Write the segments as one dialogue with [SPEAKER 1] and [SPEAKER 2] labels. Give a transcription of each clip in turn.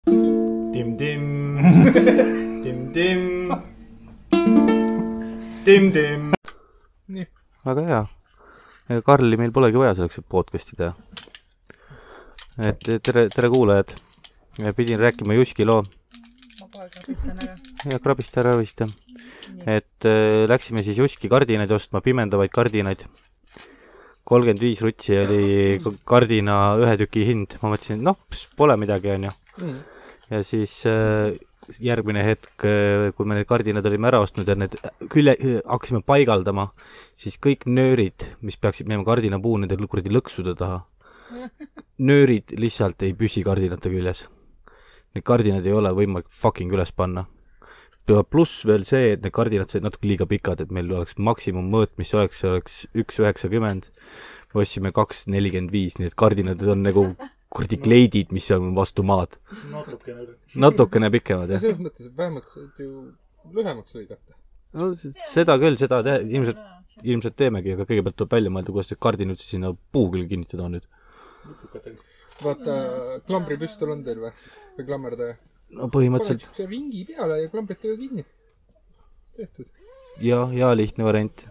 [SPEAKER 1] Dim-dim. Dim-dim. Dim-dim.
[SPEAKER 2] väga hea . Karli meil polegi vaja selleks , et podcast'i teha . et tere , tere kuulajad . pidin rääkima Juski loo
[SPEAKER 3] ma kohe kapitan ära .
[SPEAKER 2] ja krabist ära vist jah . et äh, läksime siis Juski kardinaid ostma , pimendavaid kardinaid . kolmkümmend viis rutsi oli k- kardina ühe tüki hind , ma mõtlesin , et noh , pole midagi , onju . ja siis äh, järgmine hetk , kui me need kardinad olime ära ostnud ja need külje , hakkasime paigaldama , siis kõik nöörid , mis peaksid minema kardinapuu nende kuradi lõksude taha , nöörid lihtsalt ei püsi kardinate küljes . Need kardinad ei ole võimalik fucking üles panna . pluss veel see , et need kardinad said natuke liiga pikad , et meil oleks maksimummõõt , mis oleks , oleks üks üheksakümmend . me ostsime kaks nelikümmend viis , nii et kardinad on nagu kuradi kleidid , mis on vastu maad .
[SPEAKER 1] natukene üle .
[SPEAKER 2] natukene pikemad
[SPEAKER 4] no
[SPEAKER 2] jah .
[SPEAKER 4] selles mõttes , et vähemalt saad ju lühemaks lõigata .
[SPEAKER 2] no s- seda küll , seda te- , ilmselt , ilmselt teemegi , aga kõigepealt tuleb välja mõelda , kuidas need kardinad üldse sinna puu külge kinnitada on nüüd .
[SPEAKER 4] vaata , klambripüstol on teil või ? või klammerdaja ?
[SPEAKER 2] no
[SPEAKER 4] paned
[SPEAKER 2] põhimõtteliselt
[SPEAKER 4] siukse ringi peale ja klambritega kinni . tehtud .
[SPEAKER 2] jah , ja lihtne variant .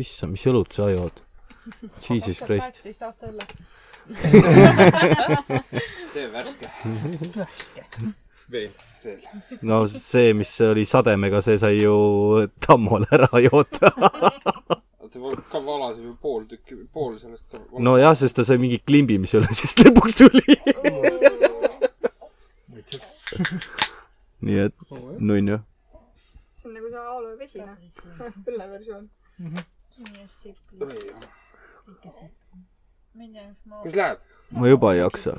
[SPEAKER 2] issand , mis õlut sa jood ? Jesus Christ ..
[SPEAKER 3] kaheksateist aasta õlle .
[SPEAKER 5] tee värske .
[SPEAKER 4] veel .
[SPEAKER 2] no see , mis oli sademega , see sai ju tammul ära joota .
[SPEAKER 5] oota , mul ka valasid ju pool tükki , pool sellest ka .
[SPEAKER 2] nojah , sest ta sai mingi klimbi , mis üle siis lõpuks tuli . nii et , nunnu .
[SPEAKER 6] see on nagu see aloevesi , noh , õlleversioon .
[SPEAKER 5] kuidas läheb ?
[SPEAKER 2] ma juba ei jaksa .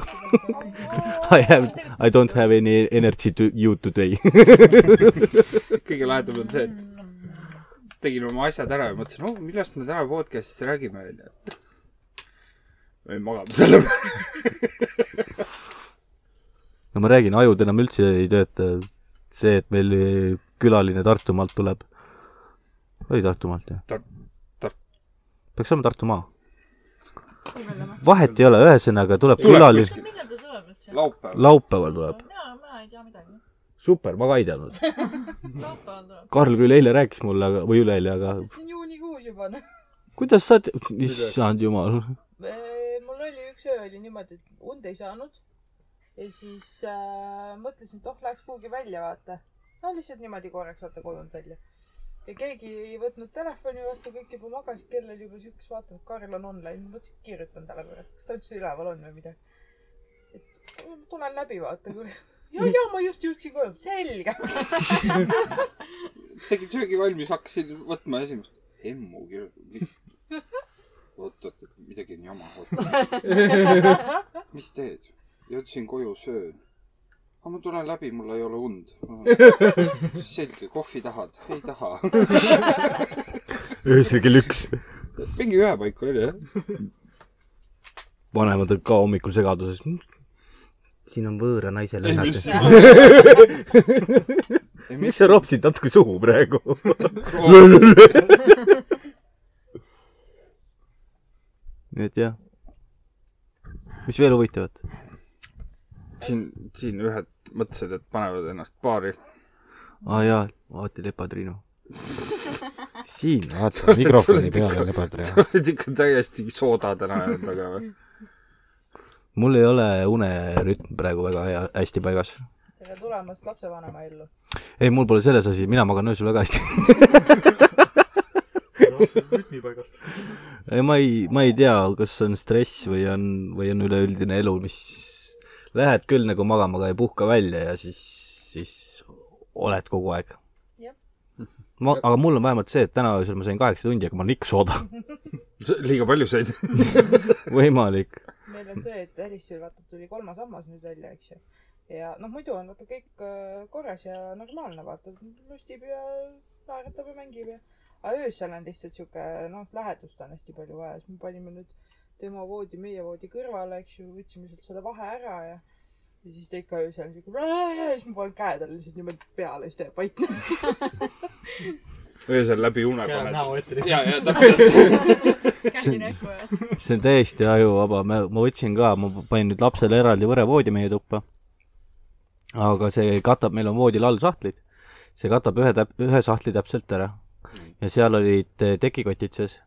[SPEAKER 2] I have , I don't have any energy to you today .
[SPEAKER 5] kõige lahedam on see , et tegin oma asjad ära ja mõtlesin , oh , millest me täna podcast'is räägime , onju . ma jäin magama selle peale .
[SPEAKER 2] no ma räägin , ajud enam üldse ei tööta . see , et meil külaline Tartumaalt tuleb . oli Tartumaalt jah
[SPEAKER 5] Tar- Tar- ?
[SPEAKER 2] peaks olema Tartumaa . vahet ei ole , ühesõnaga tuleb
[SPEAKER 5] Tuleb
[SPEAKER 2] külaline ,
[SPEAKER 5] kuskil.
[SPEAKER 3] millal ta tuleb üldse ?
[SPEAKER 5] laupäev .
[SPEAKER 2] laupäeval tuleb .
[SPEAKER 3] mina , mina ei tea midagi .
[SPEAKER 2] super , ma ka ei teadnud .
[SPEAKER 3] laupäeval tuleb .
[SPEAKER 2] Karl küll eile rääkis mulle , aga , või üleeile , aga
[SPEAKER 3] see on juunikuus juba , noh .
[SPEAKER 2] kuidas sa , issand jumal .
[SPEAKER 3] Äh, mul oli üks öö oli niimoodi , et und ei saanud . ja siis äh, mõtlesin , et oh , läheks kuhugi välja , vaata . no lihtsalt niimoodi korraks , vaata , kodunt välja . ja keegi ei võtnud telefoni vastu , kõik juba magasid , kell oli juba siukest , vaatan , et Karl on online . mõtlesin , et kirjutan talle korra , et kas ta üldse üleval on või midagi . et ma tulen läbi , vaata , kui ja , ja ma just jõudsin koju , selge .
[SPEAKER 5] tegin söögi valmis , hakkasin võtma esimest . emmu kirjutab . oot , oot , oot , midagi on jama . mis teed ? jõudsin koju , söön . aga ma tulen läbi , mul ei ole und . selge , kohvi tahad ? ei taha .
[SPEAKER 2] öösel kell üks .
[SPEAKER 5] mingi ühe paiku oli jah .
[SPEAKER 2] vanemad on ka hommikul segaduses . siin on võõra naise lõhnad . miks sa ropsid natuke suhu praegu ? nii et jah . mis veel huvitavat ?
[SPEAKER 5] siin , siin ühed mõtlesid , et panevad ennast paari .
[SPEAKER 2] aa Ah, jaa , vaata lepatriinu . siin , ah, vaata mikrofoni peale lepatriinu .
[SPEAKER 5] sa oled ikka täiesti sooda täna jäänud taga või ?
[SPEAKER 2] mul ei ole unerütm praegu väga hea , hästi paigas .
[SPEAKER 3] tere tulemast lapsevanema ellu .
[SPEAKER 2] ei , mul pole selles asi , mina magan öösel väga hästi .
[SPEAKER 1] rütmi paigast .
[SPEAKER 2] ei , ma ei , ma ei tea , kas on stress või on , või on üleüldine elu , mis lähed küll nagu magama , aga ei puhka välja ja siis , siis oled kogu aeg
[SPEAKER 3] Jah. .
[SPEAKER 2] ma , aga mul on vähemalt see , et täna öösel ma sain kaheksa tundi , aga ma olen ikka sooda .
[SPEAKER 5] liiga palju said .
[SPEAKER 2] võimalik .
[SPEAKER 3] meil on see , et Alice'il vaata tuli kolmas hammas nüüd välja , eks ju . ja noh , muidu on vaata kõik äh, korras ja normaalne , vaata lustib ja naeratab ja mängib ja . aga öösel on lihtsalt sihuke noh , lähedust on hästi palju vaja , siis me panime nüüd tema voodi meie voodi kõrvale , eks ju , võtsime sealt selle vahe ära ja ja siis ta ikka öösel siuke ja siis ma panen käe talle lihtsalt niimoodi peale , siis ta jääb vait .
[SPEAKER 5] öösel läbi une
[SPEAKER 1] käe
[SPEAKER 5] paned .
[SPEAKER 1] näo ette .
[SPEAKER 5] ja , ja täpselt .
[SPEAKER 2] See-
[SPEAKER 6] käsi näkku ja
[SPEAKER 2] see on täiesti ajuvaba , ma , ma võtsin ka , ma panin nüüd lapsele eraldi võrevoodi meie tuppa . aga see katab , meil on voodil all sahtlid , see katab ühe täp- , ühe sahtli täpselt ära . ja seal olid eh, tekikotid sees .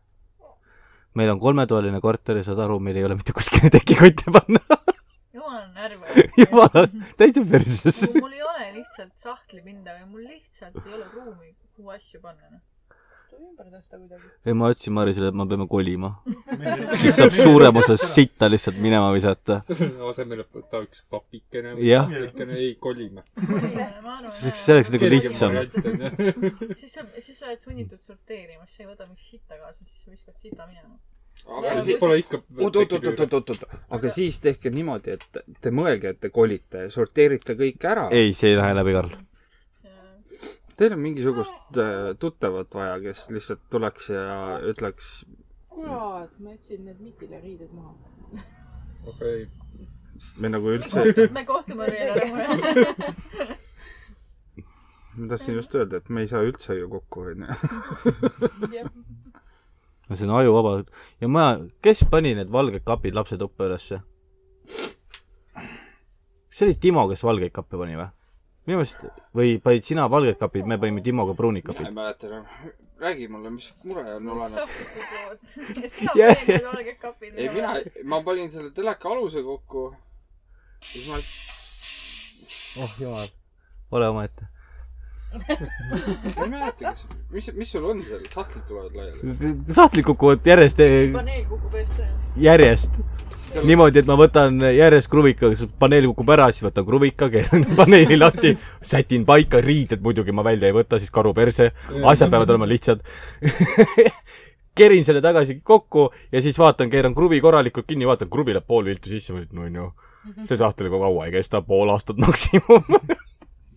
[SPEAKER 2] meil on kolmetoaline korter ja saad aru , meil ei ole mitte kuskile tekikotte panna .
[SPEAKER 7] jumal on närv .
[SPEAKER 2] Jumala- täitsa perses .
[SPEAKER 7] mul ei ole lihtsalt sahtlipinda või mul lihtsalt ei ole ruumi , kuhu asju panna . noh.
[SPEAKER 3] tuleb ümber tõsta kuidagi .
[SPEAKER 2] ei , ma ütlesin Marisele , et me peame kolima . siis saab suurem osa
[SPEAKER 1] see
[SPEAKER 2] sitta lihtsalt minema visata .
[SPEAKER 8] selle asemel , et võtta üks papikene
[SPEAKER 2] Jah.
[SPEAKER 8] papikene , ei kolime .
[SPEAKER 2] Siis see oleks nagu lihtsam. .
[SPEAKER 7] siis sa , siis sa oled sunnitud sorteerima , siis sa ei võta mingit sita kaasa , siis sa viskad sita minema .
[SPEAKER 8] aga siis pole ikka .
[SPEAKER 5] oot , oot , oot , oot , oot , oot , oot , aga siis tehke niimoodi , et te mõelge , et te kolite , sorteerite kõik ära .
[SPEAKER 2] ei , see ei lähe läbi , Karl .
[SPEAKER 5] Teil on mingisugust äh, tuttavat vaja , kes lihtsalt tuleks ja ütleks ,
[SPEAKER 3] kurat , ma jätsin need mitile riided maha .
[SPEAKER 8] okei ,
[SPEAKER 5] me nagu üldse ,
[SPEAKER 7] me kohtume veel .
[SPEAKER 5] ma tahtsin just öelda , et me ei saa üldse ju kokku , onju .
[SPEAKER 3] jah ,
[SPEAKER 2] no see on ajuvaba . ja ma , kes pani need valged kapid lapse tuppa ülesse ? kas see oli Timo , kes valgeid kappe pani või ? minu meelest , või panid sina valged kapid , me panime Timoga pruunid kapid .
[SPEAKER 5] mäleta enam . räägi mulle , mis mure on
[SPEAKER 7] sohvikud lood . sina
[SPEAKER 2] Jah.
[SPEAKER 7] panid need valged kapid .
[SPEAKER 5] ei , mina , ma panin selle teleka aluse kokku . siis ma ,
[SPEAKER 2] oh jumal , ole omaette .
[SPEAKER 5] ma ei mäleta , kas , mis , mis sul on seal , sahtlid tulevad laiali .
[SPEAKER 2] sahtlid kukuvad järjest , eh,
[SPEAKER 7] paneel kukub eest ära .
[SPEAKER 2] järjest . niimoodi , et ma võtan järjest kruvika , paneel kukub ära , siis võtan kruvika , keeran paneeli lahti , sätin paika , riided muidugi ma välja ei võta , siis karu perse , asjad peavad olema lihtsad . kerin selle tagasi kokku ja siis vaatan , keeran kruvi korralikult kinni , vaatan , kruvi läheb pool viltu sisse , ma ütlen , no on ju , see sahtel kogu kaua ei kesta , pool aastat maksimum .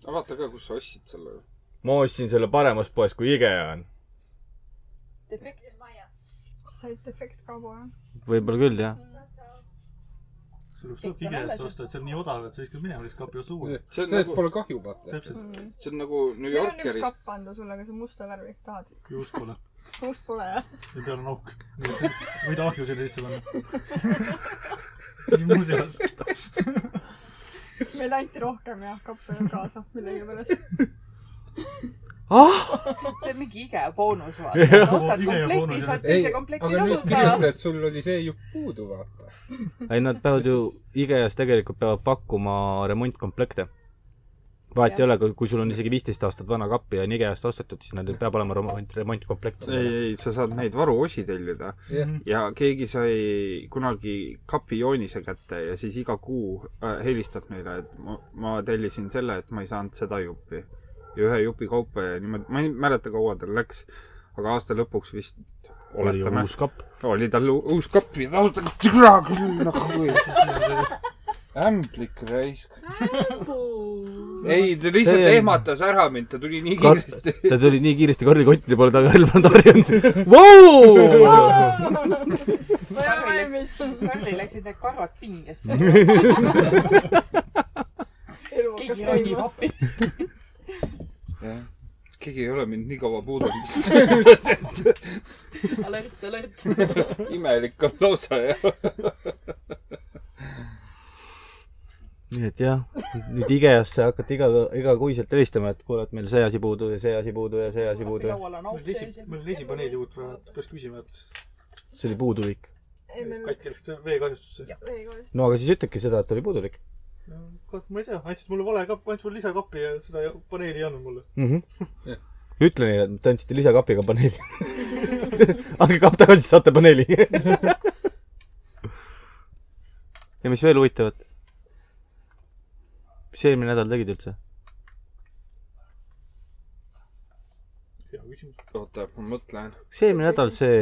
[SPEAKER 5] vaata ka , kus sa ostsid selle .
[SPEAKER 2] ma ostsin selle paremast poest , kui IKEA on .
[SPEAKER 3] defekt .
[SPEAKER 6] said defekt ka kohe .
[SPEAKER 2] võib-olla küll , jah .
[SPEAKER 1] oleks tulebki IKEA-st osta , et see on nii odav , et sa viskad minema lihtsalt kapi otsa uuesti .
[SPEAKER 5] See on
[SPEAKER 8] sellest
[SPEAKER 5] nagu-
[SPEAKER 8] pole kahju , vaata .
[SPEAKER 3] Mm.
[SPEAKER 1] täpselt ,
[SPEAKER 5] see on nagu New
[SPEAKER 6] meil on üks
[SPEAKER 5] Yorkeris ,
[SPEAKER 6] kapp anda sulle , aga see on musta värvi , tahad ?
[SPEAKER 1] juust pole .
[SPEAKER 6] must pole jah ?
[SPEAKER 1] ja peal on auk . võid ahju sinna sisse panna . muuseas ,
[SPEAKER 6] meile anti rohkem jah , kappe kaasa millegipärast .
[SPEAKER 2] ah ,
[SPEAKER 3] see on mingi IKEA boonus , vaata
[SPEAKER 2] Jah. .
[SPEAKER 3] ostad
[SPEAKER 1] IKEA
[SPEAKER 3] komplekti ,
[SPEAKER 1] boonus,
[SPEAKER 3] saad
[SPEAKER 8] ei ,
[SPEAKER 3] teise komplekti
[SPEAKER 8] aga nüüd
[SPEAKER 3] nõuda .
[SPEAKER 8] kirjuta , et sul oli see ju puudu , vaata .
[SPEAKER 2] ei nad peavad ju , IKEA-s tegelikult peavad pakkuma remontkomplekte . vahet ei ole , kui sul on isegi viisteist aastat vana kapp ja on IKEA-st ostetud , siis neil peab olema remont , remontkomplekt .
[SPEAKER 5] ei , ei , sa saad neid varuosi tellida
[SPEAKER 8] jah ,
[SPEAKER 5] ja keegi sai kunagi kapi joonise kätte ja siis iga kuu äh, helistab meile , et ma, ma tellisin selle , et ma ei saanud seda juppi . ja ühe jupi kaupa ja niimoodi , ma ei mäleta , kaua tal läks , aga aasta lõpuks vist ,
[SPEAKER 2] oli ju
[SPEAKER 5] oletame ,
[SPEAKER 2] uus kapp .
[SPEAKER 5] oli tal u- uus kapp ja ta ütles , et türa küll nagu . ämblik raisk . ei , ta lihtsalt
[SPEAKER 2] See on-
[SPEAKER 5] ehmatas ära mind , ta tuli nii
[SPEAKER 2] Kar-
[SPEAKER 5] kiiresti .
[SPEAKER 2] ta tuli nii kiiresti kordikottide poole taga , Helm on harjunud . Vau !
[SPEAKER 6] ma ei ole valmis .
[SPEAKER 3] Karlil läksid need karvad pingesse .
[SPEAKER 6] elu hakkab
[SPEAKER 3] keegi ronib
[SPEAKER 6] käima .
[SPEAKER 3] appi .
[SPEAKER 5] keegi ei ole mind nii kaua puudunud .
[SPEAKER 3] alert , alert .
[SPEAKER 5] imelik on lausa jah .
[SPEAKER 2] nii et jah , nüüd IKEA-sse hakati iga , igakuiselt helistama , et kuule , et meil see asi puudu ja see asi puudu ja see asi puudu .
[SPEAKER 3] laual on
[SPEAKER 1] meil
[SPEAKER 3] auk
[SPEAKER 1] on
[SPEAKER 3] sees
[SPEAKER 1] esi , meil on esipaneeli uut vaja , et peaks küsima , et
[SPEAKER 2] see oli puudulik .
[SPEAKER 6] ei meil
[SPEAKER 1] katki läks veekahjustusse .
[SPEAKER 6] ei kahjuks .
[SPEAKER 2] no aga siis ütlebki seda , et oli puudulik
[SPEAKER 1] ma ei tea , andsid mulle vale kapp , andsid mulle lisakapi ja seda paneeli ei andnud mulle .
[SPEAKER 2] mm .
[SPEAKER 8] Jah.
[SPEAKER 2] -hmm. ütle neile , et te andsite lisakapiga paneeli . andke kapp tagasi , saate paneeli . ja mis veel huvitavat ? mis sa eelmine nädal tegid üldse ?
[SPEAKER 1] hea küsimus .
[SPEAKER 5] oota , ma mõtlen .
[SPEAKER 2] kas eelmine nädal see ,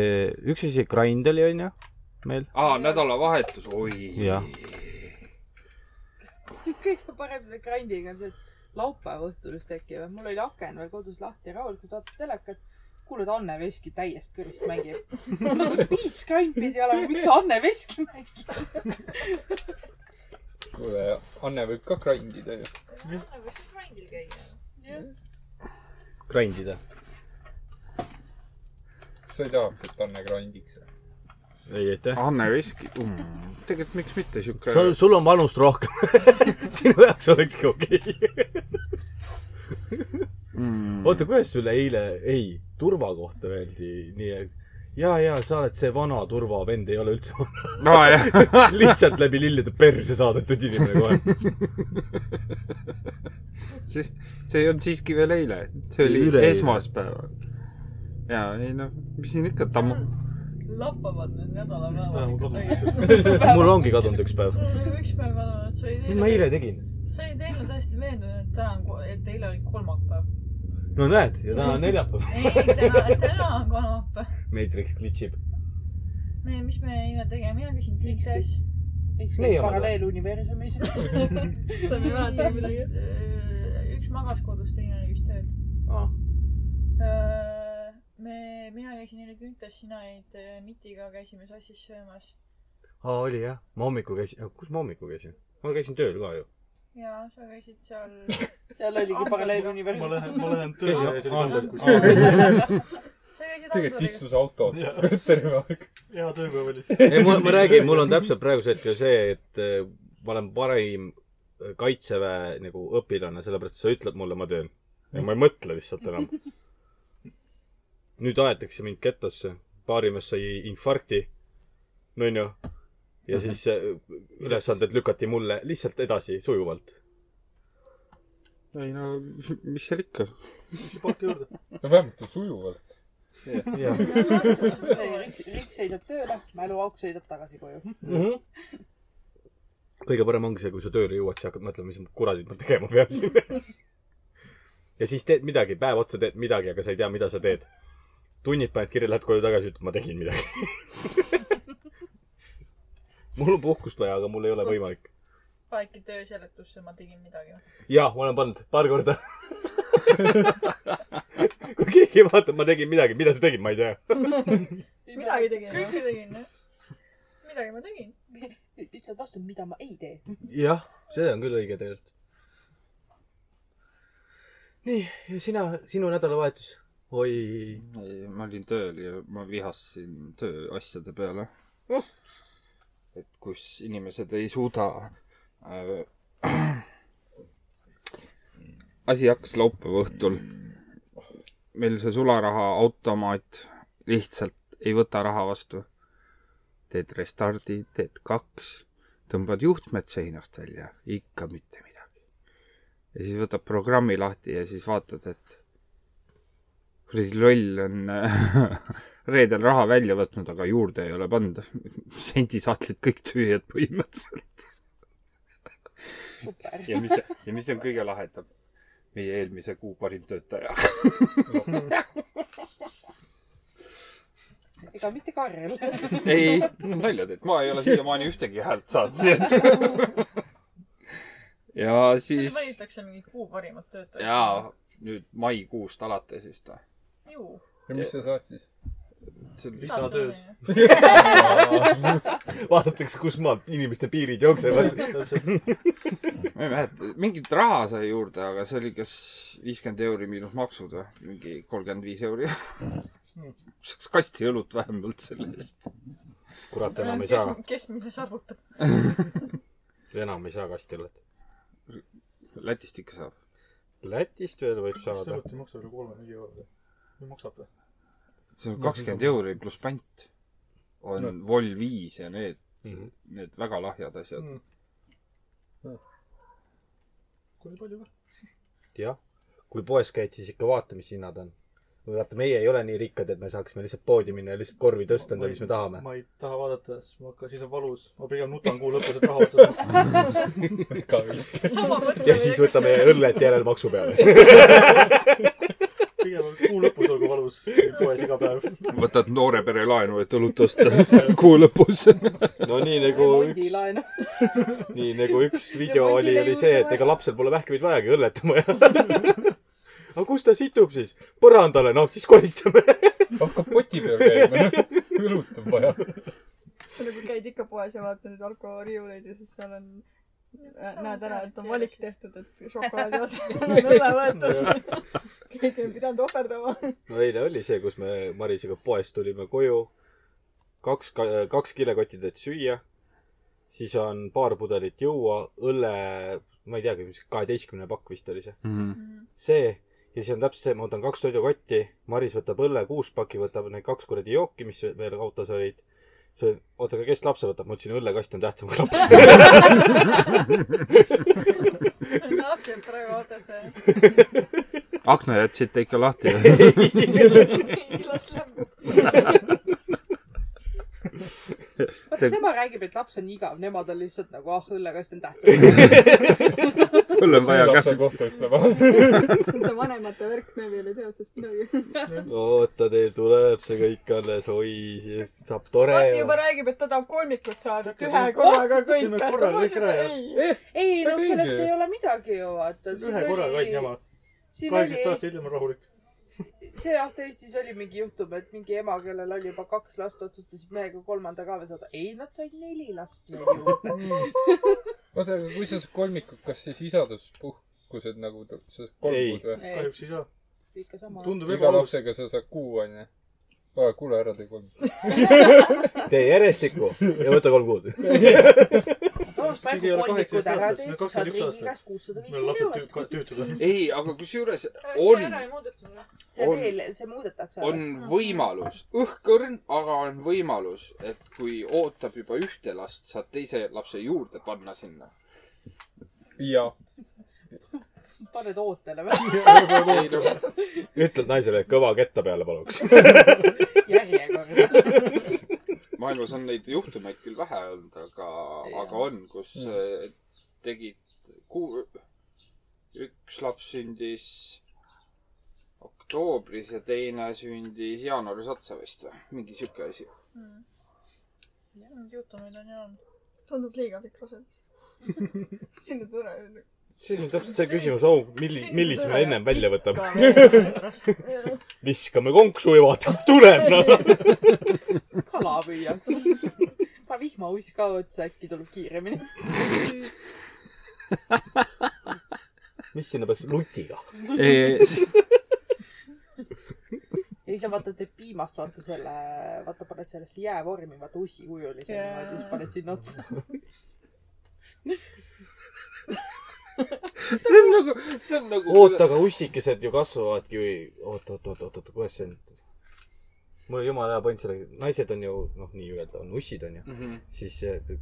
[SPEAKER 2] üks asi grind oli , onju , meil .
[SPEAKER 5] aa , nädalavahetus , oi .
[SPEAKER 2] Jah.
[SPEAKER 3] see kõige parem selle grindiga on see , et laupäeva õhtul just tekib , et mul oli aken veel kodus lahti , rahulikult vaatan telekat , kuulad Anne Veski täiest kõrist mängib . Beats grind pidi olema , miks sa Anne Veski mängid ?
[SPEAKER 8] kuule , Anne võib ka krandida ju .
[SPEAKER 7] grindil käia .
[SPEAKER 2] grindida .
[SPEAKER 8] sa ei tahaks , et Anne krandiks ?
[SPEAKER 2] ei aitäh .
[SPEAKER 5] Anne Veski mm, , tegelikult miks mitte siuke
[SPEAKER 2] sul , sul on vanust rohkem . sinu jaoks olekski okei okay. .
[SPEAKER 5] mm,
[SPEAKER 2] oota , kuidas sulle eile , ei , turva kohta öeldi nii , et ja , ja sa oled see vana turvavend , ei ole üldse vana .
[SPEAKER 5] no, jah.
[SPEAKER 2] lihtsalt läbi lillede perse saadetud inimene kohe .
[SPEAKER 5] see ei olnud siiski veel eile , see oli
[SPEAKER 2] Üleeile.
[SPEAKER 5] esmaspäeval . ja ei noh , mis siin ikka , ta mu-
[SPEAKER 9] lappavad need
[SPEAKER 1] Üks päev on
[SPEAKER 9] nädalapäevad .
[SPEAKER 2] mul ongi kadunud üks päev .
[SPEAKER 9] üks päev kadunud , sa ei
[SPEAKER 2] mis ma eile tegin ?
[SPEAKER 9] sa olid eile täiesti veendunud , et täna on , et eile oli kolmapäev .
[SPEAKER 2] no näed , ja täna on neljapäev .
[SPEAKER 9] ei , ei täna , täna on kolmapäev .
[SPEAKER 2] Matrix glitchib .
[SPEAKER 9] me , mis me eile tegime , mina küsin
[SPEAKER 3] Miks
[SPEAKER 9] kõik asju .
[SPEAKER 3] miks
[SPEAKER 2] Meie
[SPEAKER 3] kõik
[SPEAKER 2] omad
[SPEAKER 3] paralleeluniversumis ?
[SPEAKER 6] seda ma ei mäleta midagi .
[SPEAKER 9] Äh, üks magas kodus , teine oli vist tööl . me , mina käisin eile Küntas , sina olid äh, Mitiga , käisime sassis söömas
[SPEAKER 2] aa , oli jah . ma hommikul käisin , kus ma hommikul käisin ? ma käisin tööl ka ju .
[SPEAKER 9] ja sa käisid seal .
[SPEAKER 3] seal oligi
[SPEAKER 1] ma
[SPEAKER 3] paralleeluniversum .
[SPEAKER 1] lähen , ma lähen tööle ja siis
[SPEAKER 2] Aa,
[SPEAKER 1] olen kokku .
[SPEAKER 9] sa käisid
[SPEAKER 8] tegelikult
[SPEAKER 9] Andoriga .
[SPEAKER 8] istus autos terve aeg .
[SPEAKER 1] hea tööpäev oli .
[SPEAKER 2] ei , ma , ma räägin , mul on täpselt praegusel hetkel see , et eh, ma olen parim äh, kaitseväe nagu õpilane , sellepärast et sa ütled mulle , ma teen . ja ma ei mõtle lihtsalt enam . nüüd aetakse mind kettasse , baarimees sai infarkti , onju . ja siis eh, ülesanded lükati mulle lihtsalt edasi sujuvalt .
[SPEAKER 5] ei no , mis seal ikka .
[SPEAKER 1] palka juurde .
[SPEAKER 8] no vähemalt on sujuvalt .
[SPEAKER 2] jah .
[SPEAKER 3] Riks , Riks sõidab tööle , mäluauk sõidab tagasi koju . Hm?
[SPEAKER 2] Mhm. kõige parem ongi see , kui sa tööle jõuad , siis hakkad mõtlema , mis kuradit ma tegema peaksin . ja siis teed midagi , päev otsa teed midagi , aga sa ei tea , mida sa teed . tunnid paned kirja , lähed koju tagasi , ütled , ma tegin midagi . mul on puhkust vaja , aga mul ei ole võimalik .
[SPEAKER 9] Paiki töö seletusse ma tegin midagi .
[SPEAKER 2] jah , ma olen pannud paar korda . kui keegi vaatab , ma tegin midagi , mida sa tegid , ma ei tea .
[SPEAKER 6] midagi tegema .
[SPEAKER 9] kõike tegin jah . midagi ma tegin .
[SPEAKER 3] ütled vastu , mida ma ei tee . Hm,
[SPEAKER 2] jah , see on küll õige tegelikult . nii , ja sina , sinu nädalavahetus ? oi ,
[SPEAKER 5] ei , ma olin tööl ja ma vihasin tööasjade peale . et kus inimesed ei suuda äh, . asi hakkas laupäeva õhtul . meil see sularahaautomaat lihtsalt ei võta raha vastu . teed restardi , teed kaks , tõmbad juhtmed seinast välja , ikka mitte midagi . ja siis võtad programmi lahti ja siis vaatad , et kuradi loll on äh, reedel raha välja võtnud , aga juurde ei ole pannud . sendisahtlid kõik tühjad põhimõtteliselt .
[SPEAKER 3] super .
[SPEAKER 5] ja mis , ja mis on kõige lahedam ? meie eelmise kuu parim töötaja .
[SPEAKER 3] ega mitte Karl .
[SPEAKER 5] ei , nalja teed , ma ei ole siiamaani ühtegi häält saanud , nii et . ja siis ,
[SPEAKER 9] valitakse mingid kuu parimad töötajad .
[SPEAKER 5] jaa , nüüd maikuust alates vist või ?
[SPEAKER 9] ju .
[SPEAKER 8] ja mis sa saad siis ?
[SPEAKER 1] lisatööd .
[SPEAKER 2] vaadatakse , kus maalt inimeste piirid jooksevad .
[SPEAKER 1] täpselt .
[SPEAKER 5] ma ei mäleta , mingit raha sai juurde , aga see oli kas viiskümmend euri miinus maksud või mingi kolmkümmend viis euri . saaks kasti õlut vähemalt selle eest .
[SPEAKER 2] kurat , enam ei saa
[SPEAKER 9] kes ,, kes mida sarvutab .
[SPEAKER 2] enam ei saa kasti õlut .
[SPEAKER 5] Lätist ikka saab .
[SPEAKER 2] Lätist veel võib
[SPEAKER 1] kas te
[SPEAKER 2] saada .
[SPEAKER 1] võtate maksa üle kolme-neli euro või ? või maksab või ?
[SPEAKER 5] see on
[SPEAKER 1] No,
[SPEAKER 5] kakskümmend
[SPEAKER 1] siis on-
[SPEAKER 5] euri pluss pant . on
[SPEAKER 8] No.
[SPEAKER 5] no. Vol viis ja need
[SPEAKER 2] Mhm.
[SPEAKER 5] need väga lahjad asjad .
[SPEAKER 1] Hmm. kui palju või ?
[SPEAKER 2] jah , kui poes käid , siis ikka vaata , mis hinnad on . vaata , meie ei ole nii rikkad , et me saaksime lihtsalt poodi minna ja lihtsalt korvi tõsta endale , mis me tahame .
[SPEAKER 1] ma ei taha vaadata , sest ma hakkan , siis on valus . ma pigem nutan kuu lõpus , et raha otsa saada .
[SPEAKER 9] sama mõte .
[SPEAKER 2] ja siis võtame . õllet järelmaksu peale .
[SPEAKER 1] pigem kuu lõpus olgu valus poes iga päev .
[SPEAKER 5] võtad noore pere laenu , et õlut osta kuu lõpus .
[SPEAKER 2] no nii nagu üks ,
[SPEAKER 3] remondilaen .
[SPEAKER 2] nii nagu üks video oli , oli see , et ega lapsel pole vähkmeid vajagi , õllet on vaja . aga kus ta situb siis ? põrandale , noh siis koristame .
[SPEAKER 8] hakkab poti peal käima , noh . õlut on vaja .
[SPEAKER 6] see on nagu käid ikka poes ja vaatad neid alkoholiriiuleid ja siis seal on näed ära , et on valik tehtud , et šokolaadi asemel on õlle võetud . keegi ei pidanud ohverdama .
[SPEAKER 2] no eile oli see , kus me Marisiga poest tulime koju , kaks , kaks kilekotitäit süüa , siis on paar pudelit juua , õlle , ma ei teagi , mis kaheteistkümne pakk vist oli see ,
[SPEAKER 5] Mhm.
[SPEAKER 2] see ja siis on täpselt see , ma võtan kaks toidukotti , Maris võtab õlle kuus paki , võtab need kaks kuradi jooki , mis veel autos olid . see , oota , aga kes lapse võtab , ma ütlesin , õllekast on tähtsam kui laps .
[SPEAKER 9] laps jääb praegu autosse .
[SPEAKER 5] akna jätsite ikka lahti .
[SPEAKER 6] las läheb .
[SPEAKER 5] See-
[SPEAKER 3] vaata , tema räägib , et laps on igav , nemad on lihtsalt nagu , ah , õllekast on tähtis .
[SPEAKER 5] õlle on vaja
[SPEAKER 8] lapse
[SPEAKER 5] kätte .
[SPEAKER 8] kohta ütlema .
[SPEAKER 6] see on see vanemate värk , me veel ei tea sellest midagi .
[SPEAKER 2] oota , teil tuleb see kõik alles , oi , siis saab tore .
[SPEAKER 6] Mati juba räägib , et ta tahab kolmikut saada , et ühe
[SPEAKER 1] Ütle-
[SPEAKER 6] korraga kõik
[SPEAKER 1] ütleme korraga oh! kõik ära, jah. .
[SPEAKER 3] ei , no
[SPEAKER 8] Ei
[SPEAKER 3] sellest
[SPEAKER 8] mingi.
[SPEAKER 3] ei ole midagi ju , vaata .
[SPEAKER 1] ühe korraga ainult jama .
[SPEAKER 3] siin
[SPEAKER 1] kaheksateist
[SPEAKER 3] oli ,
[SPEAKER 1] aastat hiljem on rahulik .
[SPEAKER 3] see aasta Eestis oli mingi juhtum , et mingi ema , kellel oli juba kaks last , otsustas mehega kolmanda ka veel saada . ei , nad said neli last veel juurde .
[SPEAKER 8] oota , aga kui sa saad kolmikut , kas siis isaduspuhkused nagu ta- sa saad kolm
[SPEAKER 2] Ei.
[SPEAKER 8] kuud või ?
[SPEAKER 1] kahjuks ei saa .
[SPEAKER 3] ikka sama .
[SPEAKER 1] tundub
[SPEAKER 8] iga
[SPEAKER 1] ebaaus .
[SPEAKER 8] lapsega sa saad kuu onju . aa , kuule ära tee kolm .
[SPEAKER 2] tee järjestikku ja võta kolm kuud .
[SPEAKER 3] samas
[SPEAKER 1] Siis ei
[SPEAKER 3] praegu
[SPEAKER 1] ole kaheksateist
[SPEAKER 3] kolmikud ära
[SPEAKER 1] aastat,
[SPEAKER 3] teed ,
[SPEAKER 1] siis on
[SPEAKER 3] siis
[SPEAKER 1] 21
[SPEAKER 3] saad riigi
[SPEAKER 1] aastat.
[SPEAKER 3] käest kuussada
[SPEAKER 1] meil on
[SPEAKER 3] viiskümmend
[SPEAKER 1] lapsed
[SPEAKER 3] eurot .
[SPEAKER 1] tüü- , tüütud .
[SPEAKER 5] ei , aga kusjuures
[SPEAKER 9] seda ära ei muudetud või ?
[SPEAKER 3] see
[SPEAKER 5] on-
[SPEAKER 3] veel , see muudetakse .
[SPEAKER 5] on võimalus , õhkõrn , aga on võimalus , et kui ootab juba ühte last , saad teise lapse juurde panna sinna .
[SPEAKER 8] jaa .
[SPEAKER 3] paned ootele või ?
[SPEAKER 5] ei noh ,
[SPEAKER 2] ütled naisele kõva ketta peale , paluks .
[SPEAKER 3] järjekorda .
[SPEAKER 5] maailmas on neid juhtumeid küll vähe olnud , aga , aga on , kus äh, tegid kuu , üks laps sündis oktoobris ja teine sündis jaanuaris otsa vist või , mingi sihuke asi .
[SPEAKER 6] Hmm.
[SPEAKER 9] Neid juhtumeid on ju olnud .
[SPEAKER 6] tundub liiga pikk rasedus . sinna tuleb .
[SPEAKER 2] siis on täpselt see küsimus , oh , milli- , millise me ennem välja võtame . viskame konksu ja vaatame , kui tuleb , noh .
[SPEAKER 3] kala püüaks . pane vihmauss ka otsa , äkki tuleb kiiremini .
[SPEAKER 2] mis sinna peaks , lutiga ?
[SPEAKER 3] ja siis sa vaata , teed piimast , vaata selle , vaata , paned sellesse jäävormi , vaata ussikujulise
[SPEAKER 6] Jaa.
[SPEAKER 3] yeah. , siis paned sinna otsa .
[SPEAKER 5] see on nagu , see on nagu .
[SPEAKER 2] oota , aga ussikesed ju kasvavadki või ? oot , oot , oot , oot , oot , kuidas see nüüd ? mul jumala hea point sellega , naised on ju , noh , nii öelda on , ussid on ju ,
[SPEAKER 5] Mhm.
[SPEAKER 2] siis eh,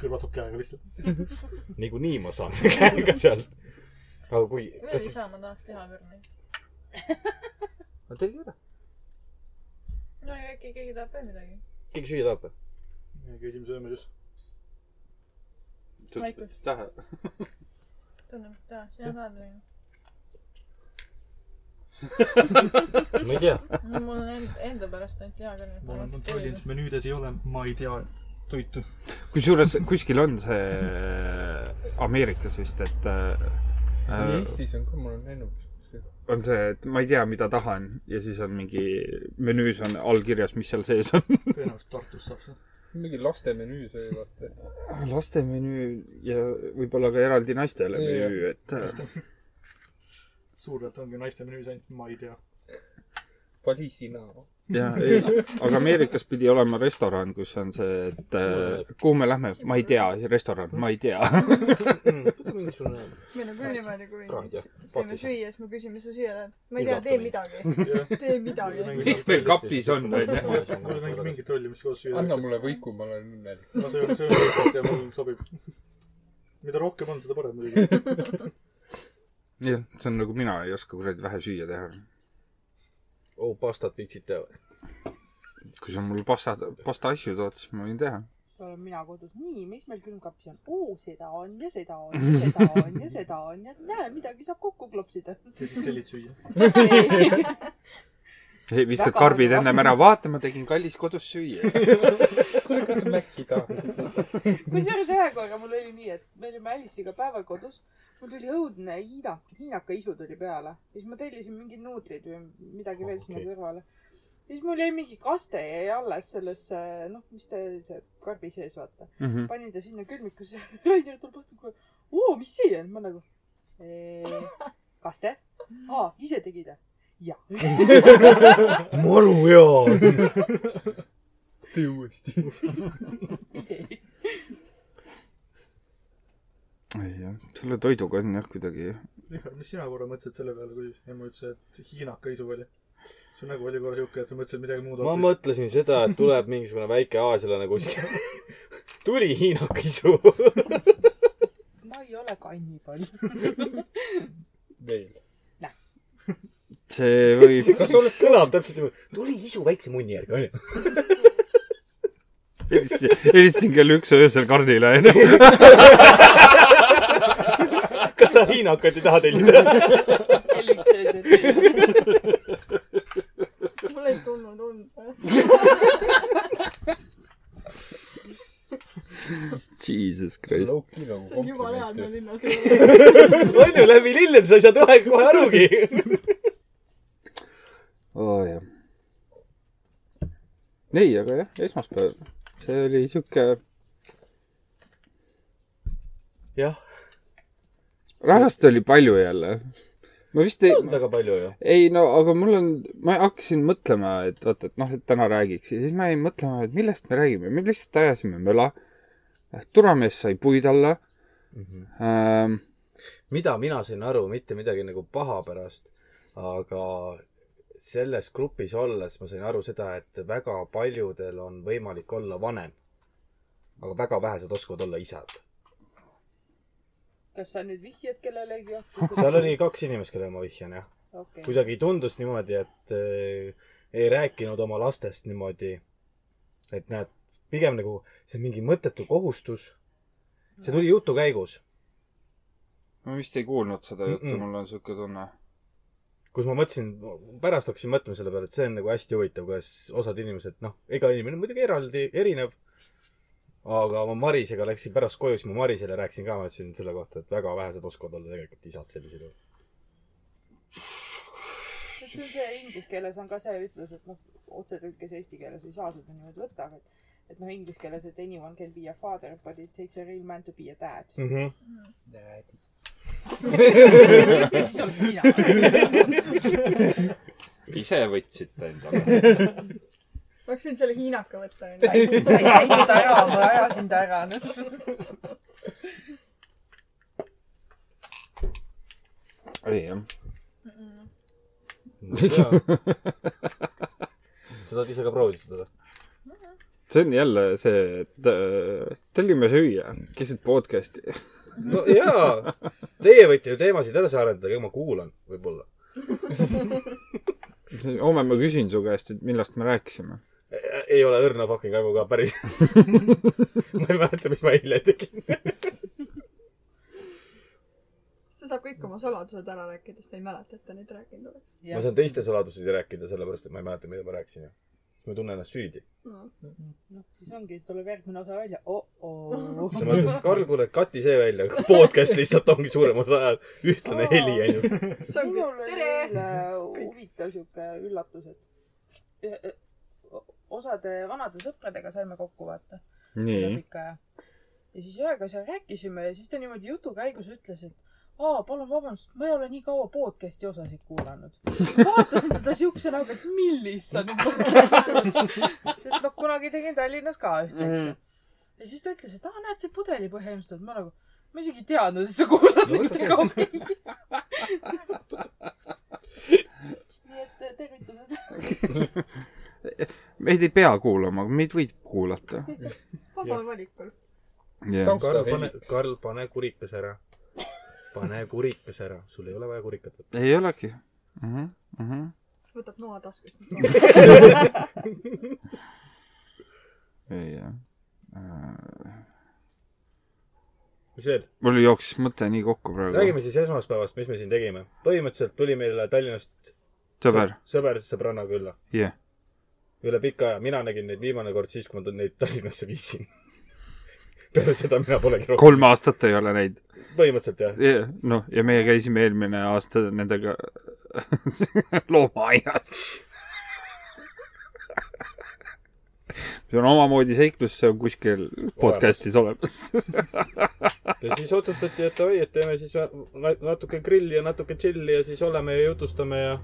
[SPEAKER 1] kõrvatseb käega lihtsalt .
[SPEAKER 2] niikuinii ma saan selle käega sealt . aga kui ,
[SPEAKER 9] veel
[SPEAKER 2] kas ,
[SPEAKER 9] isa ma tahaks teha küll neid .
[SPEAKER 2] no tee ära ,
[SPEAKER 9] no ja äkki keegi tahab veel midagi .
[SPEAKER 2] keegi süüa tahab või ?
[SPEAKER 1] käisime söömas just .
[SPEAKER 5] tuntud tähe .
[SPEAKER 9] tundub , et jah , sina tahad midagi .
[SPEAKER 2] ma ei tea ,
[SPEAKER 9] no mul on end- enda pärast ainult hea küll .
[SPEAKER 1] ma olen kontrollinud , menüüdes ei ole , ma ei tea toitu .
[SPEAKER 5] kusjuures kuskil on see Ameerikas vist , et äh,
[SPEAKER 8] Eestis on ka , ma olen näinud .
[SPEAKER 5] on see , et ma ei tea , mida tahan ja siis on mingi menüüs on allkirjas , mis seal sees on .
[SPEAKER 1] tõenäoliselt Tartus saab seda .
[SPEAKER 8] mingi laste menüü söö , vaata .
[SPEAKER 5] laste menüü ja võib-olla ka eraldi naistele
[SPEAKER 8] Nii,
[SPEAKER 5] menüü , et äh,
[SPEAKER 1] suurelt ongi naiste menüüs ainult , ma ei tea .
[SPEAKER 8] vali sina .
[SPEAKER 5] ja , aga Ameerikas pidi olema restoran , kus on see , et äh, kuhu me lähme , ma ei tea , restoran , ma ei tea .
[SPEAKER 2] võta Mm, mingisugune
[SPEAKER 6] meil on küll niimoodi , kui
[SPEAKER 2] kraad ja
[SPEAKER 6] käime
[SPEAKER 2] patis .
[SPEAKER 6] süüa , siis me küsime su süüa läheb . ma ei tea , tee midagi , tee midagi .
[SPEAKER 5] Mis meil kapis on,
[SPEAKER 1] mul ei mängi mingit rolli , mis kohas süüa
[SPEAKER 8] anna
[SPEAKER 1] tehakse .
[SPEAKER 8] mulle võiku , ma olen õnnelik .
[SPEAKER 1] ma söön , söön lihtsalt ja mul sobib . mida rohkem on , seda parem muidugi .
[SPEAKER 5] jah , see on nagu mina ei oska kuradi vähe süüa teha .
[SPEAKER 2] oo , Oh, pastat viitsid teha või ?
[SPEAKER 5] kui sa mulle pasta , pasta asju tood , siis ma võin teha .
[SPEAKER 3] olen mina kodus , nii , mis meil külmkapis on ? oo , seda on ja seda on ja seda on ja seda on ja näe , midagi saab kokku klopsida .
[SPEAKER 1] ja siis tellid süüa .
[SPEAKER 5] ei , viskad
[SPEAKER 3] Väga
[SPEAKER 5] karbid
[SPEAKER 3] hea.
[SPEAKER 5] ennem ära , vaata , ma tegin kallis kodus süüa .
[SPEAKER 8] kuule , kas sa Maci tahad ?
[SPEAKER 3] kusjuures ühe korra mul oli nii , et me olime Alice'iga päeval kodus , mul tuli õudne hiina , hiinaka isu tuli peale ja siis ma tellisin mingeid nuudleid või midagi veel sinna
[SPEAKER 2] Okei.
[SPEAKER 3] kõrvale . ja siis mul jäi mingi kaste jäi alles sellesse , noh , mis ta oli , see karbi sees , vaata .
[SPEAKER 5] Mhm.
[SPEAKER 3] panin ta sinna külmikusse , Rainer tuleb õhtul kohe , oo , mis see on , ma nagu , kaste , aa , ise tegid või ? jah .
[SPEAKER 2] maru hea .
[SPEAKER 8] tee uuesti .
[SPEAKER 5] ei jah , selle toiduga on jah kuidagi ,
[SPEAKER 1] Mihhail , mis sina korra mõtlesid selle peale , kui ema ütles , et hiinaka isu oli ? su nägu oli korra siuke , et sa mõtlesid midagi muud
[SPEAKER 2] ma . mõtlesin seda , et tuleb mingisugune väike aasialane kuskil . tuli hiinake suu .
[SPEAKER 3] ma ei ole kannibal .
[SPEAKER 8] meil .
[SPEAKER 5] see võib ,
[SPEAKER 2] kas sul kõlab täpselt niimoodi , tuli isu väikse munni järgi , onju .
[SPEAKER 5] helistasin kell üks öösel kardile onju .
[SPEAKER 2] kas sa hiinakat ei taha tellida ?
[SPEAKER 3] Helliks oli see .
[SPEAKER 6] mul ei tulnud
[SPEAKER 2] Oh,
[SPEAKER 6] und .
[SPEAKER 5] Jesus Christ .
[SPEAKER 8] Loki nagu
[SPEAKER 6] see on jumala hea , et me linnas
[SPEAKER 8] kompliment .
[SPEAKER 6] ei ole .
[SPEAKER 2] onju , läbi lillede sa ei saa kohe , kohe arugi .
[SPEAKER 5] oo jah . ei , aga jah , esmaspäev , see oli siuke
[SPEAKER 2] jah ,
[SPEAKER 5] rahvast oli palju jälle . ma vist ei ,
[SPEAKER 2] väga palju ju .
[SPEAKER 5] ei no aga mul on , ma hakkasin mõtlema , et vaata , et noh , et täna räägiks ja siis ma jäin mõtlema , et millest me räägime , me lihtsalt ajasime möla . turvamees sai puid alla ähm, .
[SPEAKER 2] Mhm. mida mina sain aru , mitte midagi nagu paha pärast , aga selles grupis olles ma sain aru seda , et väga paljudel on võimalik olla vanem . aga väga vähesed oskavad olla isad .
[SPEAKER 3] kas sa nüüd vihjad kellelegi ?
[SPEAKER 2] seal oli . kaks inimest , kellele ma vihjan , jah .
[SPEAKER 3] okei ,
[SPEAKER 2] kuidagi tundus niimoodi , et äh, ei rääkinud oma lastest niimoodi , et näed , pigem nagu see on mingi mõttetu kohustus . see tuli jutu käigus ,
[SPEAKER 5] ma vist ei kuulnud seda juttu mm ,
[SPEAKER 2] Mm-mm.
[SPEAKER 5] -mm. mul on siuke tunne .
[SPEAKER 2] kus ma mõtlesin , pärast hakkasin mõtlema selle peale , et see on nagu hästi huvitav , kuidas osad inimesed , noh , iga inimene on muidugi eraldi , erinev . aga ma Marisega läksin pärast koju , siis ma Marisele rääkisin ka , ma ütlesin selle kohta , et väga vähesed oskavad olla tegelikult isad sellisel juhul .
[SPEAKER 3] see on see inglise keeles on ka see ütlus , et noh , otsetõlkes eesti keeles ei saa seda niimoodi võtta , aga et , et noh , inglise keeles , et anyone can be a father but it takes a real man to be a dad . kes siis oled sina ?
[SPEAKER 5] ise võtsite endale .
[SPEAKER 6] oleks võinud selle hiinaka võtta onju .
[SPEAKER 3] ma ei käinud ära , ma ajasin ta ära , noh .
[SPEAKER 5] ei jah .
[SPEAKER 2] sa tahad ise ka proovida seda või ?
[SPEAKER 5] see on jälle see , et äh, tellime süüa keset podcast'i .
[SPEAKER 2] no jaa , teie võite ju teemasid edasi arendada , ega ma kuulan võib-olla .
[SPEAKER 5] homme ma küsin su käest , et millest me rääkisime .
[SPEAKER 2] ei ole õrna fucking aimu ka päris . ma ei mäleta , mis ma eile tegin .
[SPEAKER 6] ta saab kõik oma saladused ära rääkida , sest ta ei mäleta , et ta neid rääkinud oleks
[SPEAKER 2] ma saan teiste saladusi rääkida , sellepärast et ma ei mäleta , mida ma rääkisin . ma tunnen ennast süüdi .
[SPEAKER 6] no. .
[SPEAKER 3] noh , siis ongi , tuleb järgmine osa välja , oo .
[SPEAKER 2] sa mõtled , Karl , kuule , kati see välja . podcast lihtsalt ongi suurem osa ajal ühtlane heli , onju .
[SPEAKER 6] see ongi
[SPEAKER 3] minul oli
[SPEAKER 6] tere .
[SPEAKER 3] eile huvitav sihuke üllatus , et ühe- ö- osade vanade sõpradega saime kokku vaata üle
[SPEAKER 5] nii .
[SPEAKER 3] pika aja . ja siis ühega seal rääkisime ja siis ta niimoodi jutu käigus ütles , et aa , palun vabandust , ma ei ole nii kaua podcast'i osasid kuulanud . vaatasin teda siukse näoga , et millist sa nüüd mõtled . sest noh , kunagi tegin Tallinnas ka ühte , eks ju . ja siis ta ütles , et aa , näed , see pudelipõhja ilmselt , ma nagu , ma isegi ei teadnud , et sa kuulad neid kaua . nii et eh, tervitused .
[SPEAKER 5] meid ei pea kuulama , aga meid võib kuulata .
[SPEAKER 6] vabal valikul .
[SPEAKER 5] jah ,
[SPEAKER 8] Tank- Karl, pane-
[SPEAKER 2] Karl , pane kurikas ära . pane kurikas ära , sul ei ole vaja kurikat võtta .
[SPEAKER 5] ei olegi mm . -hmm. Mm -hmm.
[SPEAKER 6] võtab noa taskust .
[SPEAKER 5] ei jah äh, .
[SPEAKER 2] mis veel ?
[SPEAKER 5] mul jooksis mõte nii kokku praegu .
[SPEAKER 2] räägime siis esmaspäevast , mis me siin tegime . põhimõtteliselt tuli meile Tallinnast
[SPEAKER 5] sõber ,
[SPEAKER 2] sõber sõbranna külla .
[SPEAKER 5] jah .
[SPEAKER 2] üle pika aja , mina nägin neid viimane kord siis , kui ma ta- neid Tallinnasse viisin . peale seda mina polegi rohkem .
[SPEAKER 5] kolm aastat ei ole neid .
[SPEAKER 2] põhimõtteliselt jah .
[SPEAKER 5] noh , ja meie käisime eelmine aasta nendega loomaaias . see on omamoodi seiklus , see on kuskil podcast'is olemas .
[SPEAKER 2] ja siis otsustati , et oi , et teeme siis na- natuke grilli ja natuke tšilli ja siis oleme ja jutustame ja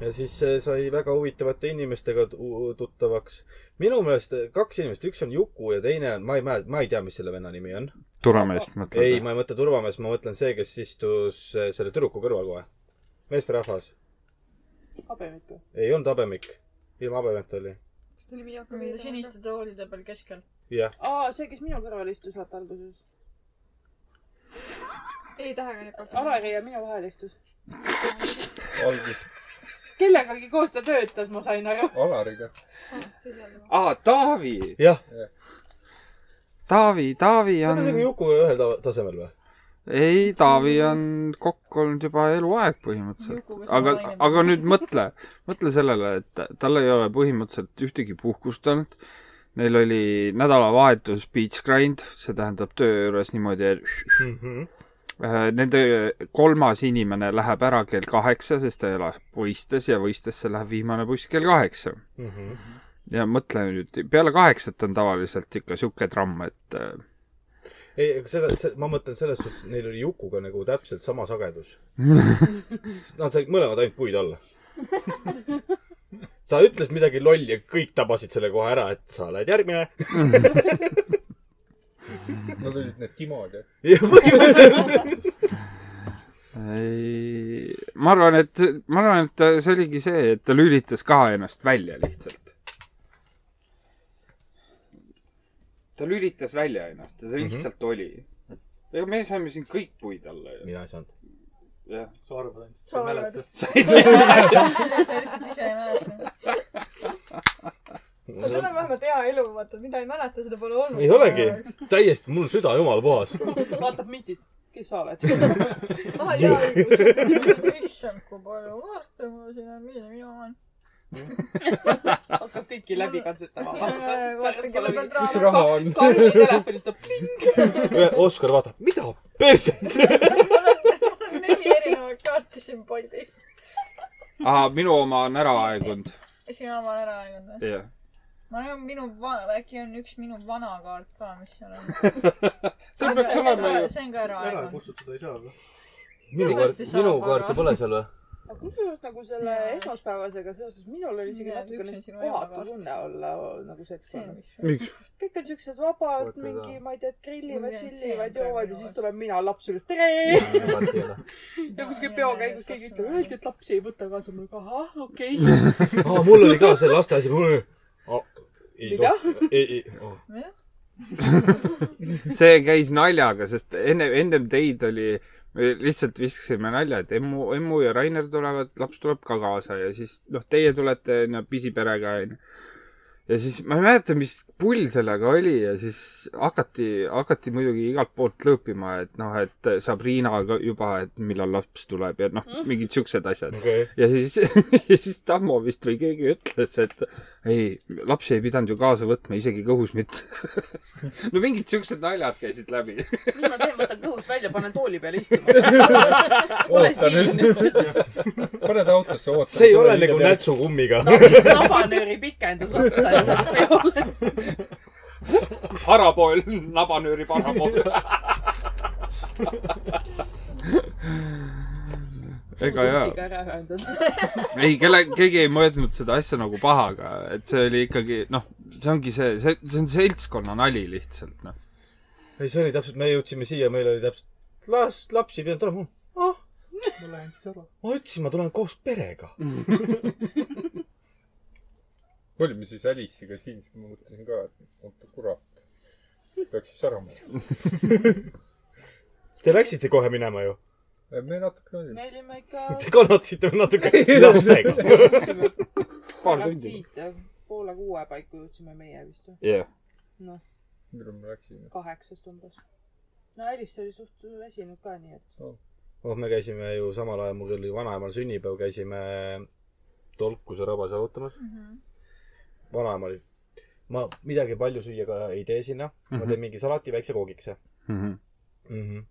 [SPEAKER 2] ja siis eh, sai väga huvitavate inimestega tu- tuttavaks . minu meelest eh, kaks inimest , üks on Juku ja teine on , ma ei mäleta , ma ei tea , mis selle venna nimi on .
[SPEAKER 5] turvameest
[SPEAKER 2] ei ,
[SPEAKER 5] mõtled ?
[SPEAKER 2] ma ei mõtle turvamees , ma mõtlen see , kes istus eh, selle tüdruku kõrval kohe . meesterahvas .
[SPEAKER 3] habemikku .
[SPEAKER 2] ei olnud habemik , ilma habemeta oli .
[SPEAKER 6] mis ta nimi hakkab
[SPEAKER 9] nende siniste toolide peal keskel .
[SPEAKER 2] jah ,
[SPEAKER 3] aa , see , kes minu kõrval istus , vaata alguses .
[SPEAKER 6] ei tähega ei hakka .
[SPEAKER 3] Alari ja minu vahel istus .
[SPEAKER 8] algus
[SPEAKER 3] kellegagi koos ta töötas , ma sain aru .
[SPEAKER 8] Alariga .
[SPEAKER 6] Ah,
[SPEAKER 5] aa , Taavi ,
[SPEAKER 2] jah ,
[SPEAKER 5] Taavi , Taavi
[SPEAKER 2] nad
[SPEAKER 5] on
[SPEAKER 2] on , nagu Jukuga ühel ta- tasemel või ?
[SPEAKER 5] ei , Taavi on kokk olnud juba eluaeg põhimõtteliselt
[SPEAKER 9] Juku, . kes
[SPEAKER 5] aga
[SPEAKER 9] on naine. ,
[SPEAKER 5] aga nüüd mõtle , mõtle sellele , et tal ei ole põhimõtteliselt ühtegi puhkust olnud . Neil oli nädalavahetus beach grind , see tähendab töö juures niimoodi , et
[SPEAKER 2] Mhm,
[SPEAKER 5] Äh, Nende kolmas inimene läheb ära kell kaheksa , sest ta elab võistes ja võistesse läheb viimane buss kell kaheksa .
[SPEAKER 2] mhm.
[SPEAKER 5] ja mõtle nüüd , peale kaheksat on tavaliselt ikka sihuke tramm , et äh,
[SPEAKER 2] ei , aga seda , ma mõtlen selles suhtes , et neil oli Jukuga nagu täpselt sama sagedus . Nad said mõlemad ainult puid alla . sa ütlesid midagi lolli ja kõik tabasid selle kohe ära , et sa oled järgmine .
[SPEAKER 8] Nad olid need Timod ja .
[SPEAKER 5] ei , ma arvan , et , ma arvan , et see oligi see , et ta lülitas ka ennast välja lihtsalt . ta lülitas välja ennast , ta lihtsalt mm -hmm. oli . ega me saime siin kõik puid alla ju .
[SPEAKER 2] mina ei saanud .
[SPEAKER 5] jah .
[SPEAKER 1] sa arvad ainult ,
[SPEAKER 6] Sa
[SPEAKER 1] sa ei
[SPEAKER 6] arvad.
[SPEAKER 1] mäleta .
[SPEAKER 9] sa lihtsalt ise ei mäleta .
[SPEAKER 6] no tal on vähemalt hea elu , vaata , mida ei mäleta , seda pole olnud .
[SPEAKER 2] ei olegi , täiesti , mul süda jumala puhas .
[SPEAKER 3] vaatab mitit . kes sa oled ?
[SPEAKER 6] ah jaa , õigus .
[SPEAKER 9] issand , kui palju kaarte mul siin on , milline minu oma on ?
[SPEAKER 3] hakkab kõiki läbi katsetama .
[SPEAKER 6] vaata , kellel on
[SPEAKER 8] mis
[SPEAKER 6] raha .
[SPEAKER 8] raha on ?
[SPEAKER 3] Karli telefoni toob pling .
[SPEAKER 2] Oskar vaatab , mida perset .
[SPEAKER 9] mul on neli erinevat kaarti siin Boltis .
[SPEAKER 5] aa , minu oma on ära aegunud .
[SPEAKER 9] esimene oma on ära aegunud või ?
[SPEAKER 5] jah .
[SPEAKER 9] ma arvan , minu va- , äkki on üks minu vana kaart ka , mis seal on .
[SPEAKER 5] seal peaks olema ju .
[SPEAKER 9] see on ka ära
[SPEAKER 1] ära
[SPEAKER 9] aegunud .
[SPEAKER 1] kustutada ei saa või ?
[SPEAKER 2] minu kaart
[SPEAKER 9] Kindlasti , saab,
[SPEAKER 2] minu
[SPEAKER 9] aga-
[SPEAKER 2] kaarte pole seal või ?
[SPEAKER 3] aga kusjuures nagu selle
[SPEAKER 9] Jaa.
[SPEAKER 3] esmaspäevasega seoses minul oli isegi
[SPEAKER 9] Jaa, üks
[SPEAKER 3] natukene
[SPEAKER 9] on sinu
[SPEAKER 3] kohatu
[SPEAKER 9] emakaart.
[SPEAKER 3] tunne olla nagu
[SPEAKER 9] see on
[SPEAKER 3] seksuaalne .
[SPEAKER 9] üks . miks ?
[SPEAKER 3] kõik on siuksed vabad ,
[SPEAKER 1] Vaata
[SPEAKER 3] mingi ,
[SPEAKER 1] seda.
[SPEAKER 3] ma ei tea , grillivad ,
[SPEAKER 9] Jah, see on
[SPEAKER 3] tšillivad ,
[SPEAKER 9] praegu
[SPEAKER 3] joovad ja
[SPEAKER 9] niimoodi.
[SPEAKER 3] siis tuleb mina laps üles , tere . ja kuskil peo käigus keegi ütleb , öeldi , et lapsi ei võta kaasa . ma ütlen , ahah , okei okay. .
[SPEAKER 2] aa , mul oli ka see lasteasi . ei noh,
[SPEAKER 3] Mida? ,
[SPEAKER 2] ei , ei .
[SPEAKER 5] see käis naljaga , sest enne , ennem teid oli , me lihtsalt viskasime nalja , et emmu , emmu ja Rainer tulevad , laps tuleb ka kaasa ja siis noh , teie tulete onju pisiperega onju . ja siis ma ei mäleta , mis pull sellega oli ja siis hakati , hakati muidugi igalt poolt lõõpima , et noh , et Sabrina ka juba , et millal laps tuleb ja noh , mingid siuksed asjad .
[SPEAKER 2] okei .
[SPEAKER 5] ja siis , ja siis Tammo vist või keegi ütles , et ei , lapsi ei pidanud ju kaasa võtma , isegi kõhus mitte . no mingid siuksed naljad käisid läbi .
[SPEAKER 3] mis ma teen , võtan kõhust välja , panen tooli peale istuma . ole
[SPEAKER 8] Oota
[SPEAKER 3] siin nüüd .
[SPEAKER 8] paned autosse , ootad .
[SPEAKER 2] see ei ole nagu . nätsukummiga .
[SPEAKER 3] tabanööri pikendus otsa ja sealt peole .
[SPEAKER 5] parapool , nabanööri parapool . ega jaa , ei kelle , keegi ei mõõtnud seda asja nagu pahaga , et see oli ikkagi noh , see ongi see , see , see on seltskonna nali lihtsalt noh .
[SPEAKER 2] ei , see oli täpselt , me jõudsime siia , meil oli täpselt , las lapsi ei pidanud tulema . ah ,
[SPEAKER 1] ma lähen siis ära .
[SPEAKER 2] ma ütlesin , ma tulen koos perega .
[SPEAKER 8] olime siis Alice'iga siin , siis ma mõtlesin ka , et oota kurat , peaks siis ära minema .
[SPEAKER 2] Te läksite kohe minema ju ?
[SPEAKER 8] me natukene olime .
[SPEAKER 3] me olime ikka
[SPEAKER 2] Te kannatasite veel natuke lastega .
[SPEAKER 5] paar
[SPEAKER 3] pärast
[SPEAKER 5] tundi .
[SPEAKER 3] viite , poole kuue paiku jõudsime meie vist või ?
[SPEAKER 5] jah .
[SPEAKER 3] noh ,
[SPEAKER 8] millal me läksime ?
[SPEAKER 3] kaheksast umbes . no Alice oli suht väsinud ka , nii et
[SPEAKER 2] oh , me käisime ju samal ajal , mul oli vanaemal sünnipäev , käisime tolkuse rabas jalutamas .
[SPEAKER 9] Mhm.
[SPEAKER 2] vanaema oli , ma midagi palju süüa ka ei tee sinna , ma teen mingi salati väikse koogikese
[SPEAKER 5] Mhm,
[SPEAKER 2] mm . -hmm.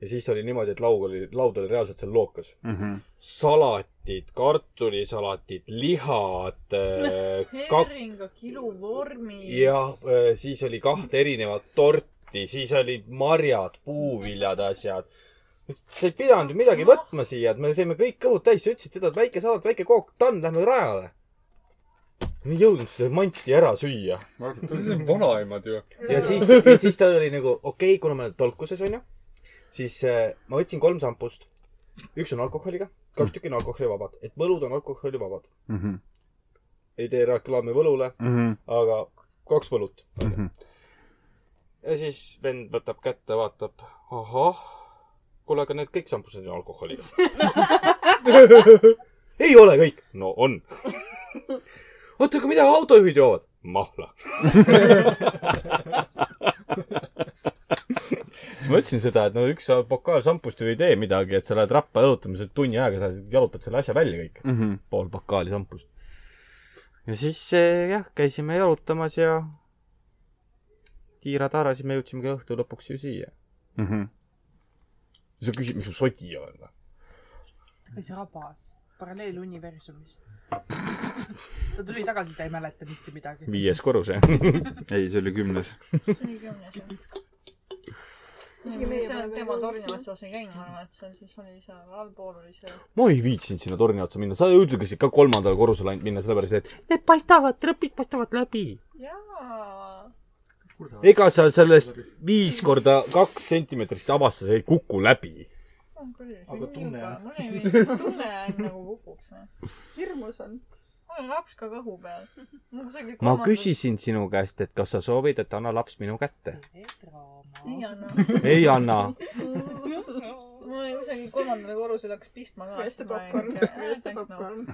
[SPEAKER 2] ja siis oli niimoodi , et laug oli , laud oli reaalselt seal lookas .
[SPEAKER 5] mhm,
[SPEAKER 2] salatid , kartulisalatid , lihad äh, , kak-
[SPEAKER 9] herringa kiluvormi .
[SPEAKER 2] ja äh, siis oli kahte erinevat torti , siis olid marjad , puuviljad , asjad . sa ei pidanud ju midagi võtma siia , et me saime kõik kõhud täis , sa ütlesid seda , et väike salat , väike kook , tamm , lähme rajale . me ei jõudnud seda manti ära süüa .
[SPEAKER 8] see on vanaemad ju .
[SPEAKER 2] ja siis , ja siis ta oli nagu okei okay, , kuna me oleme tolkuses onju , siis äh, ma võtsin kolm šampust . üks on alkoholiga , kaks tükki on alkoholivabad , et võlud on alkoholivabad .
[SPEAKER 5] mhmh ,
[SPEAKER 2] ei tee reklaami võlule ,
[SPEAKER 5] mhmh ,
[SPEAKER 2] aga kaks võlut .
[SPEAKER 5] mhmh .
[SPEAKER 2] ja siis vend võtab kätte , vaatab , ahah , kuule , aga need kõik šampused on alkoholiga . ei ole kõik . no on . oota , aga mida autojuhid joovad ? mahla . siis ma ütlesin seda , et no üks pokaal šampust ju ei tee midagi , et sa lähed rappa jalutamisel tunni ajaga , sa jalutad selle asja välja kõik .
[SPEAKER 5] mhm,
[SPEAKER 2] pool pokaali šampust .
[SPEAKER 10] ja siis eh, jah , käisime jalutamas ja tiira-taara , siis me jõudsimegi õhtu lõpuks ju siia .
[SPEAKER 5] mhm.
[SPEAKER 2] siis sa küsid , miks ma sodi olen või ?
[SPEAKER 3] kes rabas paralleeluniversumis . ta tuli tagasi , ta ei mäleta mitte midagi .
[SPEAKER 2] viies korrus , jah ?
[SPEAKER 5] ei , see oli kümnes .
[SPEAKER 9] nii kümnes jah .
[SPEAKER 6] Isegi meie
[SPEAKER 9] see on
[SPEAKER 6] pole
[SPEAKER 9] tema
[SPEAKER 6] veel
[SPEAKER 9] torni
[SPEAKER 6] jõudnud.
[SPEAKER 9] otsas ei käinud , ma arvan , et seal siis oli seal allpool oli see .
[SPEAKER 2] ma ei viitsinud sinna torni otsa minna , sa ütlesid ka kolmandale korrusele ainult minna , sellepärast et need paistavad , trõpid paistavad läbi .
[SPEAKER 9] jaa .
[SPEAKER 2] ega sa sellest viis korda kaks sentimeetrist sabast sa ei kuku läbi .
[SPEAKER 9] on küll .
[SPEAKER 1] Aga tunne on.
[SPEAKER 9] mul ei meeldi , tunne on nagu kukuks .
[SPEAKER 6] hirmus on .
[SPEAKER 9] mul on laps ka kõhu peal .
[SPEAKER 10] ma . küsisin sinu käest , et kas sa soovid , et anna laps minu kätte .
[SPEAKER 9] ei
[SPEAKER 3] draama .
[SPEAKER 9] anna .
[SPEAKER 10] ei anna .
[SPEAKER 9] mul oli kusagil kolmandale korrusele hakkas pistma ka .
[SPEAKER 6] hästi popkorn , hästi . popkorn .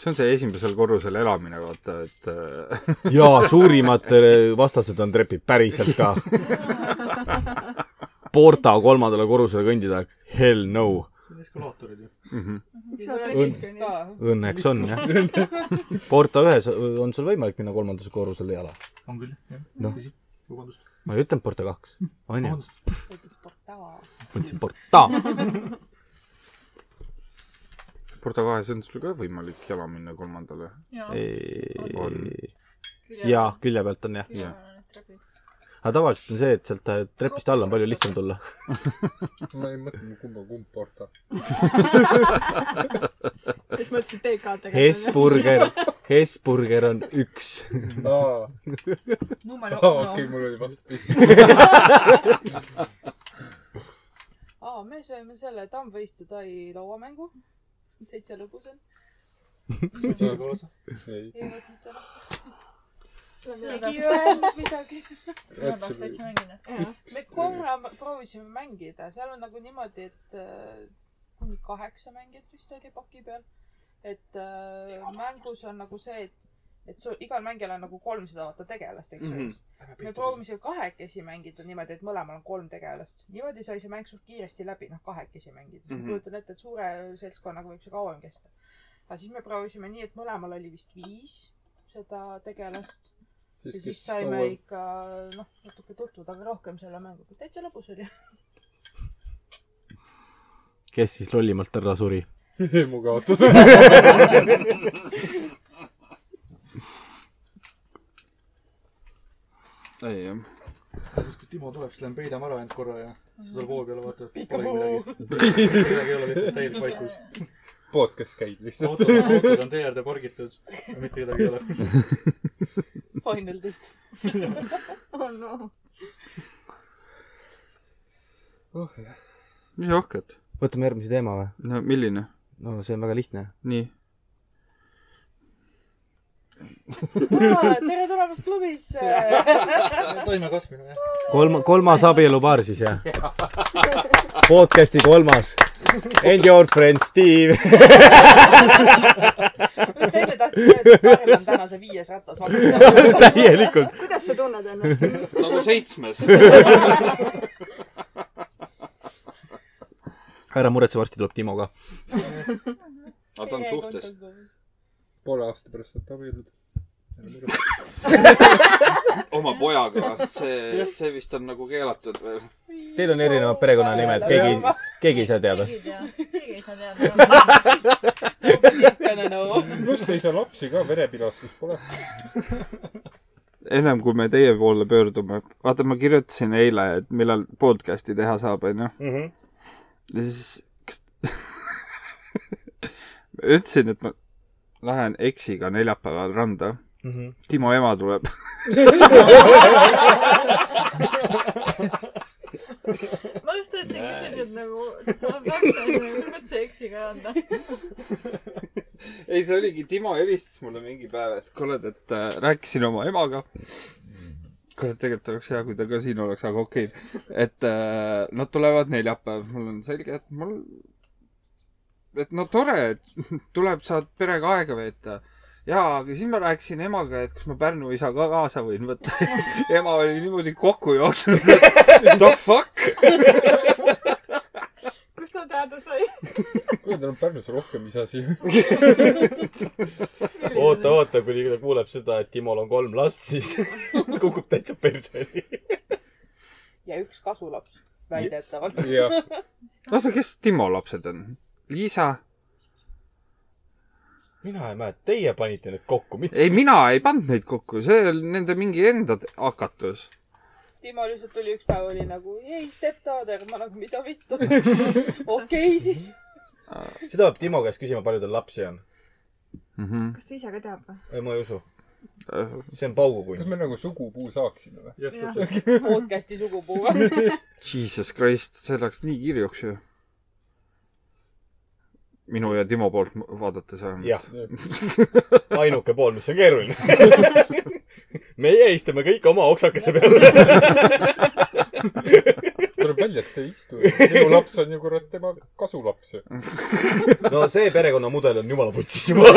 [SPEAKER 5] see on see esimesel korrusel elamine , vaata , et äh,
[SPEAKER 2] ja suurimad
[SPEAKER 10] eh,
[SPEAKER 2] äh, vastased on trepid päriselt ka . Porta kolmandale korrusele kõndida , hell no .
[SPEAKER 1] see on eskalaatorid ju .
[SPEAKER 5] mhmh.
[SPEAKER 6] üks saab registroni .
[SPEAKER 10] Õnneks on jah . Porta ühes on sul võimalik minna kolmandasse korrusele jala .
[SPEAKER 1] on küll , jah .
[SPEAKER 10] Noh.
[SPEAKER 1] tõsi , vabandust ,
[SPEAKER 10] ma ei ütelnud Porta kaks . on ju ,
[SPEAKER 1] vabandust .
[SPEAKER 10] mõtlesin Porta .
[SPEAKER 5] Porto kahes on sul ka võimalik jala minna kolmandale .
[SPEAKER 10] jaa , külje pealt on jah . aga tavaliselt on see , et sealt äh, trepist alla on palju lihtsam tulla .
[SPEAKER 8] ma ei mõtle , kumba kumb porta .
[SPEAKER 6] siis mõtlesin PK-dega .
[SPEAKER 10] Hesburger , Hesburger on üks .
[SPEAKER 8] aa ,
[SPEAKER 3] Numel
[SPEAKER 8] okei ,
[SPEAKER 3] Okno .
[SPEAKER 8] mul oli vastupidi .
[SPEAKER 3] aa , me sööme selle Tamvõistu tai lauamängu . täitsa lõbus on .
[SPEAKER 1] võtsin kaasa .
[SPEAKER 8] ei ,
[SPEAKER 3] ei võtnud seda .
[SPEAKER 9] Keegi
[SPEAKER 3] keegi
[SPEAKER 9] ei
[SPEAKER 3] ei öelnud midagi .
[SPEAKER 9] seda tahaks täitsa mängida .
[SPEAKER 3] me korra m- proovisime mängida , seal on nagu niimoodi , et äh, kuni kaheksa mängijat vist oli paki peal . et äh, mängus on nagu see , et , et sul igal mängijal on nagu kolmsada vaata tegelast , eks ju mm . -hmm. me proovisime kahekesi mängida niimoodi , et mõlemal on kolm tegelast . niimoodi sai see mäng suht kiiresti läbi , noh kahekesi mängides mm .
[SPEAKER 5] Mhm.
[SPEAKER 3] -hmm. kujutan ette , et suure seltskonnaga võib see kauem kesta . aga siis me proovisime nii , et mõlemal oli vist viis seda tegelast ja siis saime
[SPEAKER 8] kauem-
[SPEAKER 3] ikka noh , natuke tutvuda ka rohkem selle mänguga , täitsa lõbus oli .
[SPEAKER 10] kes siis lollimalt ära suri ?
[SPEAKER 8] mu kaotas .
[SPEAKER 5] ei jah .
[SPEAKER 1] ja siis , kui Timo tuleb , siis lähen peidan ära end korra ja siis tuleb hoo peale , vaatad , et
[SPEAKER 3] Pika
[SPEAKER 1] polegi
[SPEAKER 3] puu.
[SPEAKER 1] midagi . midagi ei ole lihtsalt täielik vaikus .
[SPEAKER 8] podcast käib lihtsalt .
[SPEAKER 1] autod , autod on tee äärde pargitud , mitte kedagi ei ole .
[SPEAKER 3] Final test .
[SPEAKER 6] oh no .
[SPEAKER 8] Oh,
[SPEAKER 5] mis ohked ?
[SPEAKER 10] võtame järgmise teema või ?
[SPEAKER 5] no milline ?
[SPEAKER 10] no see on väga lihtne .
[SPEAKER 5] nii .
[SPEAKER 3] tere tulemast klubisse .
[SPEAKER 1] toime kasvamine , jah .
[SPEAKER 10] kolm , kolmas abielupaar siis jah ? podcast'i kolmas . And your friend Steve .
[SPEAKER 3] mis te enne tahtsite öelda , et Karl on täna see viies ratas valmis .
[SPEAKER 10] täielikult .
[SPEAKER 6] kuidas sa tunned ennast ?
[SPEAKER 5] nagu seitsmes .
[SPEAKER 10] ära muretse , varsti tuleb Timo ka .
[SPEAKER 5] aga ta on suhtes ..
[SPEAKER 8] poole aasta pärast saad abielluda .
[SPEAKER 5] oma pojaga . see , see vist on nagu keelatud veel .
[SPEAKER 10] Teil on erinevad perekonnanimed , keegi , keegi ei saa teada .
[SPEAKER 9] keegi ei tea , keegi ei saa teada .
[SPEAKER 3] She's gonna know .
[SPEAKER 8] pluss te ei saa lapsi ka , verepilastust pole .
[SPEAKER 5] ennem kui me teie poole pöördume , vaata , ma kirjutasin eile , et millal podcast'i teha saab , onju . ja siis , kas ma ütlesin , et ma lähen eksiga neljapäeval randa . Timo ema tuleb .
[SPEAKER 9] ma just tahtsin küsida , et nagu , ma peaksin nagu üldse eksiga anda .
[SPEAKER 5] ei , see oligi , Timo helistas mulle mingi päev , et kuule , et äh, rääkisin oma emaga . kurat , tegelikult oleks hea , kui ta ka siin oleks , aga okei okay. . et äh, nad tulevad neljapäev , mul on selge , et mul , et no tore , et tuleb , saad perega aega veeta jaa , aga siis ma rääkisin emaga , et kas ma Pärnu isa ka kaasa võin võtta . ema oli niimoodi kokku jooksnud , et the fuck .
[SPEAKER 6] kust ta teada sai ?
[SPEAKER 8] kuule , tal on Pärnus rohkem isasi .
[SPEAKER 2] oota , oota , kuni ta kuuleb seda , et Timol on kolm last , siis kukub täitsa perse .
[SPEAKER 3] ja üks kasulaps , väidetavalt .
[SPEAKER 8] jah ,
[SPEAKER 5] oota , kes Timo lapsed on ? Liisa
[SPEAKER 2] mina ei mäleta , teie panite need kokku , mitte .
[SPEAKER 5] ei , mina ei pannud neid kokku , see oli nende mingi enda t- hakatus .
[SPEAKER 3] Timo lihtsalt tuli üks päev , oli nagu ei , stepdaughter , ma nagu mida vittu . okei , siis .
[SPEAKER 2] seda peab Timo käest küsima , palju tal lapsi on . Mhm.
[SPEAKER 6] kas ta ise ka teab või ?
[SPEAKER 2] ei , ma ei usu .
[SPEAKER 5] Jeesus
[SPEAKER 2] see on paugukunn
[SPEAKER 8] kas . me nagu sugupuu saaksime või ?
[SPEAKER 1] jah ,
[SPEAKER 6] Jah.
[SPEAKER 1] täpselt .
[SPEAKER 3] podcast'i sugupuuga .
[SPEAKER 5] Christ , see läks nii kirjuks ju . minu ja Timo poolt m- vaadates
[SPEAKER 2] jah , ainuke pool , mis on keeruline . meie istume kõik oma oksakese peal .
[SPEAKER 8] tuleb välja , et te ei istu . minu laps on ju kurat tema kasulaps ju .
[SPEAKER 2] no see perekonnamudel on jumala putsis juba .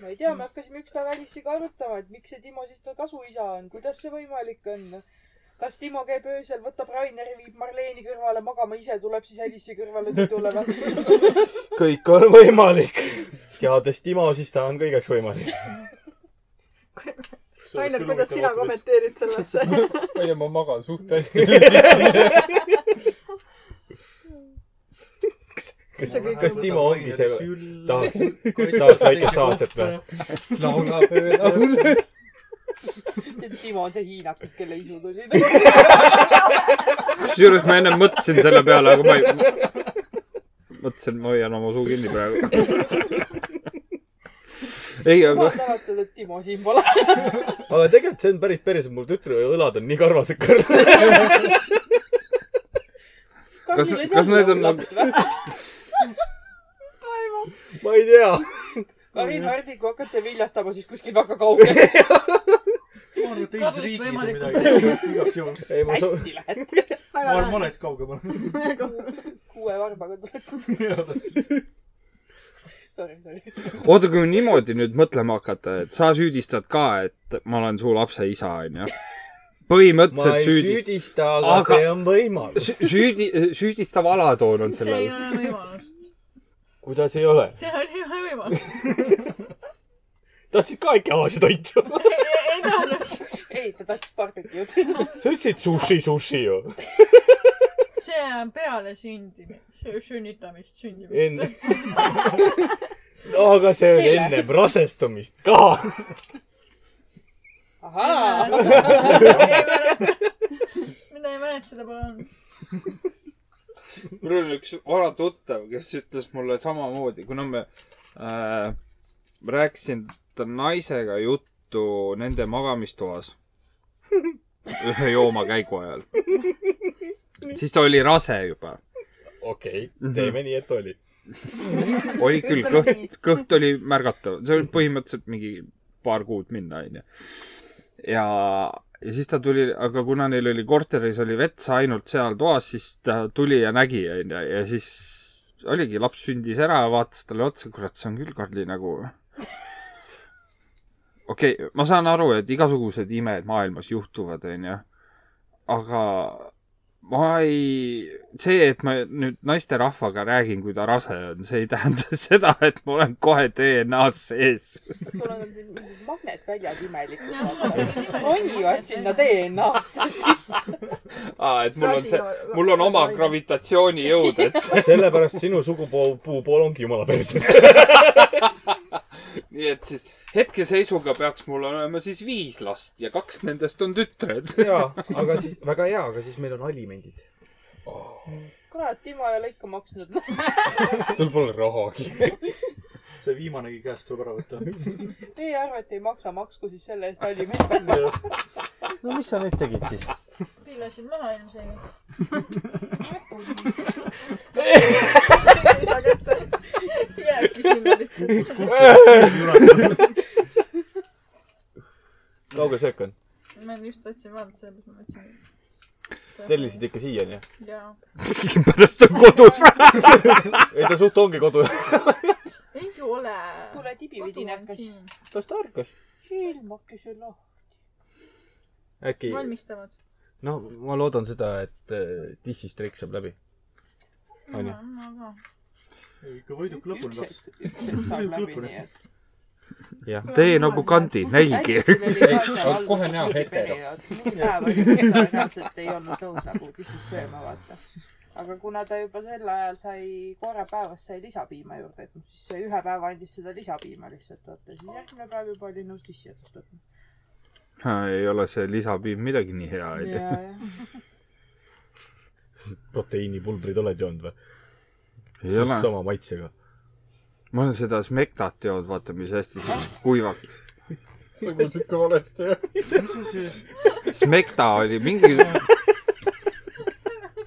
[SPEAKER 3] ma ei tea , me hakkasime ükspäev Alice'iga arutama , et miks see Timo siis tal kasuisa on , kuidas see võimalik on . kas Timo käib öösel , võtab Raineri , viib Marleeni kõrvale magama , ise tuleb siis Alice'i kõrvale tutule või ?
[SPEAKER 2] kõik on võimalik . teades Timo , siis ta on kõigeks võimalik .
[SPEAKER 6] Rainer , kuidas sina ? kommenteerid sellesse ?
[SPEAKER 8] ma ei tea , ma magan suht hästi .
[SPEAKER 2] kas
[SPEAKER 6] See kõik- ,
[SPEAKER 2] kas Timo ongi see , tahaks ,
[SPEAKER 1] Kui-
[SPEAKER 2] tahaks väikest aadset või ?
[SPEAKER 8] laulab öölaul .
[SPEAKER 3] Timo on see hiinakas , kelle isu tuli .
[SPEAKER 5] kusjuures ma ennem mõtlesin selle peale , aga ma ei , mõtlesin , ma hoian oma suu kinni praegu . ei ,
[SPEAKER 3] ma
[SPEAKER 5] aga
[SPEAKER 3] mäletan , et Timo siin pole .
[SPEAKER 2] aga tegelikult see on päris päris , mul tütre õlad on nii karvased kõrval .
[SPEAKER 5] Kas- kas need on
[SPEAKER 3] nagu ?
[SPEAKER 2] ma ei tea .
[SPEAKER 3] Karin Hardi , kui hakkate viljastama , siis kuskil väga kaugel
[SPEAKER 1] ma arvan , et teises
[SPEAKER 9] Kadus
[SPEAKER 1] riigis on
[SPEAKER 9] võimalik.
[SPEAKER 1] midagi . igaks juhuks .
[SPEAKER 2] ei , ma soo- ,
[SPEAKER 3] Lätti lähed .
[SPEAKER 1] ma arvan , ma oleks kaugemal .
[SPEAKER 3] kuue varbaga tuled . Sorry , sorry .
[SPEAKER 5] oota , kui niimoodi nüüd mõtlema hakata , et sa süüdistad ka , et ma olen su lapse isa , onju .
[SPEAKER 2] ma
[SPEAKER 5] põhimõtteliselt
[SPEAKER 2] ei
[SPEAKER 5] süüdistad .
[SPEAKER 2] süüdista , aga
[SPEAKER 5] Aga-
[SPEAKER 2] see on võimalus .
[SPEAKER 5] Sü- süüdi- , süüdistav alatoon on
[SPEAKER 9] see ei
[SPEAKER 5] sellel .
[SPEAKER 9] ole võimalust .
[SPEAKER 2] kuidas ei ole ?
[SPEAKER 9] see oli ühe võimalus .
[SPEAKER 2] tahtsid ka äkki aasiatoitu ?
[SPEAKER 9] ei tahtnud .
[SPEAKER 3] ei , ta tahtis barbecue'd .
[SPEAKER 2] sa ütlesid sushi , sushi ju .
[SPEAKER 9] see on peale sündimist , sünnitamist ,
[SPEAKER 2] enne
[SPEAKER 9] sündimist .,
[SPEAKER 2] aga see oli
[SPEAKER 3] Eile.
[SPEAKER 2] ennem rasestumist ka .
[SPEAKER 3] ahaa .
[SPEAKER 9] mina ei mäleta seda palun .
[SPEAKER 5] mul oli üks vana tuttav , kes ütles mulle samamoodi , kuna me äh, , ma rääkisin ta naisega juttu nende magamistoas ühe joomakäigu ajal . siis ta oli rase juba .
[SPEAKER 2] okei
[SPEAKER 5] Mhm. ,
[SPEAKER 2] teeme nii , et oli .
[SPEAKER 5] oli küll , kõht , kõht oli märgatav , see oli põhimõtteliselt mingi paar kuud minna , onju . ja , ja siis ta tuli , aga kuna neil oli korteris oli vetsa ainult seal toas , siis ta tuli ja nägi , onju , ja siis oligi , laps sündis ära ja vaatas talle otsa , kurat , see on küll Karli nägu . okei okay, , ma saan aru , et igasugused imed maailmas juhtuvad , onju , aga ma ei , see , et ma nüüd naisterahvaga räägin , kui ta rase on , see ei tähenda seda , et ma olen kohe DNA-s sees .
[SPEAKER 3] sul on need mingid magnetväljad imelikud
[SPEAKER 9] Jah,
[SPEAKER 3] vaata.
[SPEAKER 9] mul on nimed.
[SPEAKER 3] ronivad sinna DNA-sse sisse .
[SPEAKER 5] aa , et mul on see , mul on oma . gravitatsioonijõud , et see ,
[SPEAKER 2] sellepärast sinu sugupuu pool ongi jumala perses .
[SPEAKER 5] nii et siis hetkeseisuga peaks mul olema siis viis last ja kaks nendest on tütred .
[SPEAKER 2] jaa , aga siis , väga hea , aga siis meil on alimendid .
[SPEAKER 3] kurat , Timo ei ole ikka maksnud .
[SPEAKER 8] tal pole rahagi .
[SPEAKER 1] see viimanegi käest tuleb ära võtta .
[SPEAKER 3] Teie arvate , ei maksa , maksku siis selle eest alimendi .
[SPEAKER 10] no mis sa nüüd tegid siis ?
[SPEAKER 9] piilasin maha ilmselgelt .
[SPEAKER 6] ei saa kätte . jääbki sinna lihtsalt .
[SPEAKER 2] kauge söök on ?
[SPEAKER 9] ma just tahtsin vaadata , sellepärast ma mõtlesin .
[SPEAKER 2] tellisid ikka siiani ?
[SPEAKER 9] jaa .
[SPEAKER 5] pärast on kodus .
[SPEAKER 2] ei , ta suht ongi kodu .
[SPEAKER 9] ei ole .
[SPEAKER 3] kuule , tibividin hakkas .
[SPEAKER 2] kas ta ärkas ?
[SPEAKER 3] silm hakkas ju noh .
[SPEAKER 2] äkki ,
[SPEAKER 9] valmistavad .
[SPEAKER 2] no ma loodan seda , et eh, dissistreik saab läbi . Onju.
[SPEAKER 9] aga
[SPEAKER 1] ikka võiduk lõpuni
[SPEAKER 3] üks
[SPEAKER 1] laps .
[SPEAKER 3] hetk , üks hetk saab läbi , nii et .
[SPEAKER 5] tee nagu kandi , nälgi .
[SPEAKER 8] kohe näo hetero. .
[SPEAKER 3] mingi päev oli , kui ta reaalselt ei olnud nõus nagu tissis sööma , vaata . aga kuna ta juba sel ajal sai korra päevas sai lisapiima juurde , et noh , siis see ühe päeva andis seda lisapiima lihtsalt , vaata . siis järgmine päev juba oli nõus tissi otsast võtma .
[SPEAKER 5] ei ole see lisapiim midagi nii hea , onju .
[SPEAKER 3] ja , ja .
[SPEAKER 2] proteiinipulbrid oled joonud või ?
[SPEAKER 5] ei ole .
[SPEAKER 2] sama maitsega .
[SPEAKER 5] ma olen seda smektat joonud , vaata , mis hästi siis kuivab .
[SPEAKER 8] sa kuulsid ka valesti , jah ?
[SPEAKER 5] smekta oli mingi .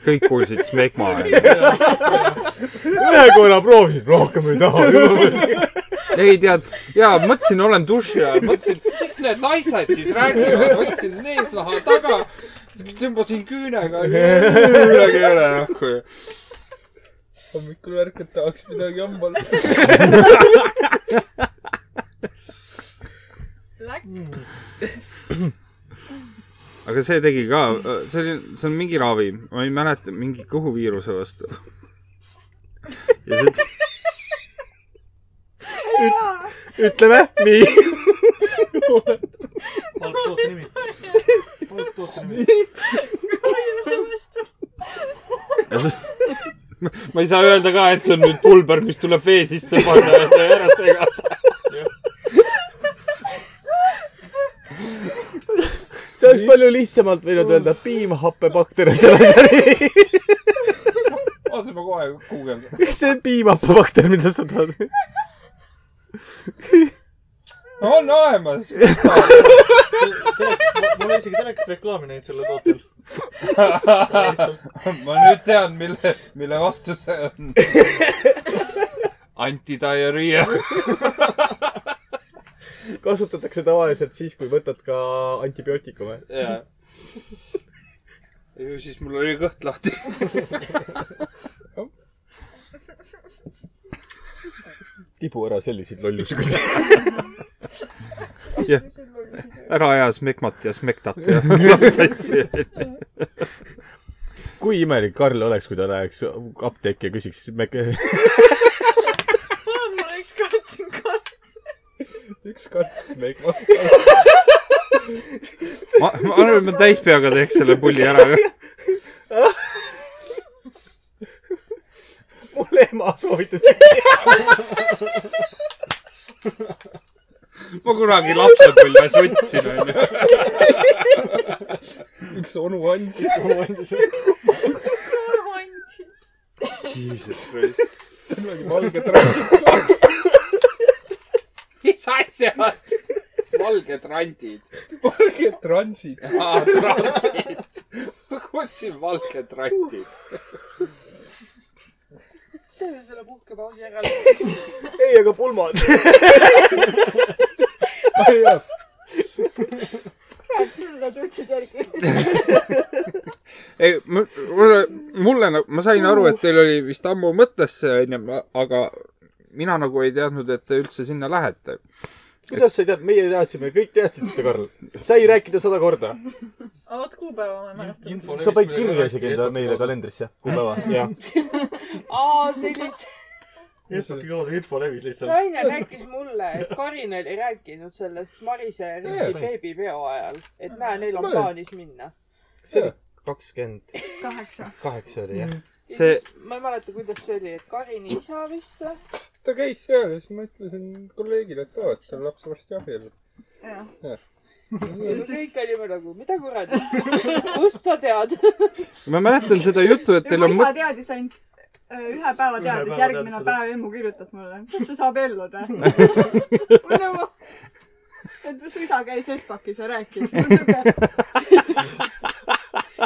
[SPEAKER 5] kõik kuulsid smekma .
[SPEAKER 2] ühe korra proovisin , rohkem ei taha .
[SPEAKER 5] ei tead , jaa , mõtlesin , olen duši all , mõtlesin , mis need naised siis räägivad , võtsin eesnaha taga , tõmbasin küünega , noh, midagi ei ole nahku .
[SPEAKER 8] hommikul ärkad , tahaks midagi hambale .
[SPEAKER 5] aga see tegi ka , see oli , see on mingi ravim , ma ei mäleta , mingi kõhuviiruse vastu . ja see
[SPEAKER 2] ütleme nii .
[SPEAKER 1] halb toote nimi . halb toote nimi .
[SPEAKER 5] Ja see- ma ei saa öelda ka , et see on nüüd pulber , mis tuleb vee sisse panna ja see ära segada .
[SPEAKER 2] see oleks palju lihtsamalt võinud öelda piimhappebakter on selles äri .
[SPEAKER 8] oota , ma kohe guugeldan .
[SPEAKER 2] mis see piimhappebakter , mida sa tahad ?
[SPEAKER 8] on olemas .
[SPEAKER 1] ma olen isegi telekas reklaami näinud selle tootel .
[SPEAKER 8] ma nüüd tean , mille , mille vastus see on .
[SPEAKER 5] antidiarrhea .
[SPEAKER 2] kasutatakse tavaliselt siis , kui võtad ka antibiootikume .
[SPEAKER 5] jaa . ju siis mul oli kõht lahti .
[SPEAKER 2] tibu ära selliseid lollusi küll .
[SPEAKER 5] ära aja smekmat ja smektat ja klaas sassi .
[SPEAKER 2] kui imelik Karl oleks , kui ta läheks apteeki ja küsiks me... .
[SPEAKER 9] mul oleks kartin kart .
[SPEAKER 8] üks kartus meik ma .
[SPEAKER 5] ma , ma arvan , et ma täispeaga teeks selle pulli ära .
[SPEAKER 2] mul ema soovitas .
[SPEAKER 5] ma kunagi lapsepõlves võtsin , onju .
[SPEAKER 8] üks onu andis .
[SPEAKER 9] suur hunt .
[SPEAKER 5] Jesus Christ .
[SPEAKER 8] midagi valget rääkis .
[SPEAKER 5] mis asjad ? valged randid .
[SPEAKER 8] valget transid .
[SPEAKER 5] aa , transid . ma kuulsin valged randid .
[SPEAKER 3] teeme selle puhkepausi ära .
[SPEAKER 2] ei , aga pulmad .
[SPEAKER 6] külla tundsid järgi .
[SPEAKER 5] ei , mulle , mulle nagu , ma sain aru , et teil oli vist ammu mõttes see onju , aga mina nagu ei teadnud , et te üldse sinna lähete .
[SPEAKER 2] kuidas sa ei teadnud , meie teadsime , kõik teadsid seda , Karl . sa ei rääkinud sada korda .
[SPEAKER 9] aga vot kuupäeva ma ei mäleta .
[SPEAKER 2] sa panid kirja isegi enda meile . kalendrisse , kuupäeva . jah .
[SPEAKER 3] aa , sellise .
[SPEAKER 1] Facebooki kaudu info levis lihtsalt .
[SPEAKER 3] Rainer rääkis mulle , et Karin oli rääkinud sellest Marise ja Ritsi
[SPEAKER 1] Jaa.
[SPEAKER 3] beebipeo ajal , et näe , neil on
[SPEAKER 2] Mõelda.
[SPEAKER 3] plaanis minna .
[SPEAKER 2] see oli kakskümmend
[SPEAKER 6] kaheksa .
[SPEAKER 2] kaheksa oli jah .
[SPEAKER 5] see ,
[SPEAKER 3] ma ei mäleta , kuidas see oli , et Karini isa vist või ?
[SPEAKER 8] ta käis seal ja siis ma ütlesin kolleegile , et aa , et tal laps varsti abiellub .
[SPEAKER 9] jah .
[SPEAKER 3] ja me kõik olime nagu , mida kuradi , kust sa tead ?
[SPEAKER 5] ma mäletan seda juttu , et teil
[SPEAKER 6] mu
[SPEAKER 5] on
[SPEAKER 6] isa
[SPEAKER 5] mõte ,
[SPEAKER 6] teadis ainult , ühe päeva teadis ,
[SPEAKER 1] päeva
[SPEAKER 6] järgmine
[SPEAKER 1] teadis seda.
[SPEAKER 6] päev emu kirjutab mulle , kas sa saab elluda ? või nagu , et su isa käis Espakis ja rääkis .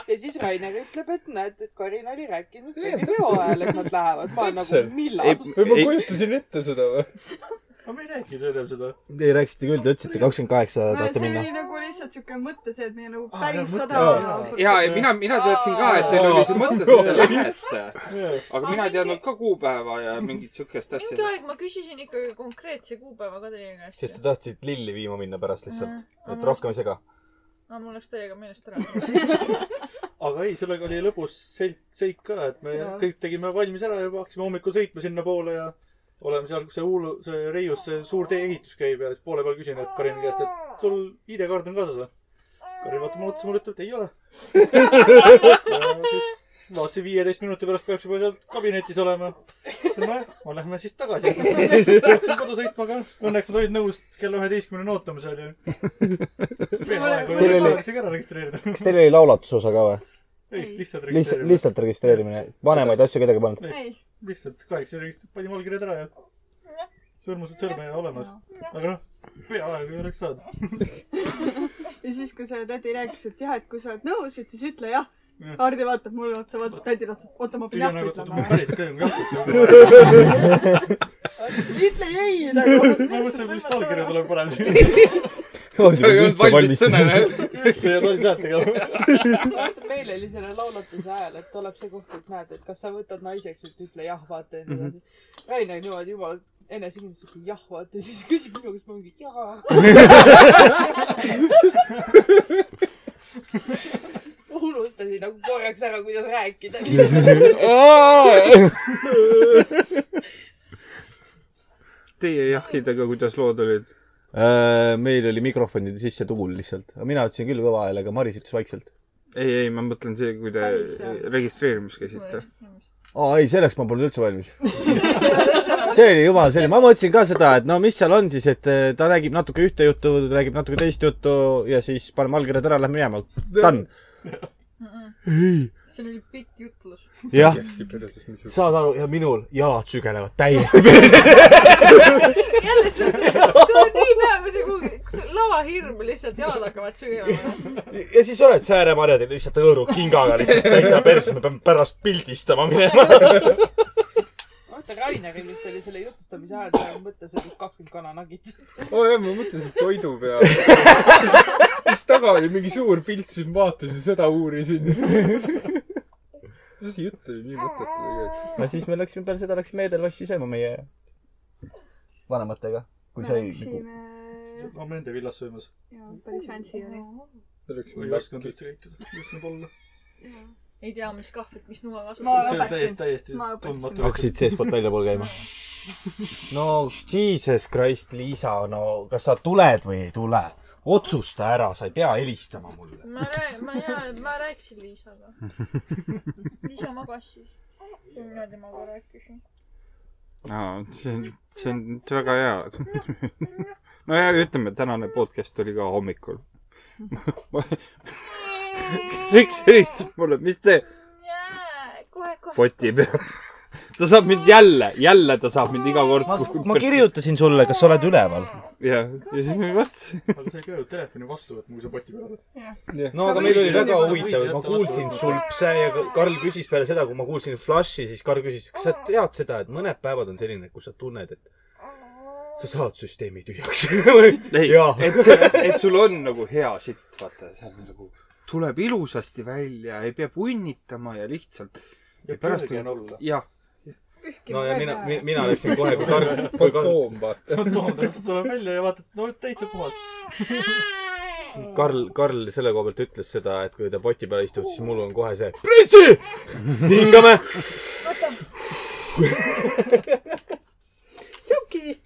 [SPEAKER 3] ja siis Rainer ütleb , et näed , et Karin oli rääkinud kõigi peo ajal , et nad lähevad . ma olen nagu
[SPEAKER 8] Täpselt. ,
[SPEAKER 3] millal ?
[SPEAKER 8] või ma kujutasin ette seda või ?
[SPEAKER 1] aga me ei rääkinud ennem seda .
[SPEAKER 2] Te rääkisite küll , te ütlesite kakskümmend kaheksa
[SPEAKER 6] no
[SPEAKER 2] tahate
[SPEAKER 6] see
[SPEAKER 2] minna .
[SPEAKER 6] oli nagu lihtsalt siuke mõte see , et meie nagu
[SPEAKER 1] Aa, jah,
[SPEAKER 6] päris
[SPEAKER 1] Ah, mõte.
[SPEAKER 6] sada
[SPEAKER 1] Aa.
[SPEAKER 5] ja , ja mina , mina teadsin ka , et teil oli see mõte , et te lähete . aga mina ei teadnud ka kuupäeva ja mingit siukest
[SPEAKER 9] mingi
[SPEAKER 5] asja .
[SPEAKER 9] aeg ma küsisin ikkagi konkreetse kuupäeva ka teie käest .
[SPEAKER 2] sest te tahtsite lilli viima minna pärast lihtsalt , et
[SPEAKER 9] rohkem .
[SPEAKER 2] rohkem ei sega .
[SPEAKER 9] aga Ah, mul läks täiega meelest ära .
[SPEAKER 1] aga ei , sellega oli lõbus seik , seik ka , et me
[SPEAKER 6] Jaa.
[SPEAKER 1] kõik tegime valmis ära juba , hakkasime hommikul sõitma sinnapoole ja oleme seal , kus see Uulu , see Reius , see suur tee-ehitus käib ja siis poole peal küsin , et Karini käest , et sul ID-kaart on kaasas või ? Karin vaatab mulle otsa , mulle ütleb , et ei ole . siis vaatasin viieteist minuti pärast peaks juba seal kabinetis olema . nojah , no lähme siis tagasi . Läksin kodu sõitma ka , õnneks nad olid nõus kella üheteistkümneni ootama seal ju .
[SPEAKER 6] Teil oli-
[SPEAKER 1] aegsega ära registreerida .
[SPEAKER 2] kas teil oli laulatuse osa ka või ?
[SPEAKER 1] ei , lihtsalt
[SPEAKER 2] lihtsalt ,
[SPEAKER 1] registreerida .
[SPEAKER 2] lihtsalt registreerimine , vanemaid asju kedagi ei pannud .
[SPEAKER 6] ei ,
[SPEAKER 1] lihtsalt kaheksa registrit , panime allkirjad ära ja sõrmused sõrme ja olemas . aga noh , peaaegu ei oleks saanud .
[SPEAKER 6] ja siis , kui see tädi rääkis , et jah , et kui sa oled nõus , et siis ütle jah
[SPEAKER 1] Jah. .
[SPEAKER 6] Hardi vaatab mulle otsa , vaatab tädile otsa , oota ma pean
[SPEAKER 1] tüli
[SPEAKER 6] jah
[SPEAKER 1] nagu tundub
[SPEAKER 6] ütlema .
[SPEAKER 1] päriselt ka ju jah .
[SPEAKER 6] ütle ei nagu .
[SPEAKER 1] ma mõtlesin , et vist allkirja tuleb parem .
[SPEAKER 5] sa ei olnud valmis sõnale .
[SPEAKER 1] see ei ole loll pealtnägija .
[SPEAKER 3] vaata , meil oli selle laulatuse ajal , et tuleb see koht , et näed , et kas sa võtad naiseks , et ütle jah , vaata ja nii edasi . Rainer niimoodi jumala enesekindlus , ütleb jah , vaata ja siis küsib minu käest , ma mingi jaa . unustasin nagu korraks ära , kuidas rääkida .
[SPEAKER 5] Teie jahhidega , kuidas lood olid ?
[SPEAKER 2] Äh, meil oli mikrofonide sisse tuul lihtsalt , aga mina ütlesin küll kõva häälega , Maris ütles vaikselt .
[SPEAKER 5] ei , ei , ma mõtlen see , kui te
[SPEAKER 9] Päris, jah.
[SPEAKER 5] registreerimas käisite .
[SPEAKER 2] aa ei , selleks ma polnud üldse valmis . see oli jumal selline , ma mõtlesin ka seda , et no mis seal on siis , et eh, ta räägib natuke ühte juttu , räägib natuke teist juttu ja siis paneme allkirjad ära , lähme minema . Done .
[SPEAKER 9] see oli pikk jutlus .
[SPEAKER 10] jah ,
[SPEAKER 8] hästi peres , mis juhtus .
[SPEAKER 2] saad aru , ja minul jalad sügelevad täiesti .
[SPEAKER 9] jälle , sul sul on nii päev , see kuhugi , lavahirm lihtsalt , jalad hakkavad noh. süüama .
[SPEAKER 2] ja siis oled sääremarjadel lihtsalt hõõru kingaga lihtsalt täitsa persse , me peame pärast pildistama minema .
[SPEAKER 3] vaata , Raineril vist oli selle jutustamise ajal seal mõttes oli kakskümmend kananagit .
[SPEAKER 8] oo Oh, jah , ma mõtlesin toidu peale . siis taga oli mingi suur pilt , siis ma vaatasin seda , uurisin . see jutt oli nii mõttetu tegelikult .
[SPEAKER 2] no siis me läksime , peale seda läksime Edelwassi sööma meie vanematega , kui
[SPEAKER 6] me
[SPEAKER 2] sai .
[SPEAKER 6] läksime ,
[SPEAKER 1] ma olen nende villas söömas .
[SPEAKER 6] jaa , päris fancy oli .
[SPEAKER 8] selleks
[SPEAKER 1] ma ei osanud üldse käituda , mis nüüd olla .
[SPEAKER 9] ei tea , mis kahvlit , mis nuga
[SPEAKER 6] Ma
[SPEAKER 1] see
[SPEAKER 9] kasutada .
[SPEAKER 1] on täiesti , täiesti
[SPEAKER 6] Ma õpetasin.
[SPEAKER 1] tundmatu .
[SPEAKER 2] hakkasid seestpoolt väljapoole käima ? no jesus christ , Liisa , no kas sa tuled või ei tule ? otsusta ära , sa ei pea helistama mulle .
[SPEAKER 9] ma räägin , ma ja , ma rääkisin Liisaga . Liisa magas siis . mina temaga rääkisin .
[SPEAKER 5] aa , see on , see on nüüd väga hea . no ja ütleme , tänane podcast oli ka hommikul . miks helistab mulle , mis te
[SPEAKER 9] kohe-kohe .
[SPEAKER 5] poti peal ? ta saab mind jälle , jälle ta saab mind iga kord .
[SPEAKER 2] ma , ma . kirjutasin sulle , kas sa oled üleval .
[SPEAKER 5] ja , ja siis ma ei vasta .
[SPEAKER 1] aga sa ei pea ju telefoni vastu võtma , kui sa poti peal oled .
[SPEAKER 2] no aga meil oli väga huvitav , ma kuulsin sulpse ja ka- Karl küsis peale seda , kui ma kuulsin Flashi , siis Karl küsis , kas sa tead seda , et mõned päevad on selline , kus sa tunned , et sa saad süsteemi tühjaks .
[SPEAKER 5] ei
[SPEAKER 2] Jaa. ,
[SPEAKER 5] et see , et sul on nagu hea sitt , vaata , see on nagu , tuleb ilusasti välja , ei pea punnitama ja lihtsalt ,
[SPEAKER 1] ja
[SPEAKER 5] pärast
[SPEAKER 1] kerge
[SPEAKER 5] on-
[SPEAKER 1] on olla .
[SPEAKER 5] jah .
[SPEAKER 2] no ja mina , mina läksin kohe , kui Karl , kui Karl ,
[SPEAKER 8] fantoom , vaata .
[SPEAKER 1] tuleb tuleb välja ja vaatad , no täitsa puhas .
[SPEAKER 2] Karl , Karl selle koha pealt ütles seda , et kui ta poti peal istub , siis mul on kohe see pressi , hingame .
[SPEAKER 6] Suki .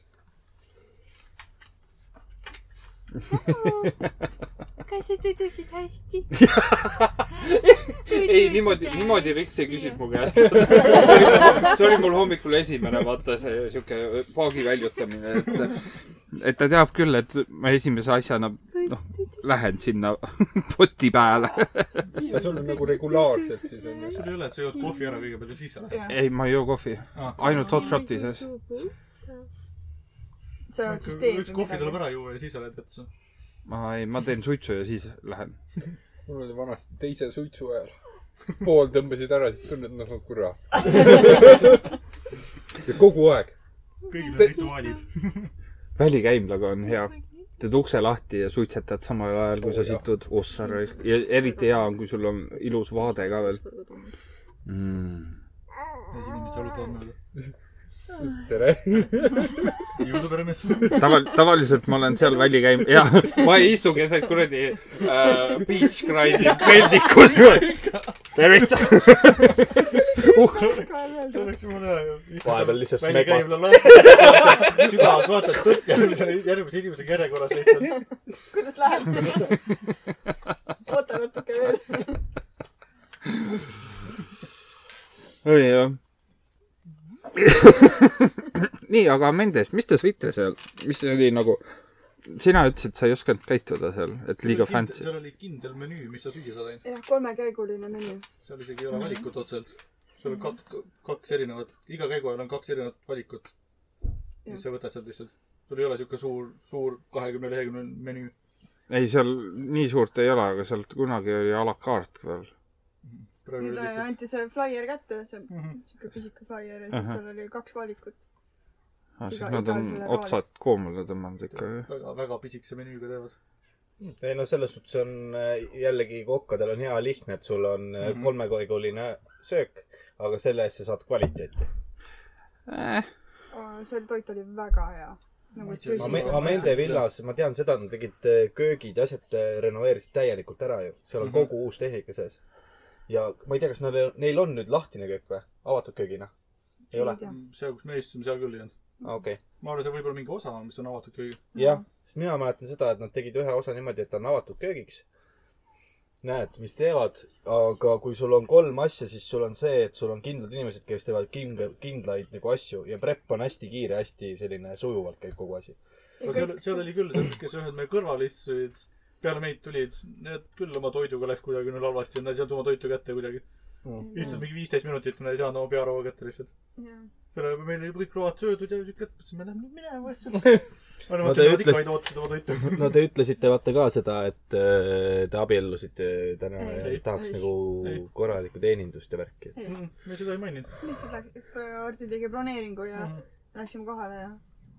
[SPEAKER 9] kas sa tõdesid hästi
[SPEAKER 5] ei , niimoodi , niimoodi Riks ei küsinud mu käest . see oli mul- see oli mul hommikul esimene , vaata see sihuke paagi väljutamine , et , et ta teab küll , et ma esimese asjana , noh , lähen sinna poti peale .
[SPEAKER 8] ja sul on nagu regulaarselt siis on ju .
[SPEAKER 1] sul ei ole , et sa jood kohvi ära kõigepealt ja siis sa lähed .
[SPEAKER 5] ei , ma ei joo kohvi ,
[SPEAKER 1] Ah,
[SPEAKER 5] ainult hot shot'i sees .
[SPEAKER 6] see on
[SPEAKER 1] üks
[SPEAKER 6] siis teed .
[SPEAKER 1] nagu üks kohvi tuleb ära juua ja siis sa lähed vetsu .
[SPEAKER 5] ma ei , ma teen suitsu ja siis lähen .
[SPEAKER 8] mul oli vanasti teise suitsu ajal . pool tõmbasid ära , siis tunned nagu kurat . ja kogu aeg .
[SPEAKER 1] kõigil on rituaalid .
[SPEAKER 5] välikäimlaga on hea . teed ukse lahti ja suitsetad samal ajal , kui sa
[SPEAKER 8] Oo, jah.
[SPEAKER 5] situd . ossa raisk . ja eriti hea on , kui sul on ilus vaade ka veel mm. .
[SPEAKER 1] siis inimesed jalutavad mööda .
[SPEAKER 8] tere .
[SPEAKER 1] jõudu peremees .
[SPEAKER 5] taval- , tavaliselt ma olen seal välja käinud ja ma ei istu keset kuradi äh, beach grind'i peldikus . tervist .
[SPEAKER 1] see oleks jumala hea ju .
[SPEAKER 2] vahepeal lihtsalt smegma .
[SPEAKER 1] välikäimla lahti . sügavalt vaatad tõtt järgmise , järgmise inimesega järjekorras lihtsalt .
[SPEAKER 6] kuidas läheb ? oota natuke veel .
[SPEAKER 5] oi jah . nii , aga Mendes , mis te sõite seal , mis see oli nagu , sina ütlesid , sa ei osanud käituda seal , et liiga fancy .
[SPEAKER 1] seal oli kindel menüü , mis sa süüa saad ainult .
[SPEAKER 6] jah , kolmekäiguline menüü .
[SPEAKER 1] seal isegi ei
[SPEAKER 6] Mhm.
[SPEAKER 1] ole valikut otseselt . seal on kaks , kaks erinevat , iga käigu ajal on kaks erinevat valikut . mis sa võtad sealt lihtsalt . sul ei ole sihuke suur , suur kahekümne leheküljeline menüü .
[SPEAKER 5] ei , seal nii suurt ei ole , aga sealt kunagi oli a la carte veel .
[SPEAKER 1] praegu
[SPEAKER 6] nüüd
[SPEAKER 1] oli lihtsalt .
[SPEAKER 6] anti see flaier kätte , see on
[SPEAKER 1] Mhm.
[SPEAKER 6] siuke pisike flaier ja siis
[SPEAKER 5] Ahah.
[SPEAKER 6] seal oli kaks valikut .
[SPEAKER 5] Ah, siis
[SPEAKER 6] Iga-
[SPEAKER 5] nad
[SPEAKER 6] igal
[SPEAKER 5] on
[SPEAKER 6] sellel
[SPEAKER 5] otsad koomale tõmmanud ikka , jah .
[SPEAKER 1] väga , väga pisikese menüüga teevad .
[SPEAKER 2] ei no selles suhtes on äh, jällegi kokkadel on hea lihtne , et sul on mm
[SPEAKER 1] Mhm.
[SPEAKER 2] -hmm. kolmekoiguline söök , aga selle eest sa saad kvaliteeti .
[SPEAKER 6] Eh. seal toit oli väga hea . nagu
[SPEAKER 1] Ma-
[SPEAKER 6] tõsiselt.
[SPEAKER 1] ma-
[SPEAKER 2] Amende villas , ma tean seda , nad tegid äh, köögid ja asjad äh, renoveerisid täielikult ära ju , seal on
[SPEAKER 1] Mhm.
[SPEAKER 2] kogu uus tehnika sees . ja ma ei tea , kas neil , neil on nüüd lahtine köök või , avatud köögina ? ei ole ,
[SPEAKER 6] Jah.
[SPEAKER 1] Mm, seal , kus me istusime , seal küll ei olnud .
[SPEAKER 2] okei .
[SPEAKER 1] ma arvan , see võib olla mingi osa , mis on avatud köögil .
[SPEAKER 2] jah , sest mina mäletan seda , et nad tegid ühe osa niimoodi , et ta on avatud köögiks . näed , mis teevad , aga kui sul on kolm asja , siis sul on see , et sul on kindlad inimesed , kes teevad kindla , kindlaid nagu asju ja prep on hästi kiire , hästi selline sujuvalt käib kogu asi .
[SPEAKER 6] Ja
[SPEAKER 1] seal
[SPEAKER 6] kõik- ,
[SPEAKER 1] seal oli küll , kes ühed meie kõrval istusid , peale meid tulid , need küll oma toiduga läks kuidagi neil halvasti , nad ei saanud oma toitu kätte kuidagi . istusid mingi viisteist minutit , nad ei saanud oma pearaua kätte lihtsalt .
[SPEAKER 6] jah.
[SPEAKER 1] selle , meil oli kõik load söödud ja siuke , mõtlesime , lähme nüüd minema lihtsalt .
[SPEAKER 2] No
[SPEAKER 1] vanemad
[SPEAKER 2] te
[SPEAKER 1] sõidavad ikka
[SPEAKER 2] ütles-
[SPEAKER 1] vaid ootasid oma toitu .
[SPEAKER 2] no te ütlesite vaata ka seda , et äh, te abiellusite täna
[SPEAKER 6] Ei,
[SPEAKER 2] ja
[SPEAKER 1] ei,
[SPEAKER 2] tahaks
[SPEAKER 6] ei,
[SPEAKER 2] nagu
[SPEAKER 1] ei.
[SPEAKER 2] korralikku teenindust ja värki .
[SPEAKER 1] Mm, me seda ei maininud .
[SPEAKER 6] lihtsalt läks , Ardi tegi broneeringu ja
[SPEAKER 1] Mhm.
[SPEAKER 6] läksime kohale ja ,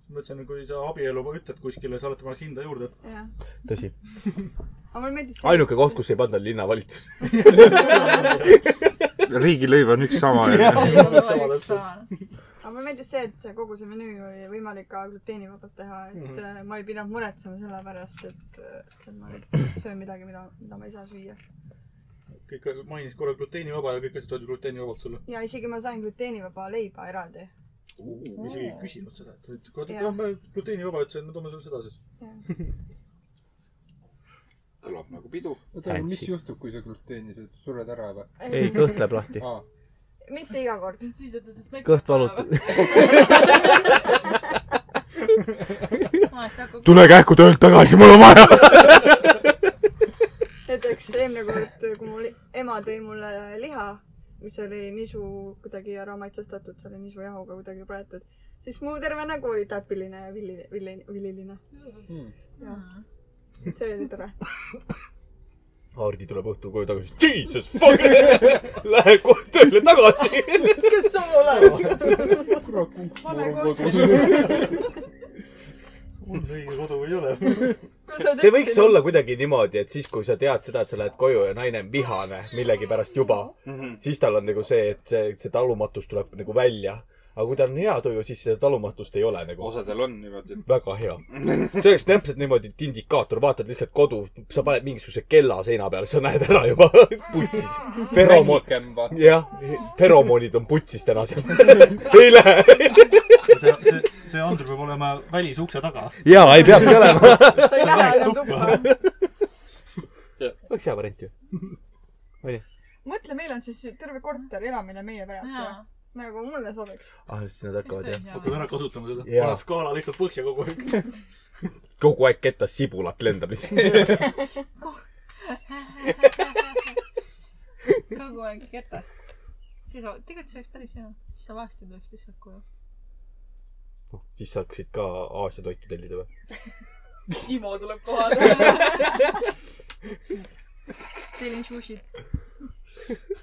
[SPEAKER 1] ma ütlesin , kui sa abielu ütled kuskile , sa oled kohe hinda juurde .
[SPEAKER 6] ja .
[SPEAKER 2] tõsi ,
[SPEAKER 6] aga mulle meeldis see ,
[SPEAKER 2] ainuke koht , kus ei panda linnavalitsust .
[SPEAKER 5] riigilõiv on üks sama ju .
[SPEAKER 6] aga mulle meeldis see , et see kogu see menüü oli võimalik ka gluteenivabalt teha , et mm
[SPEAKER 1] Mhm.
[SPEAKER 6] -hmm. ma ei pidanud muretsema selle pärast , et , et ma nüüd söön midagi , mida , mida ma ei saa süüa .
[SPEAKER 1] kõik mainisid korra gluteenivaba ja kõik asjad olid gluteenivabad sulle .
[SPEAKER 6] ja isegi ma sain gluteenivaba leiba eraldi .
[SPEAKER 1] ma isegi ei küsinud seda , et kui
[SPEAKER 6] Jah.
[SPEAKER 1] jah , me gluteenivaba ütlesin , me toome sulle seda siis .
[SPEAKER 5] kõlab nagu pidu .
[SPEAKER 8] oota , aga mis
[SPEAKER 10] Fancy.
[SPEAKER 8] juhtub , kui sa gluteeni sööd , sured ära või ?
[SPEAKER 10] ei , kõht läheb lahti .
[SPEAKER 8] aa ,
[SPEAKER 6] mitte iga kord .
[SPEAKER 10] kõht valutab .
[SPEAKER 9] Ah,
[SPEAKER 5] tule kähku töölt tagasi , mul on vaja .
[SPEAKER 6] näiteks eelmine kord , kui mul ema tõi mulle liha , mis oli nisu kuidagi ära maitsestatud , see oli nisujahuga kuidagi praetud , siis mu terve nägu oli täpiline ja villi , villi , villiline .
[SPEAKER 8] Hmm.
[SPEAKER 6] see oli tore .
[SPEAKER 2] Hardi tuleb õhtul koju tagasi , jesus fuck , lähen kohe tööle tagasi .
[SPEAKER 6] kes sa oled ?
[SPEAKER 8] kurat , kumb mul
[SPEAKER 9] Vale
[SPEAKER 8] on
[SPEAKER 9] koht.
[SPEAKER 8] kodus .
[SPEAKER 1] mul õige kodu ei ole .
[SPEAKER 2] see võiks . olla kuidagi niimoodi , et siis , kui sa tead seda , et sa lähed koju ja naine on vihane millegipärast juba , siis tal on nagu see , et see , see talumatus tuleb nagu välja . aga kui tal on hea tuju , siis seda talumatust ei ole nagu .
[SPEAKER 5] osadel on niimoodi .
[SPEAKER 2] väga hea . see oleks täpselt niimoodi , et indikaator , vaatad lihtsalt kodu , sa paned mingisuguse kella seina peale , sa näed ära juba putsis . feromoon ,
[SPEAKER 8] kämba .
[SPEAKER 2] jah , feromonid on putsis täna seal . ei lähe .
[SPEAKER 1] see , see , see andur peab olema välisukse taga .
[SPEAKER 2] jaa , ei peabki olema .
[SPEAKER 6] sa ei lähe enam tuppa .
[SPEAKER 10] oleks hea variant ju .
[SPEAKER 6] mõtle , meil on siis terve korteri elamine meie pärast . nagu mulle sobiks .
[SPEAKER 2] ah , siis nad hakkavad jah .
[SPEAKER 1] hakkad ära kasutama seda
[SPEAKER 2] Jaa.
[SPEAKER 1] yeah. . paned skaala lihtsalt põhja kogu aeg .
[SPEAKER 2] kogu aeg kettas sibulat lendab lihtsalt .
[SPEAKER 9] kogu aeg ketas . siis , tegelikult see oleks päris hea . siis sa vahest ei tuleks lihtsalt koju .
[SPEAKER 2] siis sa hakkasid ka Aasia toitu tellida või ?
[SPEAKER 3] Timo tuleb kohale .
[SPEAKER 9] tellin sushit .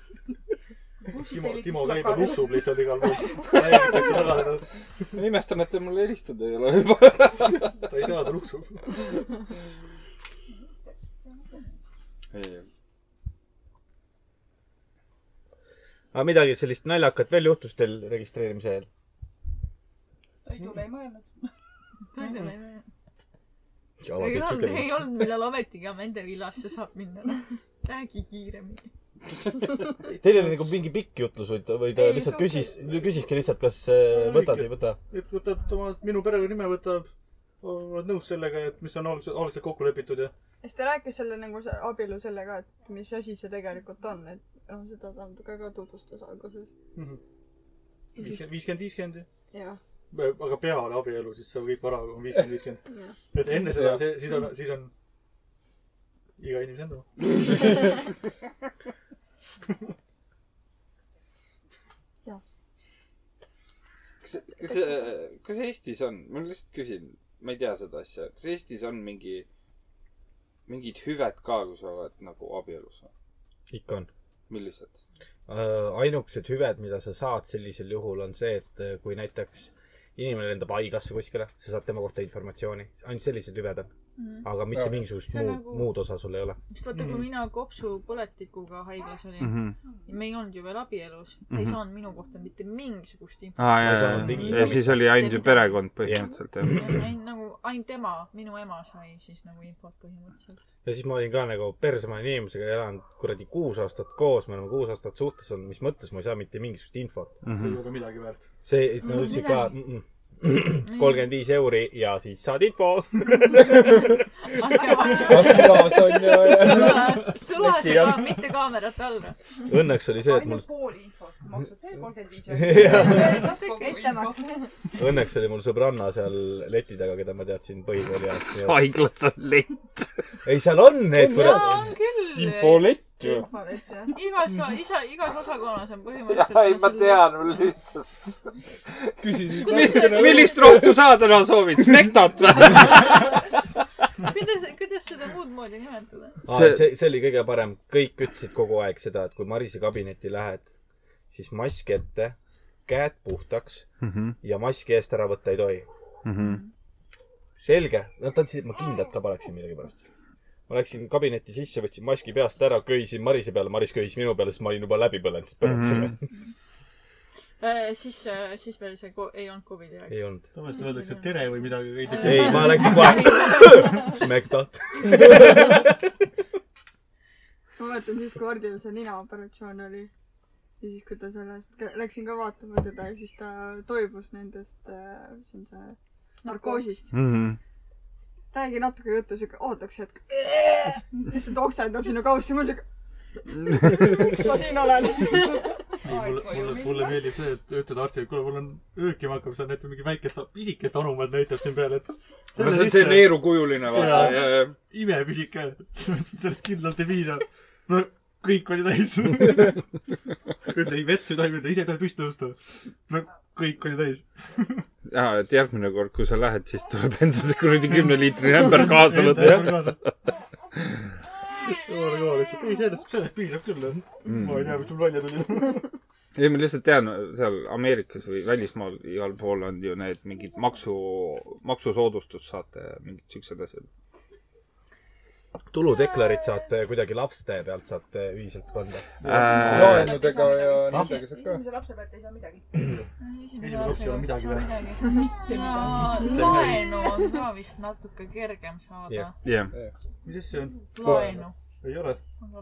[SPEAKER 1] Timo , Timo käib ja nuksub lihtsalt igal pool . räägitakse taga teda .
[SPEAKER 8] ma imestan , et te mulle helistada ei ole juba .
[SPEAKER 1] ta ei saa , ta nuksub .
[SPEAKER 2] aga midagi sellist naljakat veel juhtus teil registreerimise ajal ?
[SPEAKER 3] toidule ei mõelnud .
[SPEAKER 9] ei olnud , ei olnud , millal ometigi Amende villasse saab minna . räägi kiiremini .
[SPEAKER 2] Teil oli nagu mingi pikk jutlus või ta , või ta
[SPEAKER 3] Ei,
[SPEAKER 2] lihtsalt
[SPEAKER 3] see
[SPEAKER 2] küsis , küsiski lihtsalt , kas äh, võtad , ei võta ?
[SPEAKER 1] et võtad oma , minu perekonnanime võtab , oled nõus sellega , et mis on algselt , algselt kokku lepitud ja
[SPEAKER 6] siis ta rääkis selle nagu see abielu selle ka , et mis asi see tegelikult on , et noh , seda ta ka, ka tutvustas alguses .
[SPEAKER 1] viiskümmend , viiskümmend , viiskümmend .
[SPEAKER 6] jah ,
[SPEAKER 1] aga peale abielu , siis see kõik vara on viiskümmend , viiskümmend .
[SPEAKER 6] jah .
[SPEAKER 1] et enne seda , see , siis on , siis on iga inimese enda .
[SPEAKER 11] kas , kas , kas Eestis on , ma lihtsalt küsin , ma ei tea seda asja , kas Eestis on mingi , mingid hüved ka , kui sa oled nagu abielus või ?
[SPEAKER 2] ikka on .
[SPEAKER 11] millised ?
[SPEAKER 2] ainukesed hüved , mida sa saad sellisel juhul , on see , et äh, kui näiteks inimene lendab haiglasse kuskile , sa saad tema kohta informatsiooni . ainult sellised hüved on , aga mitte
[SPEAKER 8] Jaa.
[SPEAKER 2] mingisugust
[SPEAKER 9] See on
[SPEAKER 2] muud
[SPEAKER 9] nagu-
[SPEAKER 2] nagu... , muud osa sul ei ole .
[SPEAKER 9] sest vaata ,
[SPEAKER 11] Mhm.
[SPEAKER 9] kui mina kopsupõletikuga haiglas olin mm ,
[SPEAKER 5] mhmh .
[SPEAKER 9] -hmm. me ei olnud ju veel abielus mm , -hmm. ei
[SPEAKER 5] Mhm.
[SPEAKER 9] saanud minu kohta mitte mingisugust
[SPEAKER 11] Ah.
[SPEAKER 9] infot .
[SPEAKER 5] aa ,
[SPEAKER 2] Ei
[SPEAKER 5] jaa ,
[SPEAKER 2] saanud
[SPEAKER 5] jaa ,
[SPEAKER 2] ligi.
[SPEAKER 5] ja siis oli ainult ju perekond põhimõtteliselt , jah .
[SPEAKER 9] ainult nagu , ainult ema , minu ema sai siis nagu infot põhimõtteliselt .
[SPEAKER 2] ja siis ma olin ka nagu perse , ma olin inimesega elanud kuradi kuus aastat koos , me oleme kuus aastat suhtes olnud , mis mõttes ma ei saa mitte mingisugust infot .
[SPEAKER 1] see
[SPEAKER 5] Mhm.
[SPEAKER 1] ei ole midagi väärt .
[SPEAKER 2] see , nad ütlesid ka kolmkümmend viis euri ja siis saad info .
[SPEAKER 8] kasukas on ju .
[SPEAKER 9] sulas , sulas
[SPEAKER 8] Leti
[SPEAKER 9] ja
[SPEAKER 8] all.
[SPEAKER 9] ka mitte kaamerate all .
[SPEAKER 2] õnneks oli see , et mul
[SPEAKER 3] ainult pool infot , maksad veel kolmkümmend viis
[SPEAKER 2] Jah.
[SPEAKER 6] ettemaks
[SPEAKER 3] eurot .
[SPEAKER 2] õnneks oli mul sõbranna seal leti taga , keda ma teadsin põhikooli ajast .
[SPEAKER 5] haiglas on lett .
[SPEAKER 2] ei , seal on need
[SPEAKER 9] jaa ,
[SPEAKER 2] kurat .
[SPEAKER 9] on küll .
[SPEAKER 8] infolett ju .
[SPEAKER 6] infolett jah .
[SPEAKER 9] igas , isa , igas osakonnas on
[SPEAKER 11] jaa , ei
[SPEAKER 9] põhimõtteliselt . nagu
[SPEAKER 11] ma . tean , mul lihtsalt .
[SPEAKER 8] küsisid .
[SPEAKER 5] millist rohtu sa täna soovid , Smektat või ?
[SPEAKER 9] kuidas , kuidas seda muud moodi nimetada ?
[SPEAKER 2] see , see , see oli kõige parem , kõik ütlesid kogu aeg seda , et kui Marise kabinetti lähed , siis mask ette , käed puhtaks
[SPEAKER 8] Mhm,
[SPEAKER 2] ja maski eest ära võtta ei tohi . selge , nad tundsid , et ma kindlalt ka paneksin millegipärast . ma läksin kabinetti sisse , võtsin maski peast ära , köisin Marise peale , Maris köis minu peale , siis ma olin juba läbi põlenud , siis põlenud selle .
[SPEAKER 9] Äh, siis , siis veel see ko- ei olnud Covidi aeg .
[SPEAKER 2] ei olnud .
[SPEAKER 1] tavaliselt öeldakse tere või midagi , ei tea .
[SPEAKER 2] ei , ma läksin kohe . Smekta .
[SPEAKER 6] ma mäletan siis , kui Hardil see ninaoperatsioon oli ja siis , kui ta sellest , läksin ka vaatama teda ja siis ta toibus nendest , mis on see , narkoosist . räägi natuke juttu , siuke ootaks hetk . lihtsalt oksendab sinna kaussi , mul siuke , miks ma siin olen ?
[SPEAKER 1] mulle , mulle , mulle meeldib see , et ütlevad arstile , et kuule , mul on öökima hakkab , seal näitab mingi väikest , pisikest anumat näitab siin peal , et .
[SPEAKER 5] no see on see . neerukujuline vaata
[SPEAKER 1] Jaa.
[SPEAKER 5] ja , ja ,
[SPEAKER 1] imepisike , sellest kindlalt ei piisa . no kõik oli täis . üldse ei vetsu ei tohi minna , ise ei tohi püsti tõusta . no kõik oli täis .
[SPEAKER 5] ja , et järgmine kord , kui sa lähed , siis tuleb enda see kuradi kümneliitrine ämber kaasa võtta , jah .
[SPEAKER 1] jumala kõva lihtsalt , ei sellest , sellest piisab küll . ma ei tea , mis mul välja tuli .
[SPEAKER 5] Mm. ei , ma lihtsalt tean , seal Ameerikas või välismaal igal pool on ju need mingid maksu , maksusoodustust saate ja mingid siuksed asjad .
[SPEAKER 2] tuludeklarid
[SPEAKER 12] äh,
[SPEAKER 2] saate kuidagi laste pealt saate ühiselt kanda .
[SPEAKER 5] Äh,
[SPEAKER 8] laenudega ja nendega saad ka .
[SPEAKER 3] esimese lapse pealt ei saa midagi .
[SPEAKER 1] esimene laps ei ole midagi väärt .
[SPEAKER 9] ja laenu on ka vist natuke kergem saada
[SPEAKER 2] Jah. .
[SPEAKER 5] jah ,
[SPEAKER 1] mis asja see on ?
[SPEAKER 9] laenu .
[SPEAKER 1] ei ole ,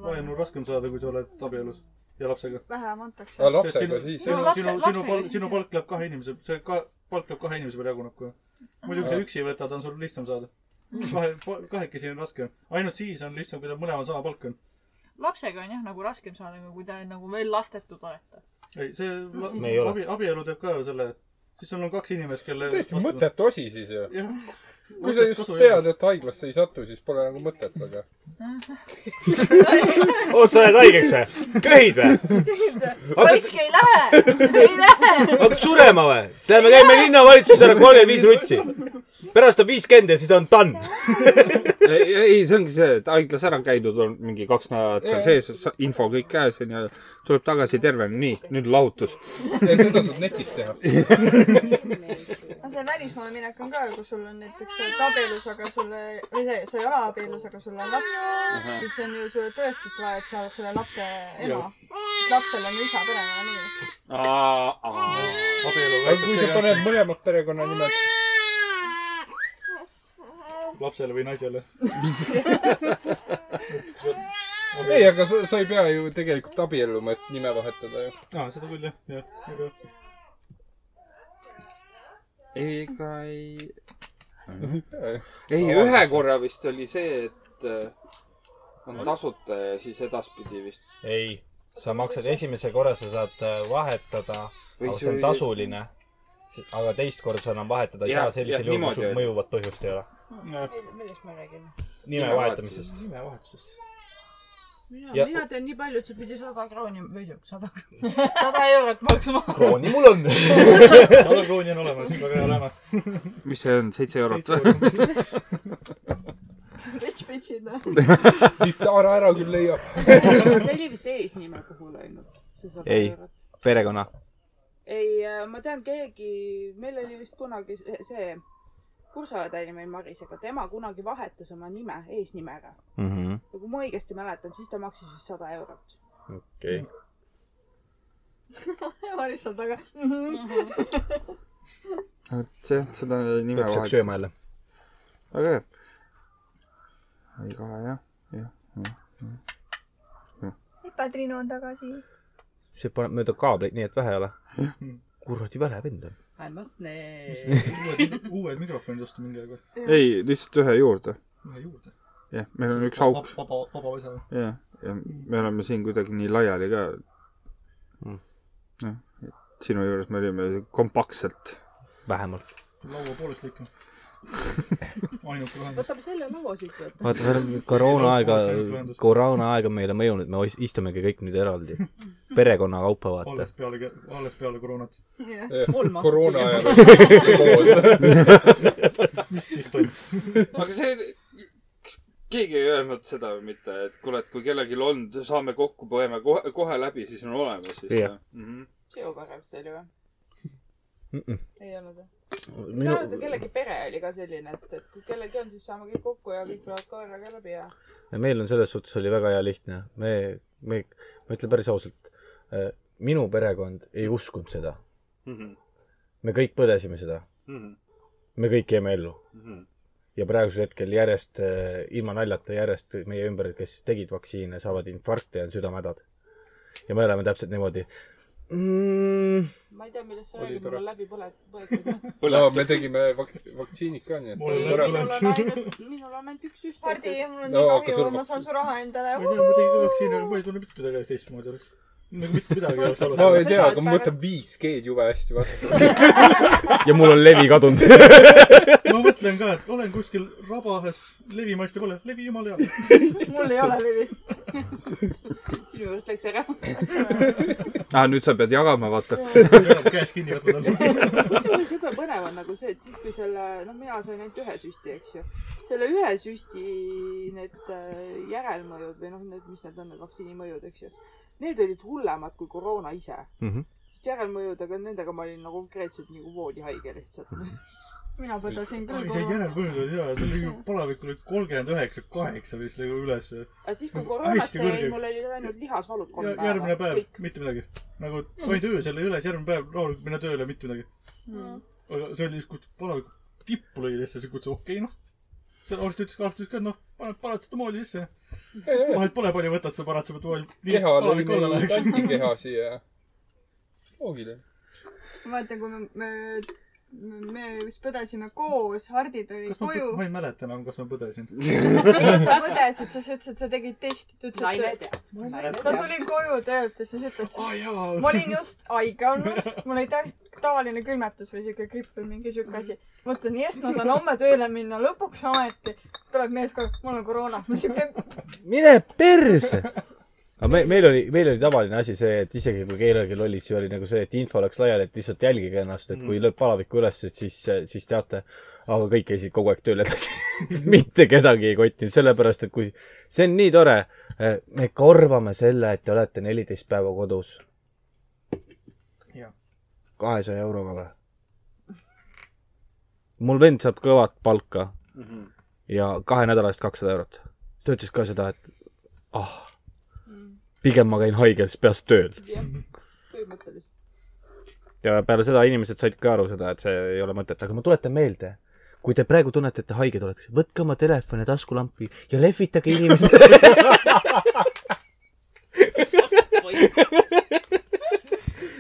[SPEAKER 1] laenu on raskem saada , kui sa oled abielus ja lapsega .
[SPEAKER 6] vähem antakse .
[SPEAKER 8] aga Ah, lapsega siis .
[SPEAKER 1] sinu ,
[SPEAKER 9] lapse-
[SPEAKER 1] sinu , sinu
[SPEAKER 9] lapsega
[SPEAKER 1] palk ,
[SPEAKER 9] siis
[SPEAKER 1] sinu
[SPEAKER 9] jah.
[SPEAKER 1] palk läheb kahe inimese , see ka , palk läheb kahe inimese peale jaguneb kohe . muidu , kui sa üksi võtad , on sul lihtsam saada . kahe , kahekesi on raske . ainult siis on lihtsam , kui ta mõlemal sama palk on .
[SPEAKER 9] lapsega on jah nagu raskem saada , kui te nagu veel lastetud olete .
[SPEAKER 1] ei , see la-
[SPEAKER 2] Me ei ole.
[SPEAKER 1] abi , abielu teeb ka ju selle , siis sul on kaks inimest , kelle .
[SPEAKER 8] tõesti . mõttetu asi siis ju .
[SPEAKER 1] jah .
[SPEAKER 8] kui sa just tead , et haiglasse ei satu , siis pole nagu mõtet , aga .
[SPEAKER 2] oot , sa jääd haigeks või ? köhid või ? hakkad ,
[SPEAKER 9] raisk ei lähe , ei lähe .
[SPEAKER 2] hakkad surema või ? siis lähme käime linnavalitsusse ära kolmkümmend viis rutsi . pärast on viiskümmend ja siis on done .
[SPEAKER 5] ei , ei , see ongi see , et haiglas ära käidud on mingi kaks nädalat seal sees , info kõik käes onju , tuleb tagasi terve , nii , nüüd lahutus .
[SPEAKER 8] seda saab netis teha .
[SPEAKER 6] aga see välismaale minek on ka ju , kus sul on näiteks sa oled abielus , aga sulle , või see , sa ei ole abielus , aga sul on laps , siis on ju sulle tõestust vaja , et sa oled selle lapse ema . lapsel on ju isa perekonnanimi .
[SPEAKER 1] abielu
[SPEAKER 8] aga kui sa paned mõlemad perekonnanimed ,
[SPEAKER 1] lapsele või naisele .
[SPEAKER 8] ei , aga sa , sa ei pea ju tegelikult abielluma , et nime vahetada ju .
[SPEAKER 1] aa , Ah, seda küll jah , jah .
[SPEAKER 11] ega ei ,
[SPEAKER 5] Äh. ei ,
[SPEAKER 11] ei
[SPEAKER 5] ühe
[SPEAKER 11] ühe korra vist oli see , et äh, on tasuta ja siis edaspidi vist .
[SPEAKER 12] ei , sa maksad esimese korra , sa saad äh, vahetada , aga see on . tasuline . aga teist korda sa enam vahetada ei
[SPEAKER 11] Jah,
[SPEAKER 12] saa , sellisel
[SPEAKER 11] jah,
[SPEAKER 12] juhul kui
[SPEAKER 11] niimoodi
[SPEAKER 12] sul
[SPEAKER 11] oli.
[SPEAKER 12] mõjuvat põhjust ei ole .
[SPEAKER 3] millest me räägime ?
[SPEAKER 12] nime vahetamisest .
[SPEAKER 1] nimevahetusest .
[SPEAKER 3] mina
[SPEAKER 12] Ja- ,
[SPEAKER 3] mina tean nii palju , et see pidi sada krooni või siuk- sada , sada eurot maksma .
[SPEAKER 12] krooni mul on .
[SPEAKER 1] sada krooni on olemas , väga hea lähme .
[SPEAKER 5] mis see on , seitse eurot või ?
[SPEAKER 1] eurot .
[SPEAKER 6] Bitch , bitch'id noh .
[SPEAKER 8] Vitara ära küll leiab .
[SPEAKER 3] see oli vist eesnime puhul ainult , see sada
[SPEAKER 12] Ei.
[SPEAKER 3] eurot .
[SPEAKER 12] perekonna .
[SPEAKER 3] ei , ma tean keegi , meil oli vist kunagi see kursaõdeline meil Marisega , tema kunagi vahetas oma nime eesnimega ja kui ma õigesti mäletan , siis ta maksis vist sada eurot .
[SPEAKER 2] okei .
[SPEAKER 6] Maris seal taga . Mm.
[SPEAKER 5] vot jah , seda nime
[SPEAKER 2] peab siuke
[SPEAKER 5] vahetada .
[SPEAKER 2] sööma jälle .
[SPEAKER 5] väga hea . väga hea , jah , jah .
[SPEAKER 9] Padrino on tagasi .
[SPEAKER 2] see paneb mööda kaableid , nii et vähe ei ole .
[SPEAKER 12] Hmm.
[SPEAKER 2] kuradi väle vend on .
[SPEAKER 3] I must name .
[SPEAKER 1] uued mikrofonid ostame mingi aeg või ?
[SPEAKER 5] ei , lihtsalt ühe juurde .
[SPEAKER 1] ühe juurde .
[SPEAKER 5] jah , meil on üks auk ,
[SPEAKER 1] vaba , vaba osa .
[SPEAKER 5] jah , ja me oleme siin kuidagi nii laiali ka .
[SPEAKER 12] Mm.
[SPEAKER 5] jah , et sinu juures me olime kompaktselt .
[SPEAKER 12] vähemalt .
[SPEAKER 1] laua poolest lõikame . ainuke lahendus .
[SPEAKER 3] võtame selle laua siit võtta .
[SPEAKER 12] vaata , see on koroonaaega , koroonaaeg on meile mõjunud , me ois- istumegi kõik nüüd eraldi .
[SPEAKER 2] Hmm.
[SPEAKER 12] perekonna kaupa , vaata
[SPEAKER 1] alles . peale , alles peale koroonat .
[SPEAKER 6] jah ,
[SPEAKER 8] koroona ajal .
[SPEAKER 1] mis distants ?
[SPEAKER 11] aga see , kas keegi ei öelnud seda või mitte , et kuule , et kui kellelgi on , saame kokku , põeme kohe , kohe läbi , siis on olemas vist
[SPEAKER 12] Jah.
[SPEAKER 11] mm . -hmm.
[SPEAKER 3] see juba varem vist oli või ?
[SPEAKER 12] Mm -mm.
[SPEAKER 3] ei olnud või ? ma arvan , et
[SPEAKER 12] minu ,
[SPEAKER 3] kellegi pere oli ka selline , et , et kui kellelgi on , siis saame kõik kokku ja kõik peavad koeraga läbi ja .
[SPEAKER 12] meil on selles suhtes oli väga hea lihtne , me , me , ma ütlen päris ausalt , minu perekond ei uskunud seda ,
[SPEAKER 11] Mm -hmm.
[SPEAKER 12] me kõik põdesime seda ,
[SPEAKER 11] Mm
[SPEAKER 12] me kõik jäime ellu
[SPEAKER 11] -hmm.
[SPEAKER 12] ja praegusel hetkel järjest , ilma naljata järjest meie ümber , kes tegid vaktsiine , saavad infarkte ja on südamehädad . ja me oleme täpselt niimoodi mm, .
[SPEAKER 3] ma ei tea , millest sa
[SPEAKER 8] Oli
[SPEAKER 3] räägid ,
[SPEAKER 8] tore.
[SPEAKER 3] mul on läbi põle- , põetud .
[SPEAKER 8] no me tegime vak- vaktsiinid ka , nii et
[SPEAKER 1] Mul
[SPEAKER 8] oli
[SPEAKER 1] läbi
[SPEAKER 8] tore .
[SPEAKER 3] minul on ainult , minul on ainult üks süst .
[SPEAKER 6] Hardi , mul on
[SPEAKER 8] No,
[SPEAKER 6] nii
[SPEAKER 8] hakka
[SPEAKER 6] kahju ,
[SPEAKER 8] surma.
[SPEAKER 6] ma saan su raha endale
[SPEAKER 1] ma . ei tea , ma tegin ka vaktsiini , aga ma ei tunne mitte midagi ees teistmoodi oleks . nagu mitte midagi ei oleks
[SPEAKER 8] ma
[SPEAKER 1] alles .
[SPEAKER 8] ei tea , aga ma võtan 5G-d jube hästi vastu .
[SPEAKER 12] ja mul on levi kadunud .
[SPEAKER 1] ma mõtlen ka , et olen kuskil rabahes , levi maiste pole , levi jumala hea .
[SPEAKER 6] mul ei ole levi .
[SPEAKER 3] sinu juurest läks ära .
[SPEAKER 5] aa , Ah, nüüd sa pead jagama , vaata .
[SPEAKER 1] käes kinni võtma tal .
[SPEAKER 3] kusjuures jube põnev on nagu see , et siis kui selle , noh , mina sain ainult ühe süsti , eks ju . selle ühe süsti need äh, järelmõjud või noh , need , mis need on , need vaktsiini mõjud , eks ju . Need olid hullemad kui koroona ise mm .
[SPEAKER 12] Mhm.
[SPEAKER 3] sest järelmõjudega , nendega ma olin nagu konkreetselt nagu voodihaige lihtsalt .
[SPEAKER 6] mina põdesin
[SPEAKER 1] oi ,
[SPEAKER 6] küll
[SPEAKER 1] see
[SPEAKER 6] korra .
[SPEAKER 1] järelpõhjus oli hea , tal oli ju palavik oli kolmkümmend üheksa , kaheksa vist lõi üles .
[SPEAKER 3] aga siis , kui
[SPEAKER 1] Hästi
[SPEAKER 3] koroonasse jäi ,
[SPEAKER 1] kõrgeks.
[SPEAKER 3] mul olid ainult lihasvalud kolm
[SPEAKER 1] ja
[SPEAKER 3] päeva .
[SPEAKER 1] järgmine päev . mitte midagi . nagu
[SPEAKER 6] Mm.
[SPEAKER 1] panid öösel üles , järgmine päev rahulikult minna tööle , mitte midagi .
[SPEAKER 6] Mm.
[SPEAKER 1] aga see oli , kus palavik nagu tippu lõi lihtsalt , siis kutsus okei okay, noh . seal arst ütles , arst ütles ka , et noh , paned paratsetamooli sisse . vahet pole , palju võtad seda paratsetamooli .
[SPEAKER 8] keha lõi
[SPEAKER 1] palavik alla
[SPEAKER 8] meil
[SPEAKER 1] läheks .
[SPEAKER 8] antikeha siia . loogiline .
[SPEAKER 6] ma mäletan , kui me, me me vist põdesime koos , Hardid olid
[SPEAKER 1] kas ma ,
[SPEAKER 6] koju .
[SPEAKER 1] ma ei mäleta enam , kas ma põdesin .
[SPEAKER 6] ei , sa põdesid , sa ütlesid , sa tegid testi , ta ütles ,
[SPEAKER 13] naine
[SPEAKER 6] et
[SPEAKER 13] teab .
[SPEAKER 6] ta tuli koju töölt ja siis ütles ,
[SPEAKER 1] aa jaa
[SPEAKER 6] ma olin just haige olnud , mul oli täiesti tavaline külmetus või siuke gripp või mingi siuke asi . mõtlesin , jess , ma saan homme tööle minna , lõpuks ometi tuleb mees koju , mul on koroona . ma siuke ,
[SPEAKER 2] mine perse . aga me , meil oli , meil oli tavaline asi see , et isegi kui kellelgi oli , siis oli nagu see , et info läks laiali , et lihtsalt jälgige ennast , et kui lööb palaviku üles , et siis , siis teate . aga kõik käisid kogu aeg tööl edasi . mitte kedagi ei kottinud , sellepärast et kui , see on nii tore . me korvame selle , et te olete neliteist päeva kodus .
[SPEAKER 1] Jah.
[SPEAKER 2] kahesaja euroga või ? mul vend saab kõvat palka
[SPEAKER 1] Mhm.
[SPEAKER 2] ja kahe nädala eest kakssada eurot . ta ütles ka seda , et ah , pigem ma käin haiges peas tööl .
[SPEAKER 3] jah , põhimõtteliselt .
[SPEAKER 2] ja peale seda inimesed said ka aru seda , et see ei ole mõtet , aga ma tuletan meelde , kui te praegu tunnete , et te haiged olete , võtke oma telefon ja taskulampi ja lehvitage inimestele .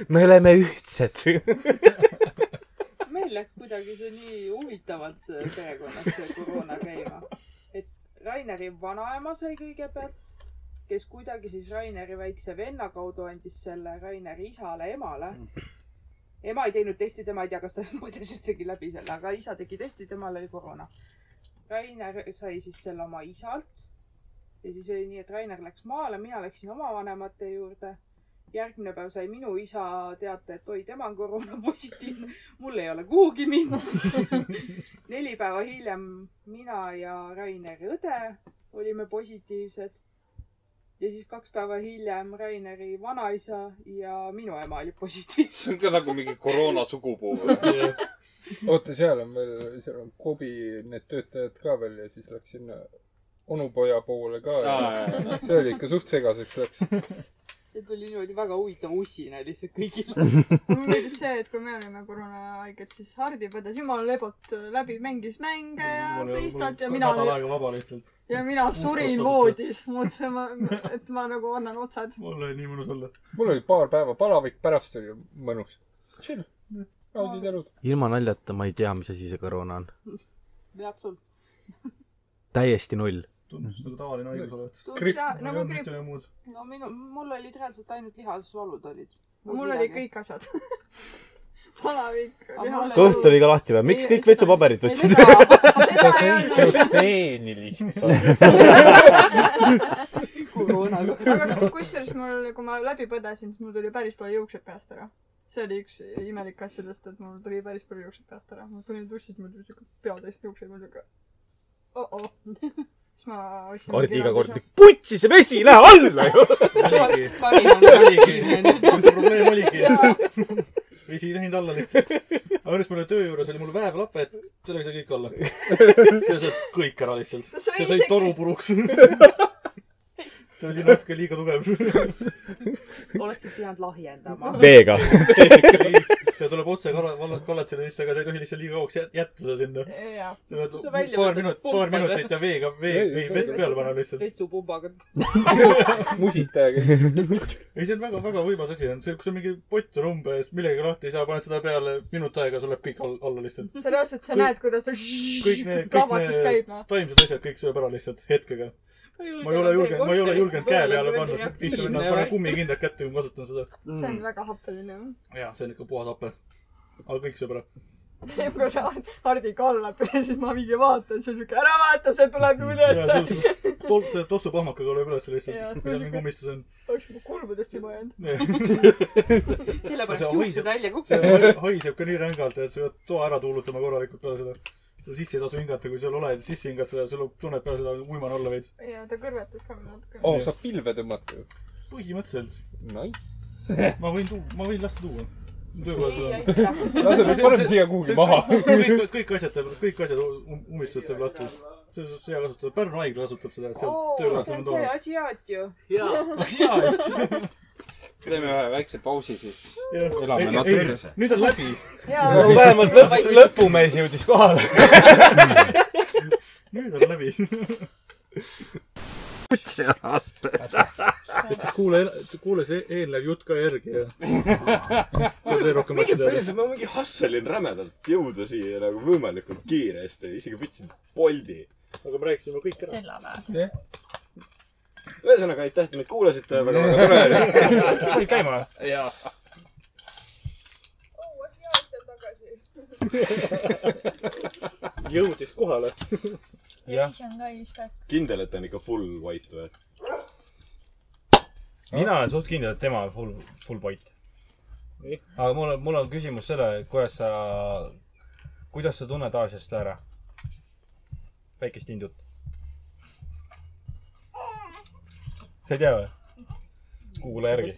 [SPEAKER 2] me oleme ühtsed .
[SPEAKER 3] meil läks kuidagi see nii huvitavalt äh, perekonnas see koroona käima . et Raineri vanaema sai kõigepealt , kes kuidagi siis Raineri väikse venna kaudu andis selle Raineri isale , emale . ema ei teinud testi , tema ei tea , kas ta põdes üldsegi läbi selle , aga isa tegi testi , temal oli koroona . Rainer sai siis selle oma isalt . ja siis oli nii , et Rainer läks maale , mina läksin oma vanemate juurde . järgmine päev sai minu isa teate , et oi , tema on koroonapositiivne . mul ei ole kuhugi minna . neli päeva hiljem mina ja Raineri õde olime positiivsed . ja siis kaks päeva hiljem Raineri vanaisa ja minu ema olid positiivsed .
[SPEAKER 8] see on ka nagu mingi koroona sugupuu .
[SPEAKER 5] oota , seal on veel , seal on KOV-i need töötajad ka veel ja siis läks sinna onupoja poole ka
[SPEAKER 8] Aa, jaa,
[SPEAKER 5] ja noh, see oli ikka suht segaseks läks .
[SPEAKER 3] see tuli niimoodi väga huvitav ussina lihtsalt kõigile .
[SPEAKER 6] mulle meeldis see , et kui me olime koroonahaiged , siis Hardi põdes jumala lebot läbi , mängis mänge ja teistat ja mina ,
[SPEAKER 1] nädal aega vaba lihtsalt .
[SPEAKER 6] ja mina surin voodis . mõtlesin , ma , et ma nagu annan otsad .
[SPEAKER 1] mul oli nii mõnus olla .
[SPEAKER 5] mul oli paar päeva palavik , pärast oli mõnus . chill , raudid elud .
[SPEAKER 14] ilma naljata ma ei tea , mis asi see koroona on .
[SPEAKER 3] absoluutselt .
[SPEAKER 14] täiesti null .
[SPEAKER 1] tundus nagu tavaline haigus olevat .
[SPEAKER 5] Gripp.
[SPEAKER 6] nagu gripp ,
[SPEAKER 1] midagi muud .
[SPEAKER 3] no minu , mul olid reaalselt ainult lihasvalud olid .
[SPEAKER 6] mul olid . kõik asjad . palavik , lihas .
[SPEAKER 2] kõht oli ka lahti või ? miks kõik vetsupaberid
[SPEAKER 6] ei
[SPEAKER 2] võtsid ?
[SPEAKER 5] sa
[SPEAKER 6] seda ei
[SPEAKER 5] sõid
[SPEAKER 6] olnud .
[SPEAKER 5] kreeni lihtsalt .
[SPEAKER 3] koroonaga .
[SPEAKER 6] aga kusjuures mul , kui ma läbi põdesin , siis mul tuli päris palju juuksed peast ära . see oli üks imelik asjadest , et mul tuli päris palju juuksed peast ära . ma tulin dušist , mul tuli siuke peatäis juukseid , ma olin siuke oh-oh . siis ma ostsin .
[SPEAKER 2] Hardi iga kord . putsi , see vesi ei lähe alla ju .
[SPEAKER 1] oligi , probleem oligi . vesi ei läinud alla lihtsalt . aga õnneks mul oli töö juures oli mul väävlapet , sellega sai kõik alla . see sai kõik ära lihtsalt .
[SPEAKER 6] Sa
[SPEAKER 1] see
[SPEAKER 6] sõid
[SPEAKER 1] sai
[SPEAKER 6] isegi-
[SPEAKER 1] toru puruks . see oli natuke liiga tugev .
[SPEAKER 13] oleksid pidanud lahjendama .
[SPEAKER 2] veega .
[SPEAKER 1] see tuleb otse kala- , valla- , kallatsile sisse , aga sa ei tohi lihtsalt liiga kauaks jät- jätta seda sinna .
[SPEAKER 6] jah ,
[SPEAKER 1] sa pead
[SPEAKER 3] Sa välja
[SPEAKER 1] paar
[SPEAKER 3] võtad,
[SPEAKER 1] minut ,
[SPEAKER 3] pumpad.
[SPEAKER 1] paar minutit ja veega , vee , ei , vett peale panna lihtsalt .
[SPEAKER 3] vetsupumbaga .
[SPEAKER 5] musitajaga .
[SPEAKER 1] ei , see on väga , väga võimas asi on see , kui sul mingi pott on umbes , millegagi lahti ei saa , paned seda peale , minut aega , sul läheb kõik all, alla lihtsalt .
[SPEAKER 6] sa reaalselt , sa
[SPEAKER 1] Kõik-
[SPEAKER 6] näed , kuidas ta
[SPEAKER 1] kõik need , kõik
[SPEAKER 6] plahvatus
[SPEAKER 1] need
[SPEAKER 6] käib , noh .
[SPEAKER 1] taimsed asjad , kõik sööb ära lihtsalt hetkega . ma ei ole julgenud , ma ei ole julgenud käe peale panna , sest tihti ma panen kummikindad kätte , kui ma kasutan seda .
[SPEAKER 6] see on väga happeline .
[SPEAKER 1] jah , see on ikka puhas hape . aga kõik sööb ära .
[SPEAKER 6] kui sa Hardi kallab ja siis ma mingi vaatan , siis on siuke , ära vaata , see tuleb ju ülesse .
[SPEAKER 1] tol- , see tossupahmakaga lööb üles
[SPEAKER 6] Jaa.
[SPEAKER 1] lihtsalt , mis seal mingi kummistus on .
[SPEAKER 6] oleks juba kulmudest juba jäänud .
[SPEAKER 1] See
[SPEAKER 3] sellepärast
[SPEAKER 1] on
[SPEAKER 3] juuksed välja kukkusid .
[SPEAKER 1] see haiseb ka nii rängalt , et sa pead toa ära tuulutama korralikult peale seda . seda sisse ei tasu hingata , kui seal oled , sisse hingad seda , sul tunned peale seda uimane olla veits .
[SPEAKER 6] ja ta kõrvetas ka mind natuke .
[SPEAKER 1] Oh.
[SPEAKER 5] oo , Oh, saab pilve tõmmata ju .
[SPEAKER 1] põhimõtteliselt
[SPEAKER 5] Nice .
[SPEAKER 1] ma võin tuua , ma võin lasta tuua .
[SPEAKER 3] ei
[SPEAKER 1] töökohal
[SPEAKER 3] aitäh .
[SPEAKER 5] laseme , paneme siia kuhugi maha .
[SPEAKER 1] kõik , kõik asjad teeb , kõik asjad ummistused teeb lahti . see on see kasutab , Pärnu haigla kasutab seda , et seal
[SPEAKER 3] see
[SPEAKER 1] töökohast
[SPEAKER 3] on
[SPEAKER 1] on
[SPEAKER 3] see
[SPEAKER 1] toonud .
[SPEAKER 3] asiaat ju .
[SPEAKER 8] teeme ühe väikse pausi , siis
[SPEAKER 15] elame
[SPEAKER 1] ei
[SPEAKER 15] natuke. ,
[SPEAKER 1] nüüd on läbi ,
[SPEAKER 6] jaa ,
[SPEAKER 2] vähemalt lõpp , lõpumees jõudis kohale .
[SPEAKER 1] nüüd on läbi .
[SPEAKER 15] kutse aspe .
[SPEAKER 1] et siis kuule , kuule see eelnev jutt ka järgi ja saad veel rohkem
[SPEAKER 2] mingi
[SPEAKER 1] asju teada .
[SPEAKER 2] perse , ma mingi hasselin rämedalt jõuda siia nagu võimalikult kiiresti , isegi võtsin Boldi .
[SPEAKER 1] aga me rääkisime kõik ära .
[SPEAKER 9] selline .
[SPEAKER 2] ühesõnaga , aitäh , et meid kuulasite , väga väga tore oli .
[SPEAKER 12] pidid käima või ?
[SPEAKER 2] jaa .
[SPEAKER 1] jõudis kohale .
[SPEAKER 2] jah ,
[SPEAKER 9] see on ka iskak .
[SPEAKER 2] kindel , et ta on ikka full white või ?
[SPEAKER 12] mina olen suht kindel , et tema on full , full point
[SPEAKER 1] Nii. .
[SPEAKER 12] aga mul on , mul on küsimus selle , kuidas sa , kuidas sa tunned Aasiast ära ? väikest hindut . sa ei tea või ? Google'i järgi .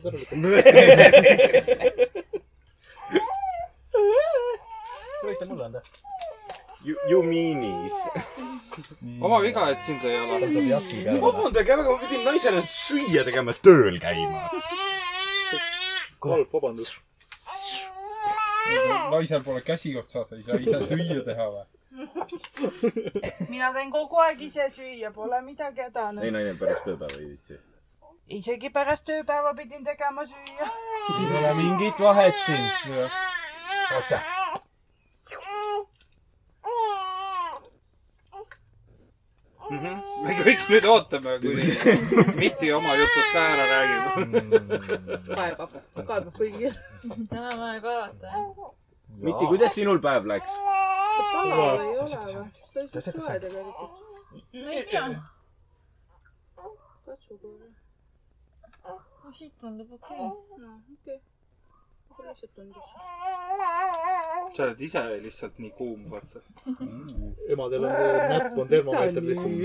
[SPEAKER 12] sa võite mulle anda .
[SPEAKER 2] You , you meanis .
[SPEAKER 11] oma viga , et sind ei ole .
[SPEAKER 2] vabandage väga , ma pidin naisele süüa tegema , tööl käima .
[SPEAKER 1] halb vabandus .
[SPEAKER 8] naisel pole käsi otsas , ei saa ise süüa teha või ?
[SPEAKER 3] mina teen kogu aeg ise süüa , pole midagi
[SPEAKER 2] ei ,
[SPEAKER 3] häda .
[SPEAKER 2] naine pärast tööpäeva ei viitsi .
[SPEAKER 3] isegi pärast tööpäeva pidin tegema süüa .
[SPEAKER 12] ei ole mingit vahet siin . oota .
[SPEAKER 5] Mhm.
[SPEAKER 11] me kõik nüüd ootame , kuni Miti oma jutud ka ära räägib .
[SPEAKER 12] Mm.
[SPEAKER 16] kaebab , kaebab kõigile .
[SPEAKER 9] täna ma ei kaevata , jah .
[SPEAKER 2] Miti , kuidas sinul päev läks ?
[SPEAKER 6] palav ei ole või ? ta oli suht soe tegelikult .
[SPEAKER 9] ma ei tea .
[SPEAKER 6] katsu kohe .
[SPEAKER 9] no Oh, siit tundub okei okay. .
[SPEAKER 6] noh , okei . mulle lihtsalt tundus .
[SPEAKER 11] sa oled ise lihtsalt nii kuum , vaata .
[SPEAKER 1] emadel on see näpp on termomeeter lihtsalt .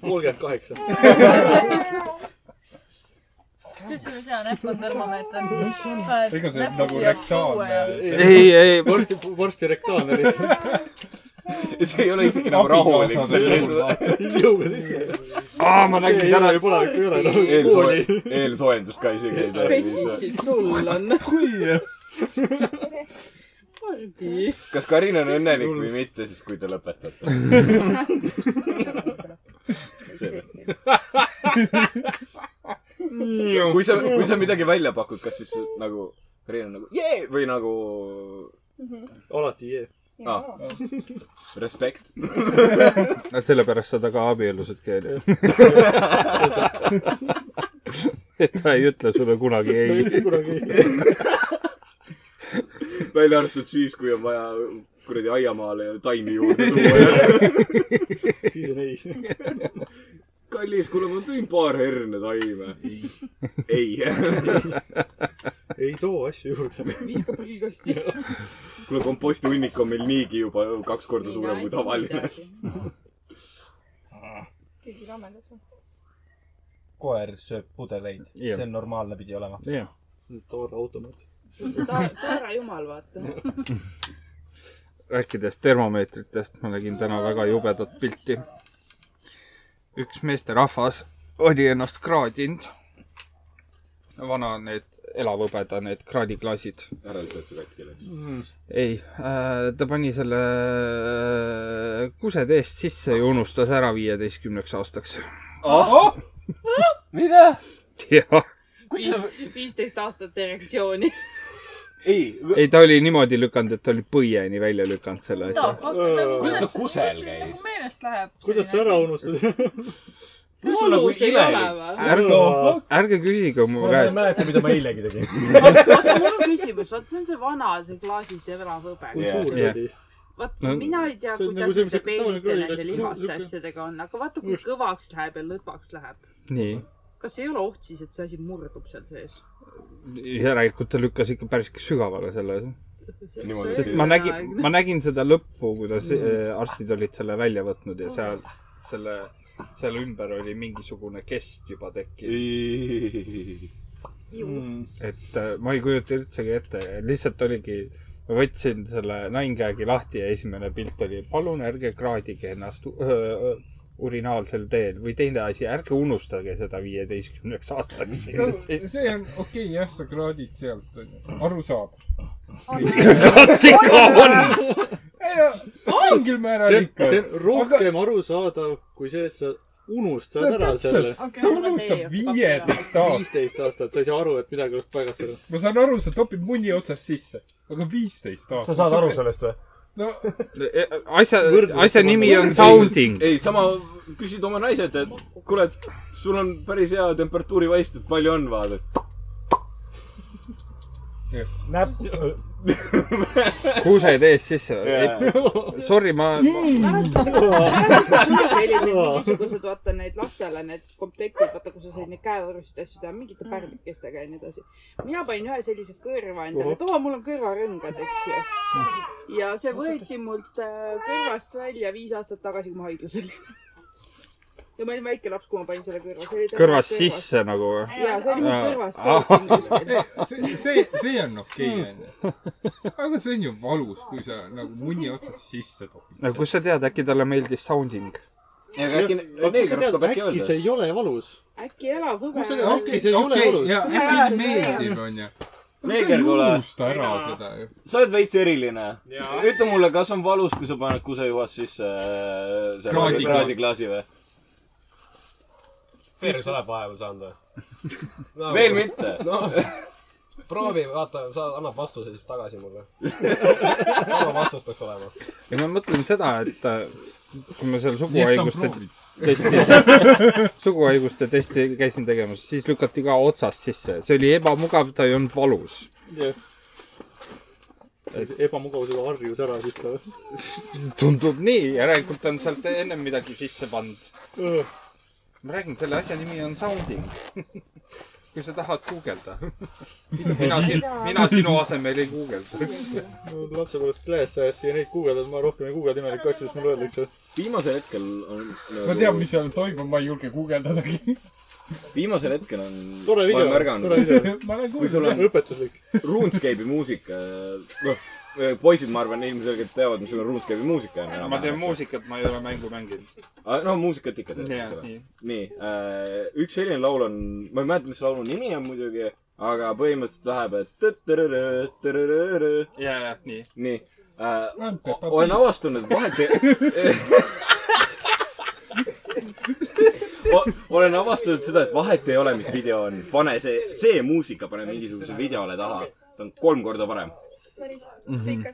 [SPEAKER 1] kolmkümmend kaheksa .
[SPEAKER 9] kas sul seal näpp on termomeeter ?
[SPEAKER 8] ega see nagu rektaalne .
[SPEAKER 1] ei , ei varsti , varsti rektaalne lihtsalt .
[SPEAKER 2] see ei ole isegi nagu rahulik .
[SPEAKER 1] jõuga sisse .
[SPEAKER 11] aa , ma
[SPEAKER 1] see
[SPEAKER 11] nägin
[SPEAKER 1] ei
[SPEAKER 11] täna
[SPEAKER 1] ole ju palavikku ei ole enam . kooli .
[SPEAKER 2] eelsoe- , eelsoojendust ka isegi ei tarvi .
[SPEAKER 16] fetišid sul on .
[SPEAKER 2] kui ,
[SPEAKER 16] Hardi .
[SPEAKER 2] kas Karin on õnnelik või mitte , siis kui te lõpetate . kui sa , kui sa midagi välja pakud , kas siis nagu Karin on nagu jee või nagu
[SPEAKER 1] alati jee .
[SPEAKER 2] ah, respekt ?
[SPEAKER 5] sellepärast sa taga abielusidki onju . et ta ei ütle sulle kunagi ei .
[SPEAKER 1] kunagi ei .
[SPEAKER 2] välja arvatud siis , kui on vaja kuradi aiamaale taimi juurde tuua .
[SPEAKER 1] siis on ei .
[SPEAKER 2] kallis , kuule , ma tõin paar herne taime . ei .
[SPEAKER 1] ei too asju juurde .
[SPEAKER 16] viskab prügikasti .
[SPEAKER 2] kuule , komposti hunnik on meil niigi juba kaks korda suurem kui tavaline ..
[SPEAKER 6] keegi lamedaks on .
[SPEAKER 12] koer sööb pudeleid , see on normaalne pidi olema .
[SPEAKER 1] toorautomaat .
[SPEAKER 16] taara jumal , vaata .
[SPEAKER 5] rääkides termomeetritest , ma nägin täna väga jubedat pilti . üks meesterahvas oli ennast kraadinud . vana need elavhõbeda , need kraadiklaasid .
[SPEAKER 2] ära ütle , et see katki läks .
[SPEAKER 5] ei äh, , ta pani selle äh, kused eest sisse ja unustas ära viieteistkümneks aastaks .
[SPEAKER 12] Ah! mida ?
[SPEAKER 5] jah ,
[SPEAKER 16] viisteist aastat erektsiooni .
[SPEAKER 2] ei ,
[SPEAKER 5] ei ta oli niimoodi lükanud , et ta oli põieni välja lükanud selle asja .
[SPEAKER 2] kuidas sa kusel käis ?
[SPEAKER 9] nagu meelest läheb .
[SPEAKER 1] kuidas sa ära ? unustad ?
[SPEAKER 2] kus sul nagu imelik
[SPEAKER 5] ärge , ärge küsige mu
[SPEAKER 12] ma ei
[SPEAKER 5] käest .
[SPEAKER 12] mäleta , mida ma eilegi tegin .
[SPEAKER 16] vaata , mul on küsimus , vaat see on see vana , see klaasist ja vana hõbe .
[SPEAKER 1] kui
[SPEAKER 2] Jah.
[SPEAKER 1] suur see
[SPEAKER 5] Jah.
[SPEAKER 1] oli ?
[SPEAKER 16] vaat
[SPEAKER 5] No-
[SPEAKER 16] mina ei tea ,
[SPEAKER 1] See on nagu
[SPEAKER 16] kuidas
[SPEAKER 1] see, mis
[SPEAKER 16] nende peeniste ,
[SPEAKER 1] hakkab tavaline
[SPEAKER 16] nende
[SPEAKER 1] klaas,
[SPEAKER 16] lihaste
[SPEAKER 1] sihuke-
[SPEAKER 16] asjadega on , aga vaata , kui
[SPEAKER 1] Just.
[SPEAKER 16] kõvaks läheb ja lõdvaks läheb .
[SPEAKER 5] nii ,
[SPEAKER 16] kas ei ole oht siis , et see asi murdub seal sees ?
[SPEAKER 5] järelikult ta lükkas ikka päris sügavale selle
[SPEAKER 2] Niimoodi.
[SPEAKER 5] sest ma nägin , ma nägin seda lõppu , kuidas
[SPEAKER 8] Mm.
[SPEAKER 5] eh, arstid olid selle välja võtnud ja seal
[SPEAKER 8] Oh.
[SPEAKER 5] selle , seal ümber oli mingisugune kest juba tekkinud . et eh, ma ei kujuta üldsegi ette , lihtsalt oligi , ma võtsin selle nainkäägi lahti ja esimene pilt oli , palun ärge kraadige ennast u- öö, öö, urinaalsel teel või teine asi , ärge unustage seda viieteistkümneks aastaks
[SPEAKER 8] no
[SPEAKER 5] sinna sisse .
[SPEAKER 8] see on okei okay, , jah , sa kraadid sealt , onju . aru saab .
[SPEAKER 5] kas ikka on ?
[SPEAKER 8] ei no , mingil määral
[SPEAKER 1] see on ,
[SPEAKER 8] ikka
[SPEAKER 1] see . on rohkem arusaadav kui see , et sa unustad
[SPEAKER 8] No
[SPEAKER 1] ära
[SPEAKER 8] täpselt.
[SPEAKER 1] selle
[SPEAKER 8] Okei. Sa unustad Ei, viieteist aastat.
[SPEAKER 1] viisteist aastat , sa ei saa aru , et midagi oleks paigast ära .
[SPEAKER 8] ma saan aru , sa topid munni otsast sisse , aga viisteist aastat .
[SPEAKER 12] sa saad aru sellest või ?
[SPEAKER 8] no
[SPEAKER 5] Eh, asja , asja nimi on sounding .
[SPEAKER 2] ei , sama , küsid oma naiselt , et kuule , et sul on päris hea temperatuurivaist , et palju on , vaata .
[SPEAKER 12] näpp .
[SPEAKER 5] kuused ees sisse
[SPEAKER 2] Jaa.
[SPEAKER 5] või ? Sorry , ma, ma... .
[SPEAKER 16] sellid need mingisugused , vaata need lastele need komplektid , vaata kus sa said neid käevõrust asju teha , mingite
[SPEAKER 3] Mm.
[SPEAKER 16] pärdikestega ja nii edasi . mina panin ühe sellise kõrva endale , et oo , mul on kõrvarõngad , eks ju . ja see võeti mult äh, kõrvast välja viis aastat tagasi , kui ma haiglas olin . ja ma olin väike laps , kui ma panin selle kõrva .
[SPEAKER 5] kõrvast . sisse nagu või ?
[SPEAKER 16] jaa , see oli mul kõrvas sees
[SPEAKER 8] see
[SPEAKER 16] kuskil .,
[SPEAKER 8] see , see on okei , onju . aga see on ju valus , kui sa nagu munni otsast sisse topid .
[SPEAKER 5] no Nagu, kust sa tead , äkki talle meeldis sounding ?
[SPEAKER 1] äkki see ei ole valus .
[SPEAKER 16] äkki elab hõbe .
[SPEAKER 1] okei , see ei ole valus .
[SPEAKER 8] ja äkki meeldib , onju .
[SPEAKER 17] Neeger, kuule.
[SPEAKER 8] unusta ära seda ju .
[SPEAKER 17] sa oled veits eriline . ütle mulle , kas on valus , kui sa paned kusejuhast sisse äh, selle
[SPEAKER 8] Kraadiklaasi.
[SPEAKER 17] kraadiklaasi või ?
[SPEAKER 18] perse oled vahepeal saanud või
[SPEAKER 17] No, Veel mitte.
[SPEAKER 18] proovi , vaata , sa annad vastuse siis tagasi mulle . sama vastus peaks olema .
[SPEAKER 5] ei , ma mõtlen seda , et äh, kui ma seal
[SPEAKER 18] Nii
[SPEAKER 5] suguhaiguste
[SPEAKER 18] et on
[SPEAKER 5] testi , suguhaiguste testi käisin tegemas , siis lükati ka otsast sisse . see oli ebamugav , ta ei olnud valus .
[SPEAKER 1] ebamugavusega harjus ära siis ta .
[SPEAKER 5] tundub nii , järelikult on sealt ennem midagi sisse pannud . ma räägin , selle asja nimi on sounding . kui sa tahad guugelda . mina siin , mina sinu asemel ei guugeldaks .
[SPEAKER 1] mul lapsepõlvest Class As'i ja neid guugeldad , ma rohkem ei guugelda imelikke asju , mis mulle öeldakse .
[SPEAKER 2] viimasel hetkel on
[SPEAKER 8] ma tean , mis seal toimub , ma ei julge guugeldadagi .
[SPEAKER 2] viimasel hetkel on .
[SPEAKER 8] Tore video, tore video. Ma olen kuulnud, jah.
[SPEAKER 1] õpetuslik .
[SPEAKER 2] RuneScape'i muusika , noh , poisid , ma arvan , ilmselgelt teavad , mis on RuneScape'i muusika .
[SPEAKER 5] ma teen . muusikat , ma ei ole mängu mänginud .
[SPEAKER 2] Ah, no muusikat ikka teed ,
[SPEAKER 5] Jah,
[SPEAKER 2] eks ole
[SPEAKER 5] nii. .
[SPEAKER 2] nii , üks selline laul on , ma ei mäleta , mis laulu nimi on muidugi , aga põhimõtteliselt läheb , et tõ-tõ-rõ-rõ, tõ-rõ-rõ-rõ.
[SPEAKER 5] ja , ja , nii .
[SPEAKER 2] nii . eh, olen avastanud , et vahet O- olen avastanud seda , et vahet ei ole , mis video on , pane see , see muusika , pane mingisuguse videole taha . ta on kolm korda parem .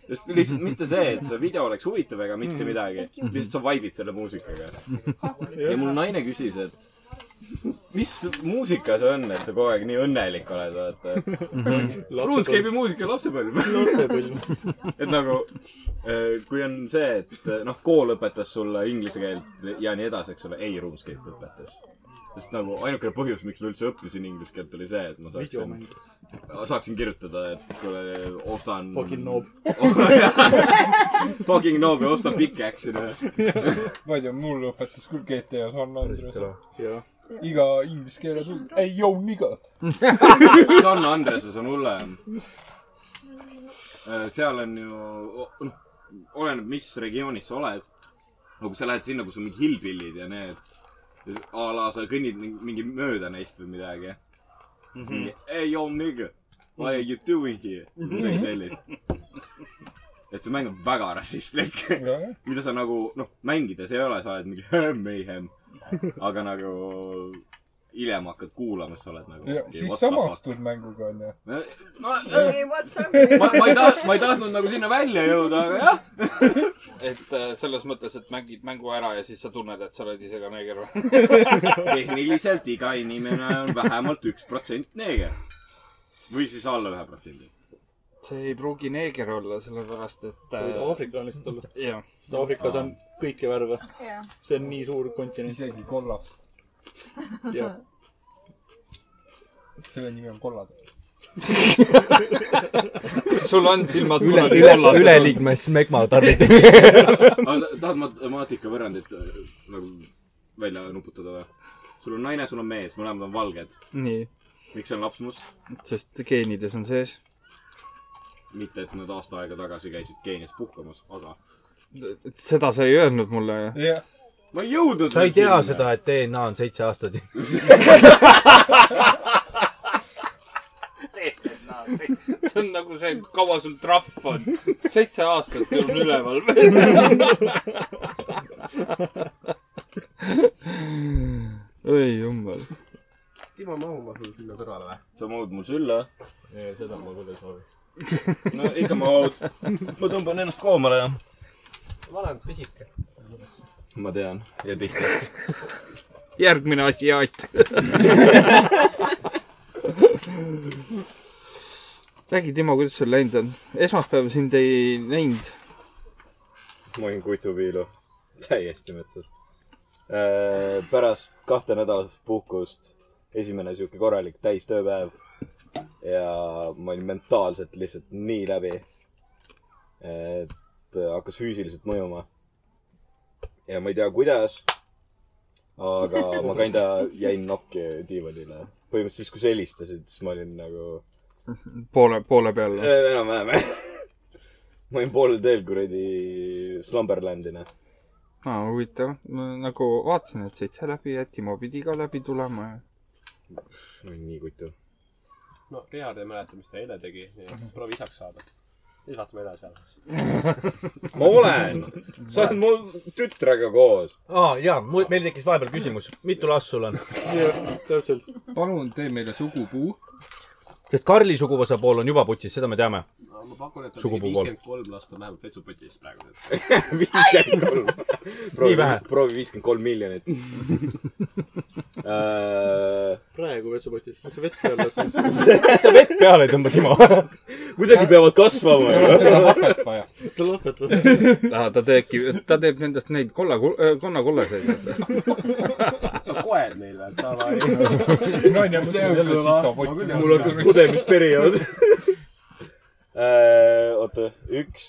[SPEAKER 2] just lihtsalt mitte see , et see video oleks huvitav ega mitte midagi , lihtsalt sa vaibid selle muusikaga . ja mul naine küsis , et mis muusika see on , et sa kogu aeg nii õnnelik oled , vaata
[SPEAKER 17] Mhm. .
[SPEAKER 2] RuneScape'i muusika lapsepõlv .
[SPEAKER 1] lapsepõlv .
[SPEAKER 2] et nagu , kui on see , et noh , kool õpetas sulle inglise keelt ja nii edasi , eks ole , ei RuneScape õpetas . sest nagu ainukene põhjus , miks ma üldse õppisin inglise keelt , oli see , et ma saaksin
[SPEAKER 1] Videomäng. ,
[SPEAKER 2] saaksin kirjutada , et kuule , ostan .
[SPEAKER 1] Fucking noob.
[SPEAKER 2] Fucking noob ja ostan pickaxe'i , noh .
[SPEAKER 8] ma ei tea , mul õpetas küll GTA San Andreas .
[SPEAKER 1] jah .
[SPEAKER 8] iga inglise keeles on , ei jõu niga .
[SPEAKER 2] San Andreses on hullem . seal on ju , noh , oleneb , mis regioonis sa oled . aga kui sa lähed sinna , kus on mingi hillbillid ja need , a la sa kõnnid mingi- mingi mööda neist või midagi mm .
[SPEAKER 17] Mhm.
[SPEAKER 2] -hmm. Hey yo nigga , what are you doing here ? midagi
[SPEAKER 17] Mhm.
[SPEAKER 2] sellist . et see mäng on väga rassistlik
[SPEAKER 8] Jajah. .
[SPEAKER 2] mida sa nagu , noh , mängides ei ole , sa oled mingi mayhem . aga nagu hiljem hakkad kuulama , siis sa oled nagu .
[SPEAKER 8] siis samastud mänguga , onju .
[SPEAKER 2] ma ,
[SPEAKER 6] ei , what's up ?
[SPEAKER 2] ma ei tahtnud , ma ei tahtnud nagu sinna välja jõuda , aga jah .
[SPEAKER 11] et äh, selles mõttes , et mängid mängu ära ja siis sa tunned , et sa oled ise ka neeger või ?
[SPEAKER 2] tehniliselt iga inimene on vähemalt üks protsent neeger . või siis alla ühe protsendi .
[SPEAKER 5] see ei pruugi neeger olla , sellepärast et äh,
[SPEAKER 1] Sa
[SPEAKER 11] oh.
[SPEAKER 1] võid aafriklane lihtsalt olla.
[SPEAKER 5] jah .
[SPEAKER 1] sest Aafrikas on kõiki värve .
[SPEAKER 6] Jah.
[SPEAKER 1] see on nii suur kontinent .
[SPEAKER 8] isegi kollast .
[SPEAKER 1] jah ,
[SPEAKER 8] selle nimi on kollad .
[SPEAKER 5] sul on silmad
[SPEAKER 12] üle , üle , üleliigne smegma tarvitamine .
[SPEAKER 2] tahad matemaatikavõrrandit äh, nagu välja nuputada või ? sul on naine , sul on mees , mõlemad on valged .
[SPEAKER 5] nii ,
[SPEAKER 2] miks on laps must ?
[SPEAKER 5] sest geenides on sees .
[SPEAKER 2] mitte , et nad aasta aega tagasi käisid Keenias puhkamas , aga .
[SPEAKER 5] seda sa ei öelnud mulle .
[SPEAKER 8] jah .
[SPEAKER 2] ma ei jõudnud .
[SPEAKER 12] sa ei tea . seda , et DNA on seitse aastat .
[SPEAKER 11] see on nagu see , kaua sul trahv on . seitse aastat ei olnud üleval .
[SPEAKER 5] jumal .
[SPEAKER 19] Timo , mahu ma sul sinna kõrvale või ?
[SPEAKER 2] sa mahud mul sülle ?
[SPEAKER 19] seda ma küll ei soovi .
[SPEAKER 2] no ikka mahud . ma tõmban ennast koomale ja .
[SPEAKER 19] vanem pisike .
[SPEAKER 2] ma tean ja tihti .
[SPEAKER 5] järgmine asiaat . räägi , Timo , kuidas sul läinud on ? esmaspäeval sind ei näinud .
[SPEAKER 2] ma olin kutupiilu . täiesti metsas . pärast kahte nädalast puhkust esimene sihuke korralik täistööpäev . ja ma olin mentaalselt lihtsalt nii läbi . et äh, hakkas füüsiliselt mõjuma . ja ma ei tea , kuidas . aga ma kinda jäin nokki diivanile . põhimõtteliselt siis , kui sa helistasid , siis ma olin nagu
[SPEAKER 5] poole , poole peal .
[SPEAKER 2] Ei, enam-vähem ma olin poolel teel kuradi Slumberlandina .
[SPEAKER 5] aa , huvitav . nagu vaatasin , et sõitsa läbi ja Timo pidi ka läbi tulema ja .
[SPEAKER 2] ma olin nii kutu .
[SPEAKER 19] no , Richard ei mäleta , mis ta eile tegi , nii et proovi isaks saada . siis vaatame edasi alles .
[SPEAKER 2] ma olen , sa oled mu tütrega koos .
[SPEAKER 20] aa jaa , mul , meil tekkis vahepeal küsimus , mitu last sul on ?
[SPEAKER 1] jah , täpselt .
[SPEAKER 8] palun tee meile sugupuu .
[SPEAKER 20] sest Karli suguvõsa pool on juba putsis , seda me teame .
[SPEAKER 19] no ma pakun , et ta tegi
[SPEAKER 20] Sugupuu pool.
[SPEAKER 19] viiskümmend kolm last on vähemalt vetsupotis praegu .
[SPEAKER 2] viiskümmend kolm .
[SPEAKER 20] Nii vähe.
[SPEAKER 2] proovi viiskümmend kolm miljonit . Äh,
[SPEAKER 1] praegu vetsupotis . miks sa vett peale lasid ?
[SPEAKER 20] miks sa vett peale ei tõmba , Timo ?
[SPEAKER 2] kuidagi peavad kasvama
[SPEAKER 5] Tal on seda hapet vaja.
[SPEAKER 1] tal on hapet vaja .
[SPEAKER 5] ta teebki , ta teeb nendest neid kolla , äh, konnakullaseid .
[SPEAKER 19] sa koed neile , et davai .
[SPEAKER 8] Naine mõtles jälle sitapott.
[SPEAKER 2] mul hakkas pudemisperiood . oota , üks .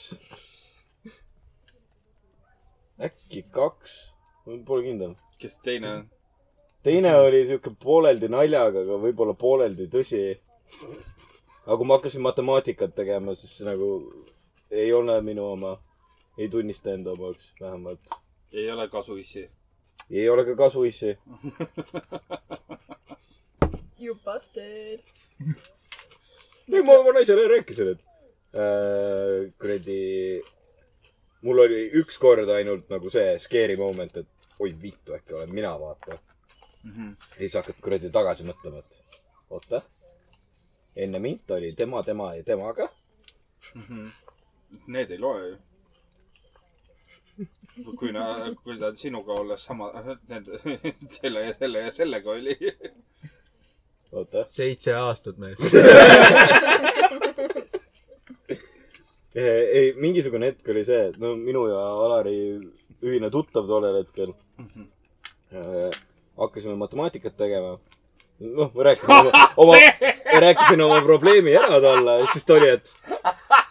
[SPEAKER 2] äkki kaks , ma pole kindel .
[SPEAKER 21] kes teine on ?
[SPEAKER 2] teine oli siuke pooleldi naljaga , aga võib-olla pooleldi tõsi . aga kui ma hakkasin matemaatikat tegema , siis nagu ei ole minu oma , ei tunnista enda omaks vähemalt .
[SPEAKER 21] ei ole kasuissi .
[SPEAKER 2] ei ole ka kasuissi .
[SPEAKER 6] You busted .
[SPEAKER 2] ei , ma oma naisele rääkisin , et äh, kuradi , mul oli üks kord ainult nagu see scary moment , et oi vittu , äkki olen mina , vaata .
[SPEAKER 5] Mhm,
[SPEAKER 2] ja siis hakkad kuradi tagasi mõtlema , et oota , enne mind oli tema , tema ja temaga .
[SPEAKER 5] mhm.
[SPEAKER 21] Need ei loe ju . kui na- , kui ta sinuga olles sama , need , selle ja selle ja sellega oli .
[SPEAKER 2] oota .
[SPEAKER 20] seitse aastat mees .
[SPEAKER 2] ei , mingisugune hetk oli see , et no minu ja Alari ühine tuttav tollel hetkel äh, hakkasime matemaatikat tegema . noh , ma rääkisin oma, oma , rääkisin oma probleemi ära talle , siis ta oli , et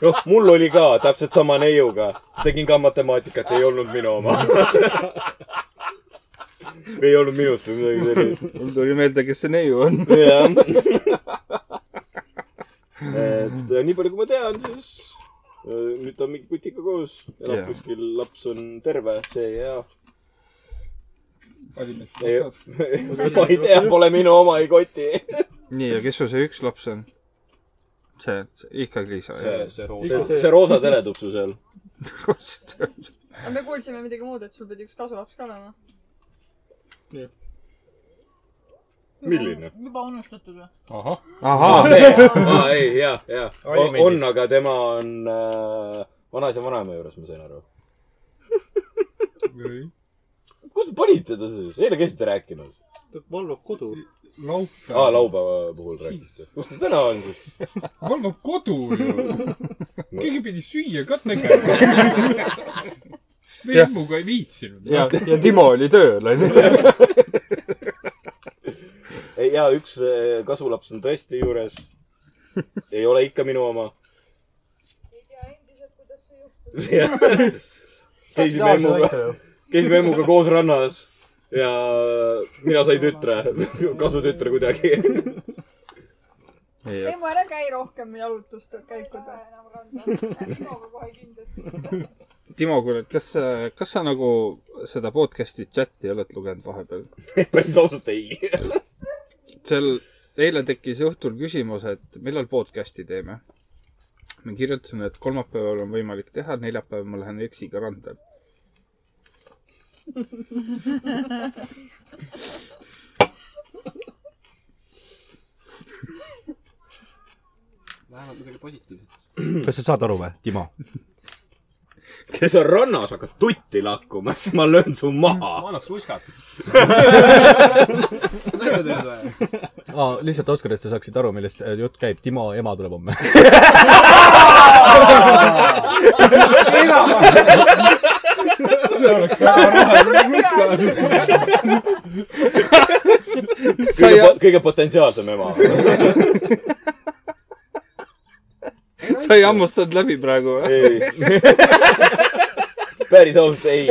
[SPEAKER 2] noh , mul oli ka täpselt sama neiuga , tegin ka matemaatikat , ei olnud minu oma . ei olnud minust või midagi sellist .
[SPEAKER 5] mul tuli meelde , kes see neiu on .
[SPEAKER 2] et nii palju , kui ma tean , siis äh, nüüd ta on mingi kutiga koos , elab
[SPEAKER 5] Jah.
[SPEAKER 2] kuskil , laps on terve , see ja . ma ei tea , pole minu oma , ei koti .
[SPEAKER 5] nii , ja kes sul see üks laps on ? see , ikkagi Liisa .
[SPEAKER 2] See- see roosa- See- see roosa teletupsu seal. .
[SPEAKER 6] aga me kuulsime midagi muud , et sul pidi üks kasulaps ka olema .
[SPEAKER 2] milline ?
[SPEAKER 9] juba unustatud või ?
[SPEAKER 2] ahah .
[SPEAKER 5] Ahah.
[SPEAKER 2] aa , ei , ja , ja .
[SPEAKER 5] Oli
[SPEAKER 2] on ,
[SPEAKER 5] meeldiv.
[SPEAKER 2] aga tema on äh, vanaisa vanaema juures , ma sain aru . kus te panite ta siis ? eile käisite rääkimas .
[SPEAKER 1] ta valvab kodu .
[SPEAKER 2] aa , laupäeva puhul rääkisite . kus ta täna on siis ?
[SPEAKER 8] valvab nagu kodu ju . keegi pidi süüa ka tegema . siis me
[SPEAKER 5] Jah.
[SPEAKER 8] Immuga ei viitsinud .
[SPEAKER 5] ja , ja Timo oli tööl , onju .
[SPEAKER 2] Ei, ja üks äh, kasulaps on tõesti juures . ei ole ikka minu oma . ei tea endiselt , kuidas see juhtus . käisime
[SPEAKER 20] Aktuaalse
[SPEAKER 2] emmuga
[SPEAKER 20] asja ju. ,
[SPEAKER 2] käisime emmuga koos rannas ja mina sain tütre , kasutütre kuidagi .
[SPEAKER 6] Teemu , ära käi rohkem jalutust , käikuda .
[SPEAKER 3] Timoga kohe kindlasti .
[SPEAKER 5] Timo , kuule , kas , kas sa nagu seda podcast'i chati oled lugenud vahepeal ?
[SPEAKER 2] päris ausalt ei .
[SPEAKER 5] seal eile tekkis õhtul küsimus , et millal podcast'i teeme . ma kirjutasin , et kolmapäeval on võimalik teha , neljapäeval ma lähen eksiga randa .
[SPEAKER 22] midagi positiivset .
[SPEAKER 23] kas sa saad aru või , Timo ?
[SPEAKER 9] kes on rannas , hakkad tutti lakkuma , siis ma löön su maha .
[SPEAKER 22] ma annaks ruskat .
[SPEAKER 1] aa , lihtsalt Oskar , et sa saaksid aru , millest äh, jutt käib . Timo ema tuleb homme .
[SPEAKER 8] see oleks väga roheline kuskil .
[SPEAKER 2] kõige , kõige potentsiaalsem ema .
[SPEAKER 24] sa ei hammustanud läbi praegu või ?
[SPEAKER 2] päris ausalt , ei .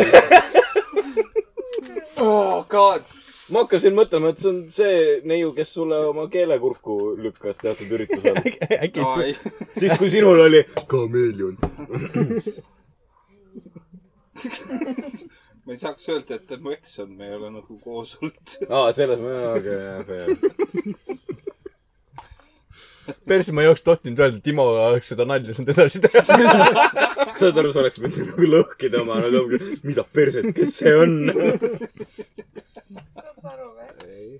[SPEAKER 9] oh god .
[SPEAKER 2] ma hakkasin mõtlema , et see on see neiu , kes sulle oma keelekurku lükkas teatud üritusel .
[SPEAKER 9] Ai.
[SPEAKER 2] siis , kui sinul oli kameelion .
[SPEAKER 5] ma ei saaks öelda , et ta mu eks on , me ei ole nagu koos olnud .
[SPEAKER 2] aa , selles mõttes , okei , jah , fair .
[SPEAKER 1] persse , ma ei oleks tohtinud öelda , Timo oleks seda nalja saanud edasi teha .
[SPEAKER 9] saad aru , sa oleks võinud nagu lõhkida oma , mida perset , kes see on ?
[SPEAKER 25] saad sa aru või ?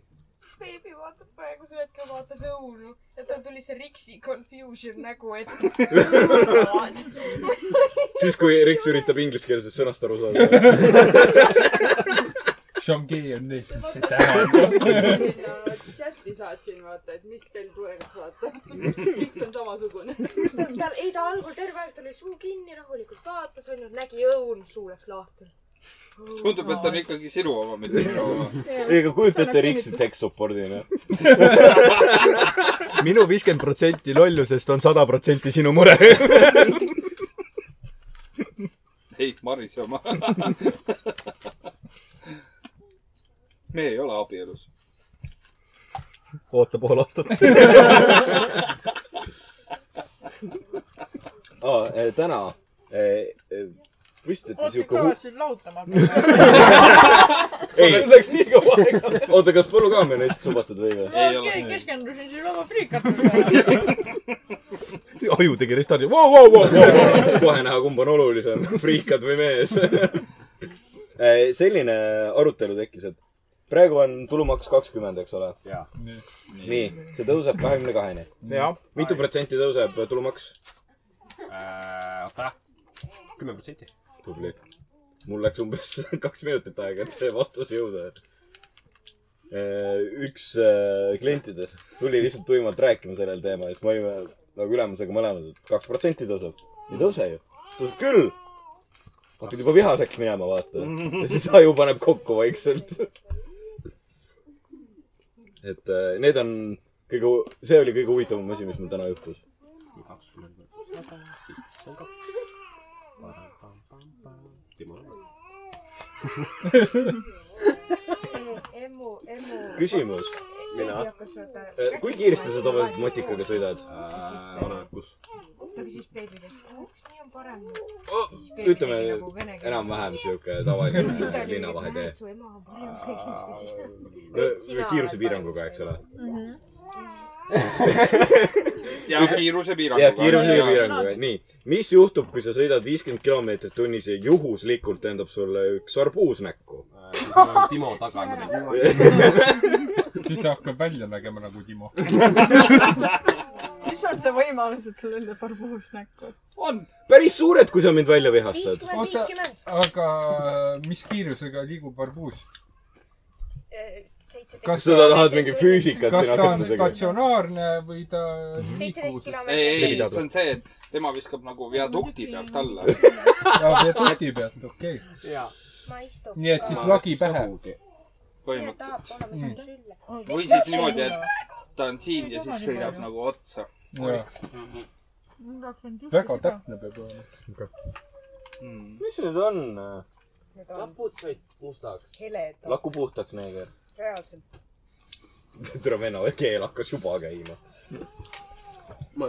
[SPEAKER 25] beebi vaatab praegusel hetkel , vaatas õunu ja tal tuli see Riksi confusion nägu ette .
[SPEAKER 9] siis , kui Riks üritab ingliskeelsest sõnast aru saada .
[SPEAKER 8] Jean-Guy on nii , see
[SPEAKER 3] sinna
[SPEAKER 8] tähendab .
[SPEAKER 3] nagu chati saatsin , vaata , et mis kell tulevikus vaata . miks on samasugune ?
[SPEAKER 25] tal , ei ta algul terve aeg , tal oli suu kinni , rahulikult vaatas onju , nägi õun , suu läks lahti .
[SPEAKER 5] tundub , et on ikkagi sinu oma , mitte minu oma .
[SPEAKER 2] ei , aga kujuta ette Riksi tech support'ina .
[SPEAKER 1] minu viiskümmend protsenti lollusest on sada protsenti sinu mure .
[SPEAKER 5] ei , Marise oma . me ei ole abielus .
[SPEAKER 1] oota pool aastat .
[SPEAKER 2] aa , täna eh, eh, püstitati
[SPEAKER 26] oota ,
[SPEAKER 2] siuke hu-
[SPEAKER 26] kavatsen lahutama
[SPEAKER 2] ei ,
[SPEAKER 26] hakata .
[SPEAKER 2] nii kaua aega . oota , kas polügaamia on Eestis lubatud või või ?
[SPEAKER 26] okei , keskendusin siin oma friikatele .
[SPEAKER 1] aju tegi restardi wow, . Wow, wow, wow.
[SPEAKER 9] kohe näha , kumb on olulisem , friikad või mees .
[SPEAKER 2] Äh, selline arutelu tekkis , et praegu on tulumaks kakskümmend , eks ole ? nii , see tõuseb kahekümne kaheni .
[SPEAKER 9] Jah.
[SPEAKER 2] mitu protsenti tõuseb tulumaks ?
[SPEAKER 22] Äh, oota , kümme protsenti .
[SPEAKER 2] tubli . mul läks umbes kaks minutit aega , et see vastus jõuda . üks eh, klientidest tuli lihtsalt tuimalt rääkima sellel teemal , siis me olime nagu ülemusega mõlemad , et kaks protsenti tõuseb . ei tõuse ju . tõuseb küll . hakkad juba vihaseks minema , vaata . ja siis aju paneb kokku vaikselt . et eh, need on kõige , see oli kõige huvitavam asi , mis mul täna juhtus .
[SPEAKER 25] emu , emu .
[SPEAKER 2] Küsimus. Mina.
[SPEAKER 25] Äh,
[SPEAKER 2] Eh, kui kiiresti sa tavaliselt matikaga sõidad ? oleneb kus .
[SPEAKER 25] oota , aga siis beebi käis , kas nii on parem ?
[SPEAKER 2] ütleme
[SPEAKER 25] nagu
[SPEAKER 2] enam-vähem siuke tavaline linnavahetee .
[SPEAKER 25] su ema on parem mees kui sina .
[SPEAKER 2] kiirusepiiranguga , eks ole .
[SPEAKER 5] ja kiirusepiiranguga .
[SPEAKER 2] jah , kiirusepiiranguga , nii . mis juhtub , kui sa sõidad viiskümmend kilomeetrit tunnis ja juhuslikult lendab sulle üks arbuus näkku ?
[SPEAKER 22] Timo taga .
[SPEAKER 8] siis hakkab välja nägema nagu Timo .
[SPEAKER 6] mis on see võimalus , et sul lendab arbuus näkku ?
[SPEAKER 8] on .
[SPEAKER 2] päris suured , kui sa mind välja vihastad .
[SPEAKER 8] oota , aga mis kiirusega liigub arbuus ?
[SPEAKER 2] kas sa tahad mingi füüsikat
[SPEAKER 8] kas
[SPEAKER 2] siin
[SPEAKER 8] ta on
[SPEAKER 2] hakata tegema ?
[SPEAKER 8] statsionaarne või ta
[SPEAKER 25] seitseteist
[SPEAKER 5] ei ,
[SPEAKER 25] kilomeetrit .
[SPEAKER 5] ei , see on see , et tema viskab nagu viadukti pealt alla .
[SPEAKER 8] ja viadukti pealt , okei okay. . nii et siis lagi pähe .
[SPEAKER 5] põhimõtteliselt .
[SPEAKER 8] Mm.
[SPEAKER 9] nagu
[SPEAKER 5] või siis niimoodi , et ta on siin ja siis sõidab nagu otsa .
[SPEAKER 8] Jaa. väga täpne peab olema .
[SPEAKER 2] mis need on ?
[SPEAKER 26] lapud
[SPEAKER 2] said mustaks .
[SPEAKER 26] heled .
[SPEAKER 2] laku puhtaks , neeger .
[SPEAKER 26] reaalselt .
[SPEAKER 2] tere , venna , keel hakkas juba käima .
[SPEAKER 22] ma .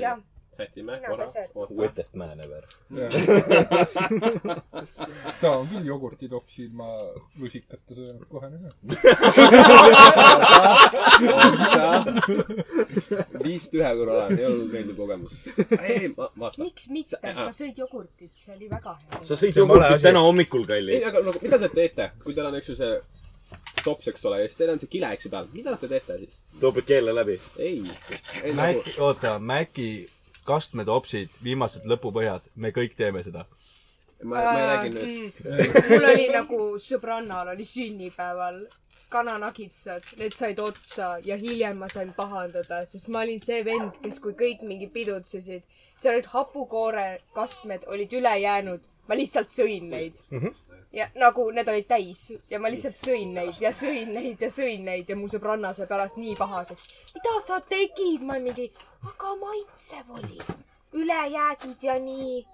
[SPEAKER 25] Jah.
[SPEAKER 22] sätime
[SPEAKER 25] Sina
[SPEAKER 22] korra
[SPEAKER 25] pesed. .
[SPEAKER 2] Wetest määnever .
[SPEAKER 8] ta on küll jogurtitopsi ilma lusikata söönud kohe näha .
[SPEAKER 22] viist ühe korra olen , ei olnud meeldiv kogemus . ei , ma , vaata .
[SPEAKER 25] miks mitte , sa sõid jogurtit , see oli väga hea .
[SPEAKER 2] sa sõid jogurtit täna hommikul ,
[SPEAKER 22] ei ,
[SPEAKER 2] kallis .
[SPEAKER 22] aga nagu , mida te teete , kui teil on , eks ju , see
[SPEAKER 2] tops , eks ole , ja siis teil on see kile , eks ju , peal . mida te teete siis ?
[SPEAKER 9] toobid keele läbi ?
[SPEAKER 2] ei . nagu,
[SPEAKER 27] Maci , oota , Maci kastmed , opsid , viimased lõpupõhjad , me kõik teeme seda .
[SPEAKER 2] ma , ma ei räägi nüüd .
[SPEAKER 25] mul oli nagu sõbrannal oli sünnipäeval kananagitsad , need said otsa ja hiljem ma sain pahandada , sest ma olin see vend , kes , kui kõik mingi pidutsesid , seal olid hapukoore kastmed olid üle jäänud , ma lihtsalt sõin neid ja nagu need olid täis ja ma lihtsalt sõin neid ja sõin neid ja sõin neid ja mu sõbranna sai pärast nii pahaseks . mida sa tegid ? ma olin mingi , aga maitsev oli , ülejäägid ja nii .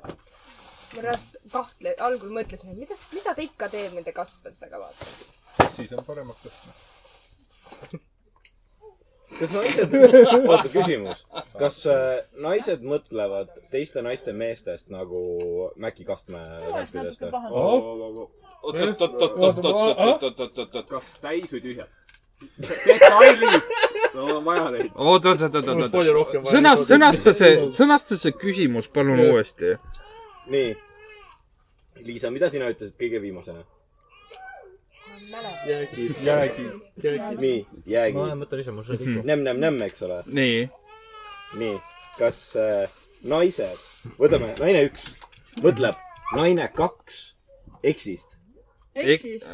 [SPEAKER 25] ma pärast kahtle- , algul mõtlesin , et mida , mida ta ikka teeb nende kastmetega , vaata .
[SPEAKER 8] siis on paremaks tõstma .
[SPEAKER 9] kas naised , oota küsimus , kas äh, naised mõtlevad teiste naiste meestest nagu Maci Kastme kampidest
[SPEAKER 28] natuke
[SPEAKER 9] või
[SPEAKER 28] pahane. ?
[SPEAKER 5] oot-oot-oot-oot-oot-oot-oot-oot-oot-oot .
[SPEAKER 2] kas täis või tühjad ? detailid , no on vaja neid .
[SPEAKER 29] oot , oot , oot , oot ,
[SPEAKER 2] Mul
[SPEAKER 29] oot
[SPEAKER 2] palju rohkem , vaja
[SPEAKER 29] sõna ,
[SPEAKER 2] ei
[SPEAKER 29] sõnasta
[SPEAKER 2] ole.
[SPEAKER 29] see , sõnasta see küsimus palun uuesti .
[SPEAKER 9] nii . Liisa , mida sina ütlesid kõige viimasena ? jäägid ,
[SPEAKER 8] jäägid ,
[SPEAKER 9] jäägid . nii , jäägid .
[SPEAKER 30] Ma mõtlen ise, mul sai kõik
[SPEAKER 1] Mhm.
[SPEAKER 30] kokku.
[SPEAKER 9] nämm-nämm-nämm , eks ole .
[SPEAKER 29] nii .
[SPEAKER 9] nii , kas äh, naised , võtame naine üks , mõtleb naine kaks eksist .
[SPEAKER 6] eksist .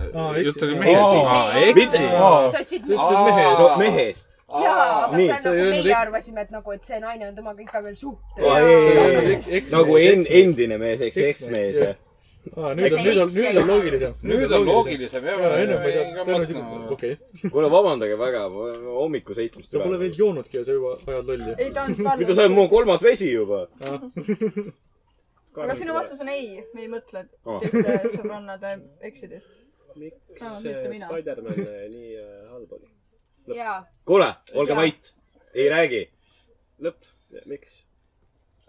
[SPEAKER 29] jutt oli mehest . aa ,
[SPEAKER 25] Sa ütlesid
[SPEAKER 29] eksis .
[SPEAKER 25] mehest.
[SPEAKER 9] no mehest .
[SPEAKER 25] jaa , aga
[SPEAKER 9] Nii,
[SPEAKER 25] see on
[SPEAKER 9] sa ei
[SPEAKER 25] nagu
[SPEAKER 9] öelnud
[SPEAKER 25] meie
[SPEAKER 9] eks-
[SPEAKER 25] arvasime , et nagu , et see naine on temaga ikka veel suhtes .
[SPEAKER 9] nagu en- , endine mees , eks , eksmees .
[SPEAKER 1] Aa, nüüd on , nüüd on , nüüd on loogilisem . jaa , enne ma ei saanud , tõenäoliselt , okei .
[SPEAKER 9] kuule , vabandage väga , hommiku seitsmest .
[SPEAKER 1] sa pole veel joonudki ja sa juba ajad lolli .
[SPEAKER 6] Ei, ta on pannud.
[SPEAKER 9] mida sa , mul on kolmas vesi juba .
[SPEAKER 6] aga sinu vastus on ei , me ei mõtle
[SPEAKER 9] Aa.
[SPEAKER 6] teiste sõbrannade eksidest . vähemalt mitte mina .
[SPEAKER 31] Spider-man äh, nii äh, halb oli ?
[SPEAKER 25] jaa ,
[SPEAKER 9] kuule , olge vait , ei räägi .
[SPEAKER 31] lõpp , miks ?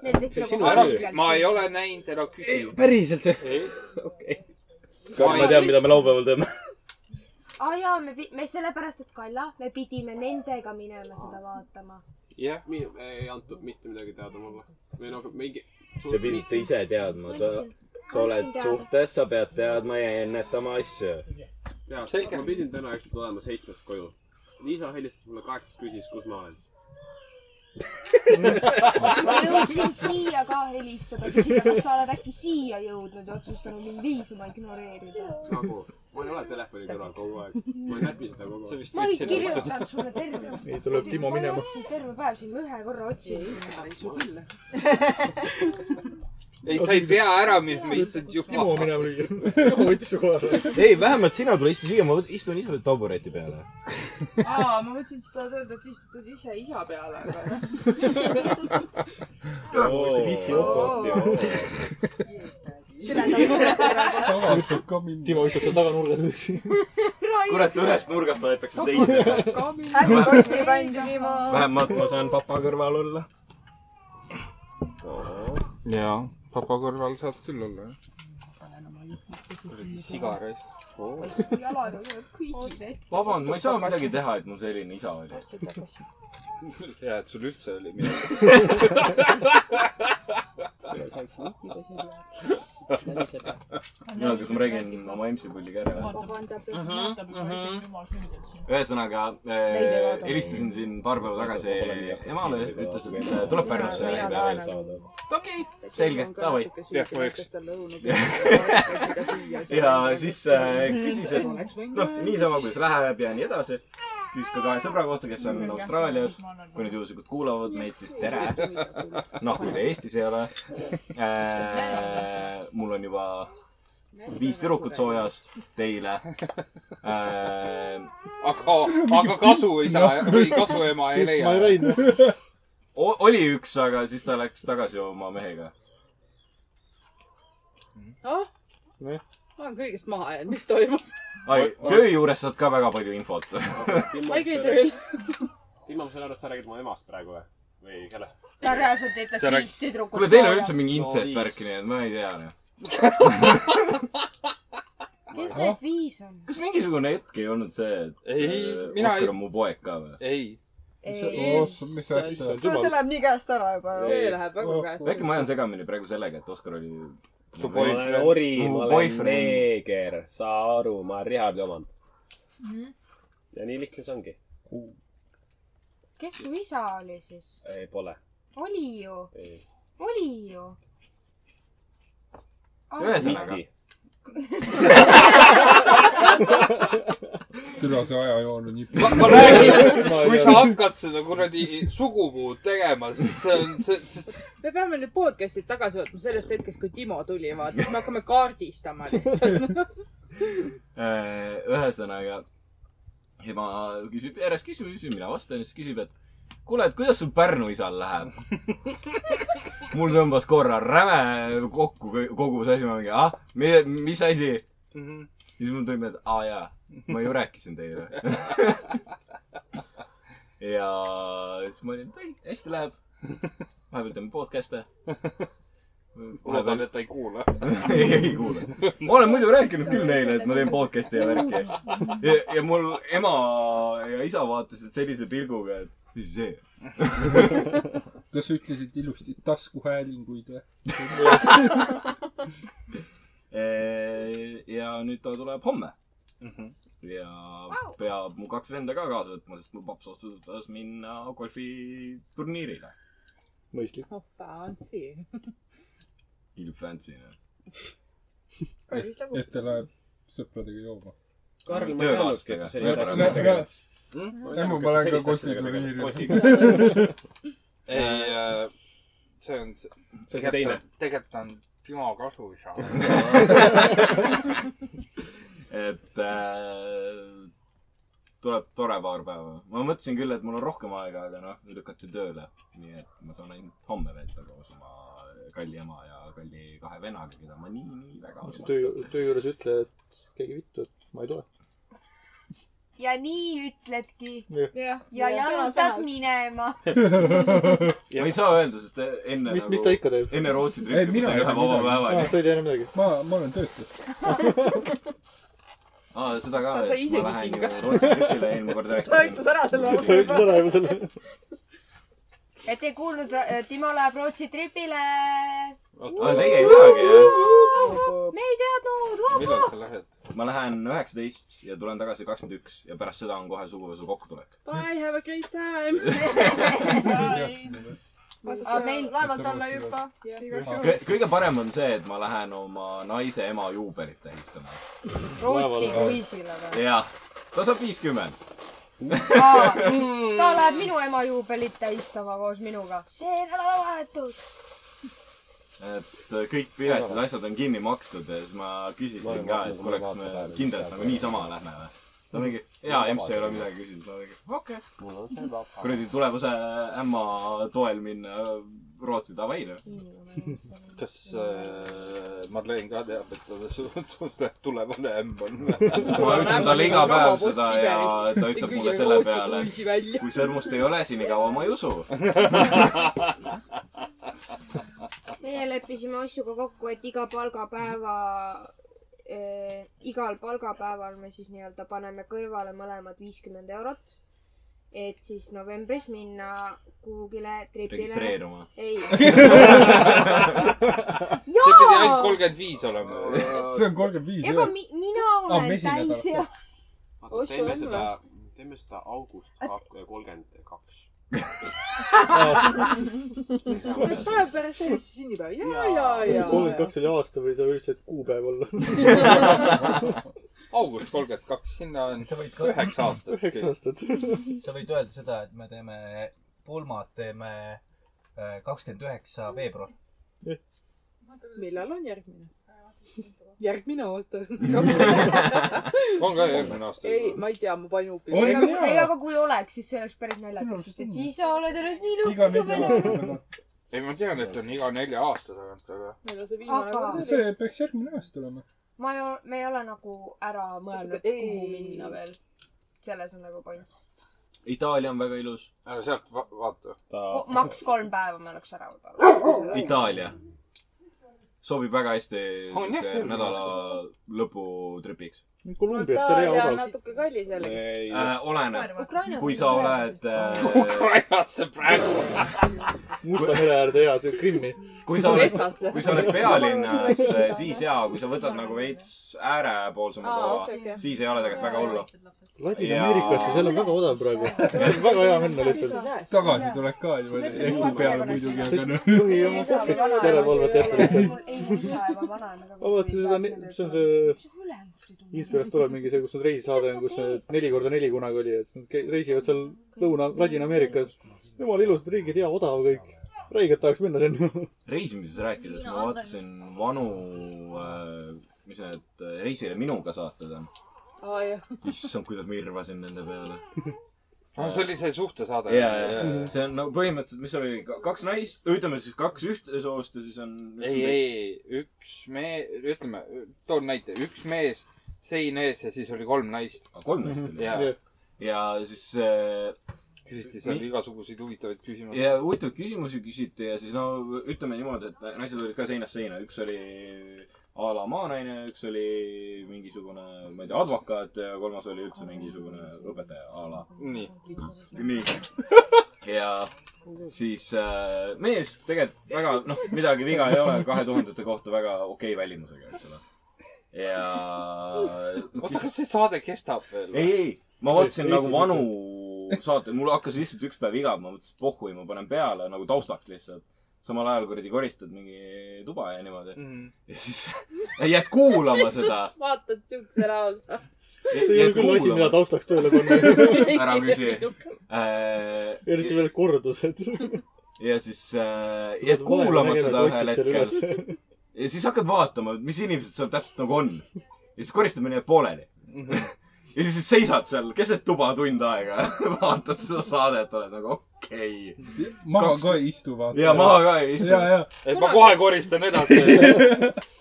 [SPEAKER 25] need olid
[SPEAKER 31] See on
[SPEAKER 25] nagu
[SPEAKER 31] sinu asi.
[SPEAKER 25] halb-
[SPEAKER 5] ma ei ole näinud , ära küsi .
[SPEAKER 31] päriselt
[SPEAKER 5] see ?
[SPEAKER 31] okei .
[SPEAKER 9] kas ma tean , mida me laupäeval teeme ?
[SPEAKER 25] aa jaa , me , me sellepärast , et Kalla , me pidime nendega minema seda vaatama .
[SPEAKER 31] jah , ei antud mitte midagi teada mulle . või noh , mingi .
[SPEAKER 9] Te pidite ise teadma , sa , sa oled
[SPEAKER 25] Andsin teada.
[SPEAKER 9] suhtes , sa pead teadma ja ennetama asju .
[SPEAKER 31] jaa , selge . ma pidin täna ükskord olema seitsmest koju . Liisa helistas mulle kaheksast , küsis , kus ma olen .
[SPEAKER 25] ma jõudsin siia ka helistada , küsida , kas sa oled äkki siia jõudnud ja otsustanud mind viisuma ignoreerida .
[SPEAKER 31] nagu , ma ei ole telefoni kõrval kogu aeg . ma ei näpi seda kogu aeg . sa vist
[SPEAKER 25] ma ei kirjutanud sulle terve .
[SPEAKER 1] Nii, tuleb Timo minema.
[SPEAKER 25] ma otsin terve päev sind , ma ühe korra otsin .
[SPEAKER 5] ei , sa ei pea ära minema , istud juba .
[SPEAKER 1] Timo minema lüüa . Timo võttis su koha ära .
[SPEAKER 32] ei , vähemalt sina tule istu siia , ma võt- istun ise tabureti peale .
[SPEAKER 28] aa , ma mõtlesin , et sa tahad öelda , et istutud ise isa peale , aga noh .
[SPEAKER 1] Timo istub tal taganurgas üksi .
[SPEAKER 2] kurat , ühest nurgast aetakse teise .
[SPEAKER 6] häbi kosti pandi Timo .
[SPEAKER 2] vähemalt ma saan papa kõrval olla .
[SPEAKER 29] jaa , papa kõrval saad küll olla , jah .
[SPEAKER 5] kuradi siga raisk .
[SPEAKER 25] jalad on kõigil .
[SPEAKER 2] vabandust , ma ei saa midagi teha , et mul selline isa oli .
[SPEAKER 5] hea , et sul üldse oli midagi .
[SPEAKER 2] mina , kas ma räägin oma MC pulliga ära või ?
[SPEAKER 5] Mhm.
[SPEAKER 2] ühesõnaga äh, helistasin siin paar päeva tagasi emale , ütles , et äh, tuleb Pärnusse ja lähme veel . okei , selge , davai .
[SPEAKER 3] jah , ma eks .
[SPEAKER 2] ja siis äh, küsis , et noh , niisama kuidas läheb ja nii edasi . küsis ka kahe sõbra kohta , kes on Austraalias . kui nad juhuslikult kuulavad meid , siis tere .
[SPEAKER 25] äh,
[SPEAKER 2] noh , kui te Eestis ei ole äh, . mul on juba viis tüdrukut soojas teile äh, .
[SPEAKER 5] aga , aga kasu ei saa või kasu ema ei leia .
[SPEAKER 2] O- oli üks , aga siis ta läks tagasi oma mehega .
[SPEAKER 3] ah , ma olen kõigest maha jäänud , mis toimub ?
[SPEAKER 2] ai , töö juures saad ka väga palju infot .
[SPEAKER 3] ma ei käi tööl .
[SPEAKER 31] Timo , ma saan aru , et sa räägid mu emast praegu või ? või kellest ?
[SPEAKER 25] ta reaalselt ütles viis tüdrukut .
[SPEAKER 2] kuule , teil on üldse mingi intsest värki , nii et ma ei tea . noh.
[SPEAKER 25] kes need viis on ?
[SPEAKER 2] kas mingisugune hetk ei olnud see , et
[SPEAKER 5] Ei,
[SPEAKER 2] äh,
[SPEAKER 5] mina ei-
[SPEAKER 2] Oskar on mu poeg ka või ?
[SPEAKER 5] ei .
[SPEAKER 8] mis asja ?
[SPEAKER 6] kuule , see läheb nii käest ära juba .
[SPEAKER 2] äkki ma ajan segamini praegu sellega , et Oskar oli Tu
[SPEAKER 33] ma olen
[SPEAKER 2] boyfriend.
[SPEAKER 33] ori ,
[SPEAKER 2] Tu
[SPEAKER 33] ma olen
[SPEAKER 2] boyfriend.
[SPEAKER 33] neeger , saa aru , ma olen Rihardi omand . ja nii lihtne see ongi .
[SPEAKER 25] kes su isa oli siis ?
[SPEAKER 33] ei , pole .
[SPEAKER 25] oli ju ,
[SPEAKER 33] ei .
[SPEAKER 25] oli ju . Ah,
[SPEAKER 2] ühesõnaga .
[SPEAKER 8] küla see ajajoon on nii
[SPEAKER 5] ma , ma räägin , kui sa hakkad seda kuradi sugupuud tegema , siis see on , see , see ,
[SPEAKER 3] me peame nüüd podcast'id tagasi võtma sellest hetkest , kui Timo tuli , vaata , siis me hakkame kaardistama lihtsalt .
[SPEAKER 2] äh, ühesõnaga , ema küsib järjest küsimusi , mina vastan ja siis küsib , et kuule , et kuidas sul Pärnu isal läheb ? mul tõmbas korra räme kokku kõ- kogu see asi , ma mingi , ah , mis asi ?
[SPEAKER 5] Mhm.
[SPEAKER 2] siis mul tuli meelde , aa jaa , ma ju rääkisin teile . ja siis ma olin , et ei , hästi läheb . vahepeal teeme podcast'e .
[SPEAKER 5] loodan , et ta ei kuula .
[SPEAKER 2] ei , ei kuule . ma olen muidu rääkinud küll neile , et ma teen podcast'i ja värki . ja , ja mul ema ja isa vaatasid sellise pilguga , et mis see .
[SPEAKER 8] kas sa ütlesid ilusti taskuhäälinguid või ?
[SPEAKER 2] ja nüüd ta tuleb homme .
[SPEAKER 33] Mhm.
[SPEAKER 2] ja peab mu kaks venda ka kaasa võtma , sest mu paps otsustas minna golfiturniirile .
[SPEAKER 8] mõistlik .
[SPEAKER 3] Oh, Fancy .
[SPEAKER 2] ilm fancy , noh .
[SPEAKER 8] et ta läheb sõpradega jooma .
[SPEAKER 33] Karl, ma ei teadnudki, et sa sellise asjaga tegeled. Ma ei
[SPEAKER 8] emu ,
[SPEAKER 33] teadnudki, et sa
[SPEAKER 8] ma lähen ka
[SPEAKER 33] sellise asjaga tegeled.
[SPEAKER 8] kosmiturniirile .
[SPEAKER 5] ei , see on .
[SPEAKER 33] See on see teine. .
[SPEAKER 5] tegelikult on Timo kasuisa .
[SPEAKER 2] et äh, tuleb tore paar päeva . ma mõtlesin küll , et mul on rohkem aega , aga noh , lükati tööle . nii et ma saan ainult homme veeta koos oma kalli ema ja kalli kahe vennaga , keda ma nii , nii väga
[SPEAKER 1] miks sa töö , töö juures ütle , et keegi vittu , et ma ei tule .
[SPEAKER 25] ja nii ütledki .
[SPEAKER 1] Jah.
[SPEAKER 25] ja
[SPEAKER 6] Ja
[SPEAKER 25] jalutad
[SPEAKER 6] sõna-sõnalt.
[SPEAKER 25] minema .
[SPEAKER 2] ma ei saa öelda , sest enne nagu
[SPEAKER 1] mis , mis ta ikka teeb ?
[SPEAKER 2] enne Rootsi trippi ma sain ühe vaba päeva .
[SPEAKER 1] sa ei tea enam midagi ?
[SPEAKER 8] ma , ma olen töötu .
[SPEAKER 2] aa , seda ka .
[SPEAKER 8] Sa isegi
[SPEAKER 2] ma lähen ju
[SPEAKER 8] kingas.
[SPEAKER 2] Rootsi tripile eelmine kord rääkisin .
[SPEAKER 6] ta ütles ära selle
[SPEAKER 1] sa ütled ära juba selle .
[SPEAKER 25] et ei kuulnud , Timo läheb Rootsi
[SPEAKER 2] aa ,
[SPEAKER 25] tripile .
[SPEAKER 2] teie ei teagi jah ?
[SPEAKER 25] me ei
[SPEAKER 2] Millal sa
[SPEAKER 25] teadnud .
[SPEAKER 2] lähed ? ma lähen üheksateist ja tulen tagasi kakskümmend üks ja pärast seda on kohe suguvõsu kokkutulek .
[SPEAKER 3] Bye , have a great time
[SPEAKER 6] laevalt alla ei hüppa .
[SPEAKER 2] kõige parem on see , et ma lähen oma naise ema juubelit tähistama .
[SPEAKER 25] Rootsi kruiisile või ?
[SPEAKER 2] jah , ta saab viiskümmend .
[SPEAKER 3] Mm.
[SPEAKER 25] ta läheb minu ema juubelit tähistama koos minuga . see nädalavahetus .
[SPEAKER 2] et kõik piletid , asjad on kinni makstud ja siis ma küsisin ka , et kuule , kas me kindlalt nagu niisama lähme või ? ta mingi , jaa , EMS ei ole midagi küsinud . ma mingi , okei . kuradi tulevuse ämma toel minna äh, Rootsi noh. Davaile .
[SPEAKER 5] kas äh, Marleen ka teab , et ta su- tu- tulevane ämm on ?
[SPEAKER 2] ma ütlen talle iga päev seda ja ta ütleb mulle selle peale ,
[SPEAKER 3] kui
[SPEAKER 2] sõrmust ei ole siin nii kaua , ma ei usu .
[SPEAKER 25] meie leppisime Ossuga kokku , et iga palgapäeva äh, , igal palgapäeval me siis nii-öelda paneme kõrvale mõlemad viiskümmend eurot . et siis novembris minna kuhugile tripile .
[SPEAKER 2] Registreeruma.
[SPEAKER 25] ei .
[SPEAKER 5] see pidi ainult kolmkümmend viis olema .
[SPEAKER 8] see on kolmkümmend viis
[SPEAKER 25] ega mi- , mina olen täis ja .
[SPEAKER 33] teeme
[SPEAKER 25] Ossu on
[SPEAKER 33] seda
[SPEAKER 25] või ?,
[SPEAKER 33] teeme seda august kolmkümmend kaks .
[SPEAKER 3] oleks päev pärast Eestis sünnipäev . ja , ja , ja .
[SPEAKER 1] kolmkümmend kaks oli aasta või sa üritasid kuupäev olla ?
[SPEAKER 5] august kolmkümmend kaks , sinna on üheksa aastat .
[SPEAKER 1] üheksa aastat .
[SPEAKER 34] sa võid öelda seda , et me teeme , pulmad teeme äh, kakskümmend üheksa veebruar .
[SPEAKER 3] millal on järgmine ? järgmine aasta .
[SPEAKER 5] on ka järgmine aasta
[SPEAKER 3] ei , ma ei tea , ma panin hoopis .
[SPEAKER 25] ega , ega ka kui oleks , siis see oleks päris naljakas , sest et siis sa oled ennast nii lukku pannud .
[SPEAKER 5] ei , ma tean , et on iga nelja aasta tagant , aga .
[SPEAKER 3] meil on see viimane
[SPEAKER 25] Aga-
[SPEAKER 3] kord .
[SPEAKER 8] see peaks järgmine aasta olema .
[SPEAKER 25] ma ei ole , me ei ole nagu ära mõelnud , kuhu minna veel . selles on nagu point .
[SPEAKER 2] Itaalia on väga ilus .
[SPEAKER 5] ära sealt va vaata .
[SPEAKER 25] maks kolm päeva me oleks ära võib-olla .
[SPEAKER 2] Itaalia . sobib väga hästi
[SPEAKER 25] On jah,
[SPEAKER 2] siukse
[SPEAKER 25] küll.
[SPEAKER 2] nädala lõputripiks .
[SPEAKER 1] Kolumbias see oli hea odavalt .
[SPEAKER 3] natuke kallis jällegi .
[SPEAKER 2] äh, oleneb
[SPEAKER 3] Ukrainas ,
[SPEAKER 2] kui
[SPEAKER 3] on
[SPEAKER 2] sa
[SPEAKER 3] ka
[SPEAKER 2] oled äh, .
[SPEAKER 1] Ukrainasse praegu . Musta mere äärde ja Krimmi .
[SPEAKER 2] kui sa oled , kui sa oled pealinnas , siis jaa , kui sa võtad nagu veits äärepoolsema
[SPEAKER 1] Aa,
[SPEAKER 2] koha
[SPEAKER 1] okei. ,
[SPEAKER 2] siis ei ole tegelikult väga hullu .
[SPEAKER 1] Ladina-Ameerikasse , seal on väga odav praegu . väga hea minna lihtsalt .
[SPEAKER 8] tagasi tuled ka ju veel elu peale muidugi , aga noh .
[SPEAKER 1] tohi oma kohvrit järelevalvet jätta lihtsalt . vaata seda , see on see , Inspirast tuleb mingi see , kus nad reisisaade on , kus need neli korda neli kunagi oli , et siis nad ke- reisivad seal Lõuna , Ladina-Ameerikas . jumala ilusad riigid , hea odav kõik . räigelt tahaks minna sinna .
[SPEAKER 2] reisimises rääkides ma vaatasin vanu äh, , mis need äh, Reisile minuga saated on .
[SPEAKER 3] aa jah .
[SPEAKER 2] issand , kuidas ma irvasin nende peale .
[SPEAKER 5] Aa, see oli see suhtesaade.
[SPEAKER 2] ja , ja
[SPEAKER 5] Jaa, jaa. ,
[SPEAKER 2] see on nagu põhimõtteliselt , mis seal oli , kaks naist , ütleme siis kaks ühte soost ja siis on .
[SPEAKER 5] ei , ei , üks mees , ütleme , toon näite , üks mees sein ees ja siis oli kolm naist .
[SPEAKER 2] kolm naist oli?
[SPEAKER 5] jaa
[SPEAKER 2] Jah. . ja siis äh, .
[SPEAKER 5] küsiti seal igasuguseid huvitavaid küsimusi .
[SPEAKER 2] ja huvitavaid küsimusi küsiti ja siis no ütleme niimoodi , et na- naised olid ka seinast seina , üks oli a la maanaine , üks oli mingisugune , ma ei tea , advokaat ja kolmas oli üldse mingisugune õpetaja a la .
[SPEAKER 5] Nii.
[SPEAKER 2] nii . ja siis äh, mees tegelikult väga , noh , midagi viga ei ole , kahe tuhandete kohta väga okei välimusega , eks ole . ja .
[SPEAKER 5] oota , kas see saade kestab veel ?
[SPEAKER 2] ei , ei , ma vaatasin nagu vanu saate , mul hakkas lihtsalt üks päev igav , ma mõtlesin , et pohhui , ma panen peale nagu taustaks lihtsalt . samal ajal kuradi koristad mingi tuba ja niimoodi mm .
[SPEAKER 5] -hmm.
[SPEAKER 2] ja siis jääd kuulama seda .
[SPEAKER 3] vaatad siukse näoga .
[SPEAKER 1] see ei ole küll asi , mida taustaks tööle panna .
[SPEAKER 2] ära küsi . eriti
[SPEAKER 1] eriti veel kordused .
[SPEAKER 2] ja siis äh,
[SPEAKER 1] Sa
[SPEAKER 2] jääd
[SPEAKER 1] pead
[SPEAKER 2] kuulama
[SPEAKER 1] vaeva nägema,
[SPEAKER 2] seda
[SPEAKER 1] et
[SPEAKER 2] ühel
[SPEAKER 1] otsid selle
[SPEAKER 2] hetkel . ja siis hakkad vaatama , et mis inimesed seal täpselt nagu on . ja siis koristamine jääb pooleli .
[SPEAKER 5] Mhm.
[SPEAKER 2] ja siis seisad seal keset tuba tund aega , vaatad seda saadet , oled nagu okei okay. .
[SPEAKER 8] maha ka ei istu , vaata .
[SPEAKER 2] ja maha ka ei istu
[SPEAKER 8] ja , ja ..
[SPEAKER 5] et ma kohe koristan edasi .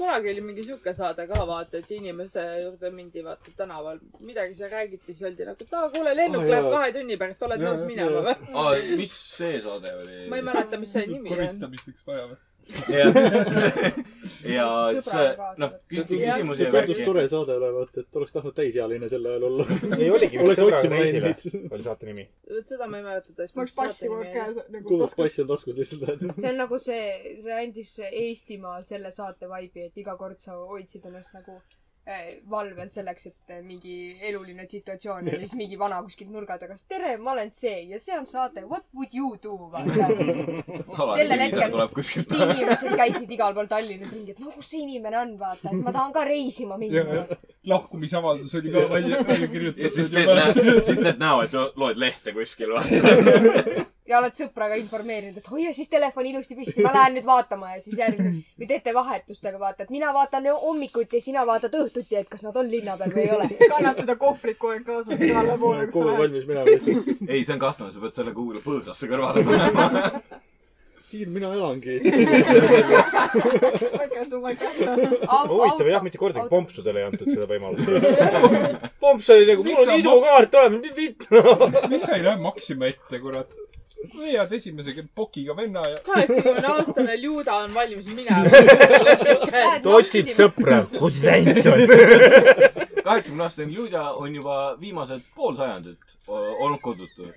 [SPEAKER 3] kunagi oli mingi sihuke saade ka , vaata , et inimese juurde mindi , vaata tänaval , midagi seal räägiti , siis öeldi nagu , et aa , kuule , lennuk
[SPEAKER 2] Aa,
[SPEAKER 3] oh, läheb
[SPEAKER 2] jaa.
[SPEAKER 3] kahe tunni pärast , oled nõus minema või ?
[SPEAKER 2] aa , mis see saade oli ?
[SPEAKER 3] ma ei mäleta , mis see nimi on .
[SPEAKER 8] koristamiseks vajavad .
[SPEAKER 2] jah , ja see , noh , küsiti küsimusi ja
[SPEAKER 1] tundus
[SPEAKER 2] värki .
[SPEAKER 1] tore saade olevat , et oleks tahtnud täisealine sel ajal olla .
[SPEAKER 35] ei oligi ,
[SPEAKER 1] oleks
[SPEAKER 35] Sõbraga
[SPEAKER 1] otsima
[SPEAKER 35] reisile
[SPEAKER 1] läinud .
[SPEAKER 35] oli saate nimi .
[SPEAKER 3] vot seda ma ei mäleta tõesti .
[SPEAKER 6] ma oleks passi kogu aeg käes nagu
[SPEAKER 1] kuulad
[SPEAKER 6] taskus .
[SPEAKER 1] passi on taskus lihtsalt
[SPEAKER 25] see
[SPEAKER 1] lähed .
[SPEAKER 25] on nagu see , see andis Eestimaal selle saate vaibi , et iga kord sa hoidsid ennast nagu eh, valvel selleks , et eh, mingi eluline situatsioon oli , siis mingi vana kuskil nurga taga , siis tere , ma olen see ja see on saade What would you do , vaata . sellel hetkel
[SPEAKER 2] tuleb kuskilt .
[SPEAKER 25] inimesed käisid igal pool Tallinnas ringi , et no kus see inimene on , vaata , et ma tahan ka reisima minna .
[SPEAKER 8] lahkumisavaldus oli ka välja , välja kirjutatud .
[SPEAKER 2] ja siis need , siis need näevad , loed lehte kuskil , vaata .
[SPEAKER 25] ja oled sõpra ka informeerinud , et hoia siis telefon ilusti püsti , ma lähen nüüd vaatama ja siis järgmine või teete vahetustega , vaata , et mina vaatan hommikuti ja sina vaatad õhtuti , et kas nad on linna peal või ei ole .
[SPEAKER 6] kannad seda kohvrit kogu aeg kaasas igale poole , kus sa
[SPEAKER 1] kohe
[SPEAKER 6] lähed .
[SPEAKER 1] valmis minema lihtsalt .
[SPEAKER 2] ei , see on kahtlane , sa pead selle kuhugi põõsasse kõrvale panema .
[SPEAKER 1] siin mina elangi .
[SPEAKER 35] huvitav jah , mitte kordagi pompsudele ei antud seda võimalust . pomps oli nagu , mul on idukaart olemas , nüüd vitt .
[SPEAKER 8] miks sa ei lähe maksima ette , kurat ? leiad esimese pokiga venna ja .
[SPEAKER 3] kaheksakümne aastane Ljuda on valmis minema .
[SPEAKER 35] ta otsib sõpra . kus see läinud see on ?
[SPEAKER 2] kaheksakümne aastane Julia on juba viimased pool sajandit o- olnud kodutu .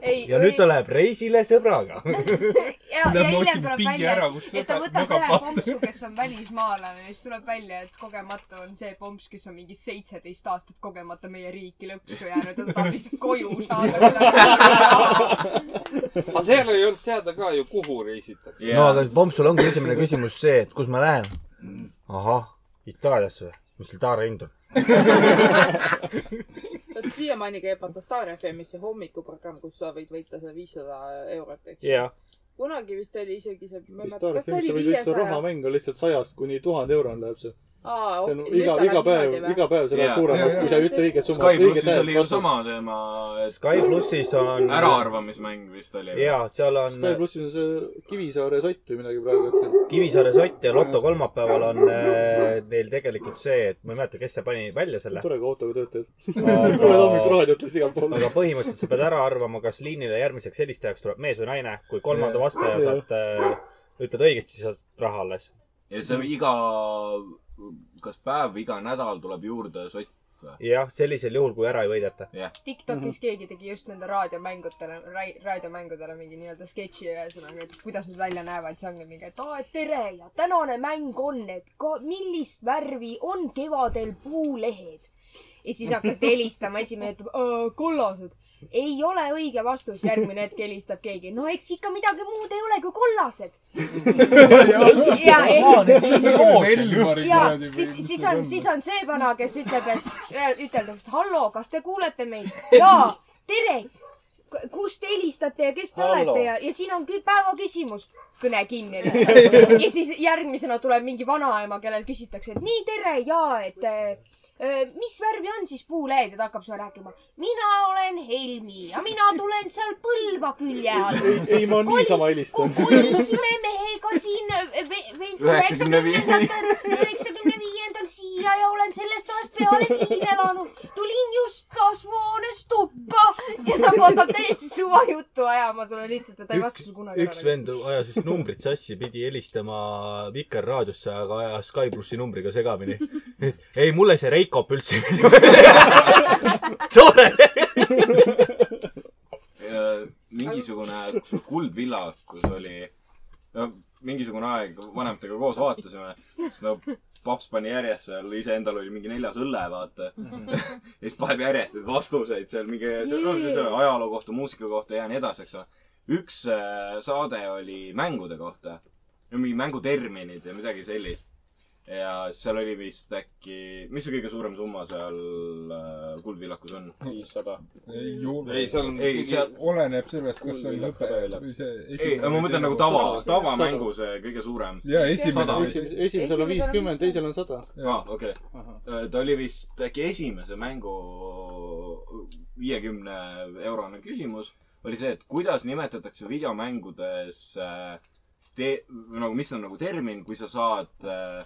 [SPEAKER 35] ja nüüd ta läheb reisile sõbraga .
[SPEAKER 25] ja , ja
[SPEAKER 2] Lähme
[SPEAKER 25] hiljem
[SPEAKER 2] otsime
[SPEAKER 25] tuleb
[SPEAKER 2] pingi
[SPEAKER 25] välja
[SPEAKER 2] ära, , kus
[SPEAKER 25] et, et ta
[SPEAKER 2] sõbrad
[SPEAKER 25] võtab
[SPEAKER 2] magama.
[SPEAKER 25] ühe kompsu , kes on välismaalane ja siis tuleb välja , et kogemata on see pomps , kes on mingi seitseteist aastat kogemata meie riiki lõksu jäänud ja ta tahab lihtsalt koju saada .
[SPEAKER 5] aga seal ei olnud teada ka ju , kuhu reisitakse
[SPEAKER 36] no aga Pompsul ongi esimene küsimus see , et kus ma lähen . ahah , Itaaliasse või ? mis seal Taara hind on ?
[SPEAKER 3] vot siiamaani käib vaata Star FM-is see hommikuprogramm , kus sa võid võita seda viissada eurot , eks .
[SPEAKER 35] jah .
[SPEAKER 3] kunagi vist oli isegi see , ma ei mäleta , kas ta oli
[SPEAKER 1] see
[SPEAKER 3] viiesaja .
[SPEAKER 1] rahamäng on lihtsalt sajast kuni tuhande euroni läheb see .
[SPEAKER 3] aa ,
[SPEAKER 1] see on iga , iga päev , iga päev see läheb suuremaks , kui sa ei ütle õiget summat .
[SPEAKER 2] Sky plussis oli ju sama teema , et
[SPEAKER 1] Sky plussis on-
[SPEAKER 2] äraarvamismäng vist oli .
[SPEAKER 9] jaa , seal on
[SPEAKER 1] Sky plussis on see Kivisaare sott või midagi praegu hetkel .
[SPEAKER 9] Kivisaare sott ja Lotto kolmapäeval on äh, neil tegelikult see , et ma ei mäleta , kes see pani välja selle .
[SPEAKER 1] tore , kui autoga töötad .
[SPEAKER 9] Aga-
[SPEAKER 1] kuuled hommikul raadiot lihtsalt igalt poolt .
[SPEAKER 9] aga põhimõtteliselt sa pead ära arvama , kas liinile järgmiseks helistajaks tuleb mees või naine . kui kolmanda vastaja
[SPEAKER 1] Jah.
[SPEAKER 9] saad äh, , ütled õigesti , siis saad raha alles .
[SPEAKER 2] ja see iga kas päev või iga nädal tuleb juurde sott või ?
[SPEAKER 37] jah , sellisel juhul , kui ära ei võideta .
[SPEAKER 2] jah .
[SPEAKER 25] Tiktokis keegi tegi just nende raadiomängudele , raadiomängudele mingi nii-öelda sketši ühesõnaga , et kuidas nad välja näevad , siis ongi mingi , et aa , et tere ja tänane mäng on , et ka, millist värvi on kevadel puulehed . ja siis hakkad helistama , esimene ütleb , kollased . ei ole õige vastus , järgmine hetk helistab keegi , no eks ikka midagi muud ei ole kui kollased . ja , ja siis , ja siis , siis
[SPEAKER 8] nagu
[SPEAKER 25] on , siis on see vana , kes ütleb , et üteldakse , et hallo , kas te kuulete meid ? jaa , tere . kust te helistate ja kes te
[SPEAKER 38] Hallo.
[SPEAKER 25] olete ja , ja siin on kü- päeva küsimus . kõne kinni lihtsalt . ja siis järgmisena tuleb mingi vanaema , kellel küsitakse , et nii , tere ja et äh, mis värvi on siis puulehed ja ta hakkab sulle rääkima . mina olen Helmi ja mina tulen seal Põlva külje all .
[SPEAKER 1] ei , ei ma niisama helistan .
[SPEAKER 25] kolisime mehega siin ve- ve- ve-
[SPEAKER 1] Üheksakümne viie-
[SPEAKER 25] üheksakümnendatel , üheksakümne viiendal siia ja olen sellest ajast peale siin elanud . tulin just kasvuhoones tuppa ja nagu hakkab täiesti suva juttu ajama sulle lihtsalt ja ta ei vasta
[SPEAKER 39] üks
[SPEAKER 25] sulle , kunagi
[SPEAKER 39] üks . vend ajas vist numbrit sassi , pidi helistama Vikerraadiosse , aga ajas Sky plussi numbriga segamini . et ei , mulle see Reikop üldse ei meeldi . tore .
[SPEAKER 2] mingisugune kuldvillakus oli , no mingisugune aeg vanematega koos vaatasime , siis no paps pani järjest seal , iseendal oli mingi neljas õlle , vaata . ja siis paneb järjest neid vastuseid seal mingi , no
[SPEAKER 37] Nii.
[SPEAKER 2] selle ajaloo kohta , muusika kohta ja nii edasi , eks ole . üks äh, saade oli mängude kohta . mingi mänguterminid ja midagi sellist . ja seal oli vist äkki , mis see kõige suurem summa seal äh, kuldvillakus on ? viissada .
[SPEAKER 8] ei ole .
[SPEAKER 2] ei , seal on . ei , seal .
[SPEAKER 8] oleneb sellest , kas see on lõpe või see .
[SPEAKER 2] ei , ma mõtlen nagu tava , tavamängu see kõige suurem .
[SPEAKER 8] Jaa, esimene-
[SPEAKER 1] esimesel, esimesel on viiskümmend , teisel on sada .
[SPEAKER 2] aa , Ah, okei . ta oli vist äkki esimese mängu viiekümne eurone küsimus oli see , et kuidas nimetatakse videomängudes äh, te- , nagu , mis on nagu termin , kui sa saad äh,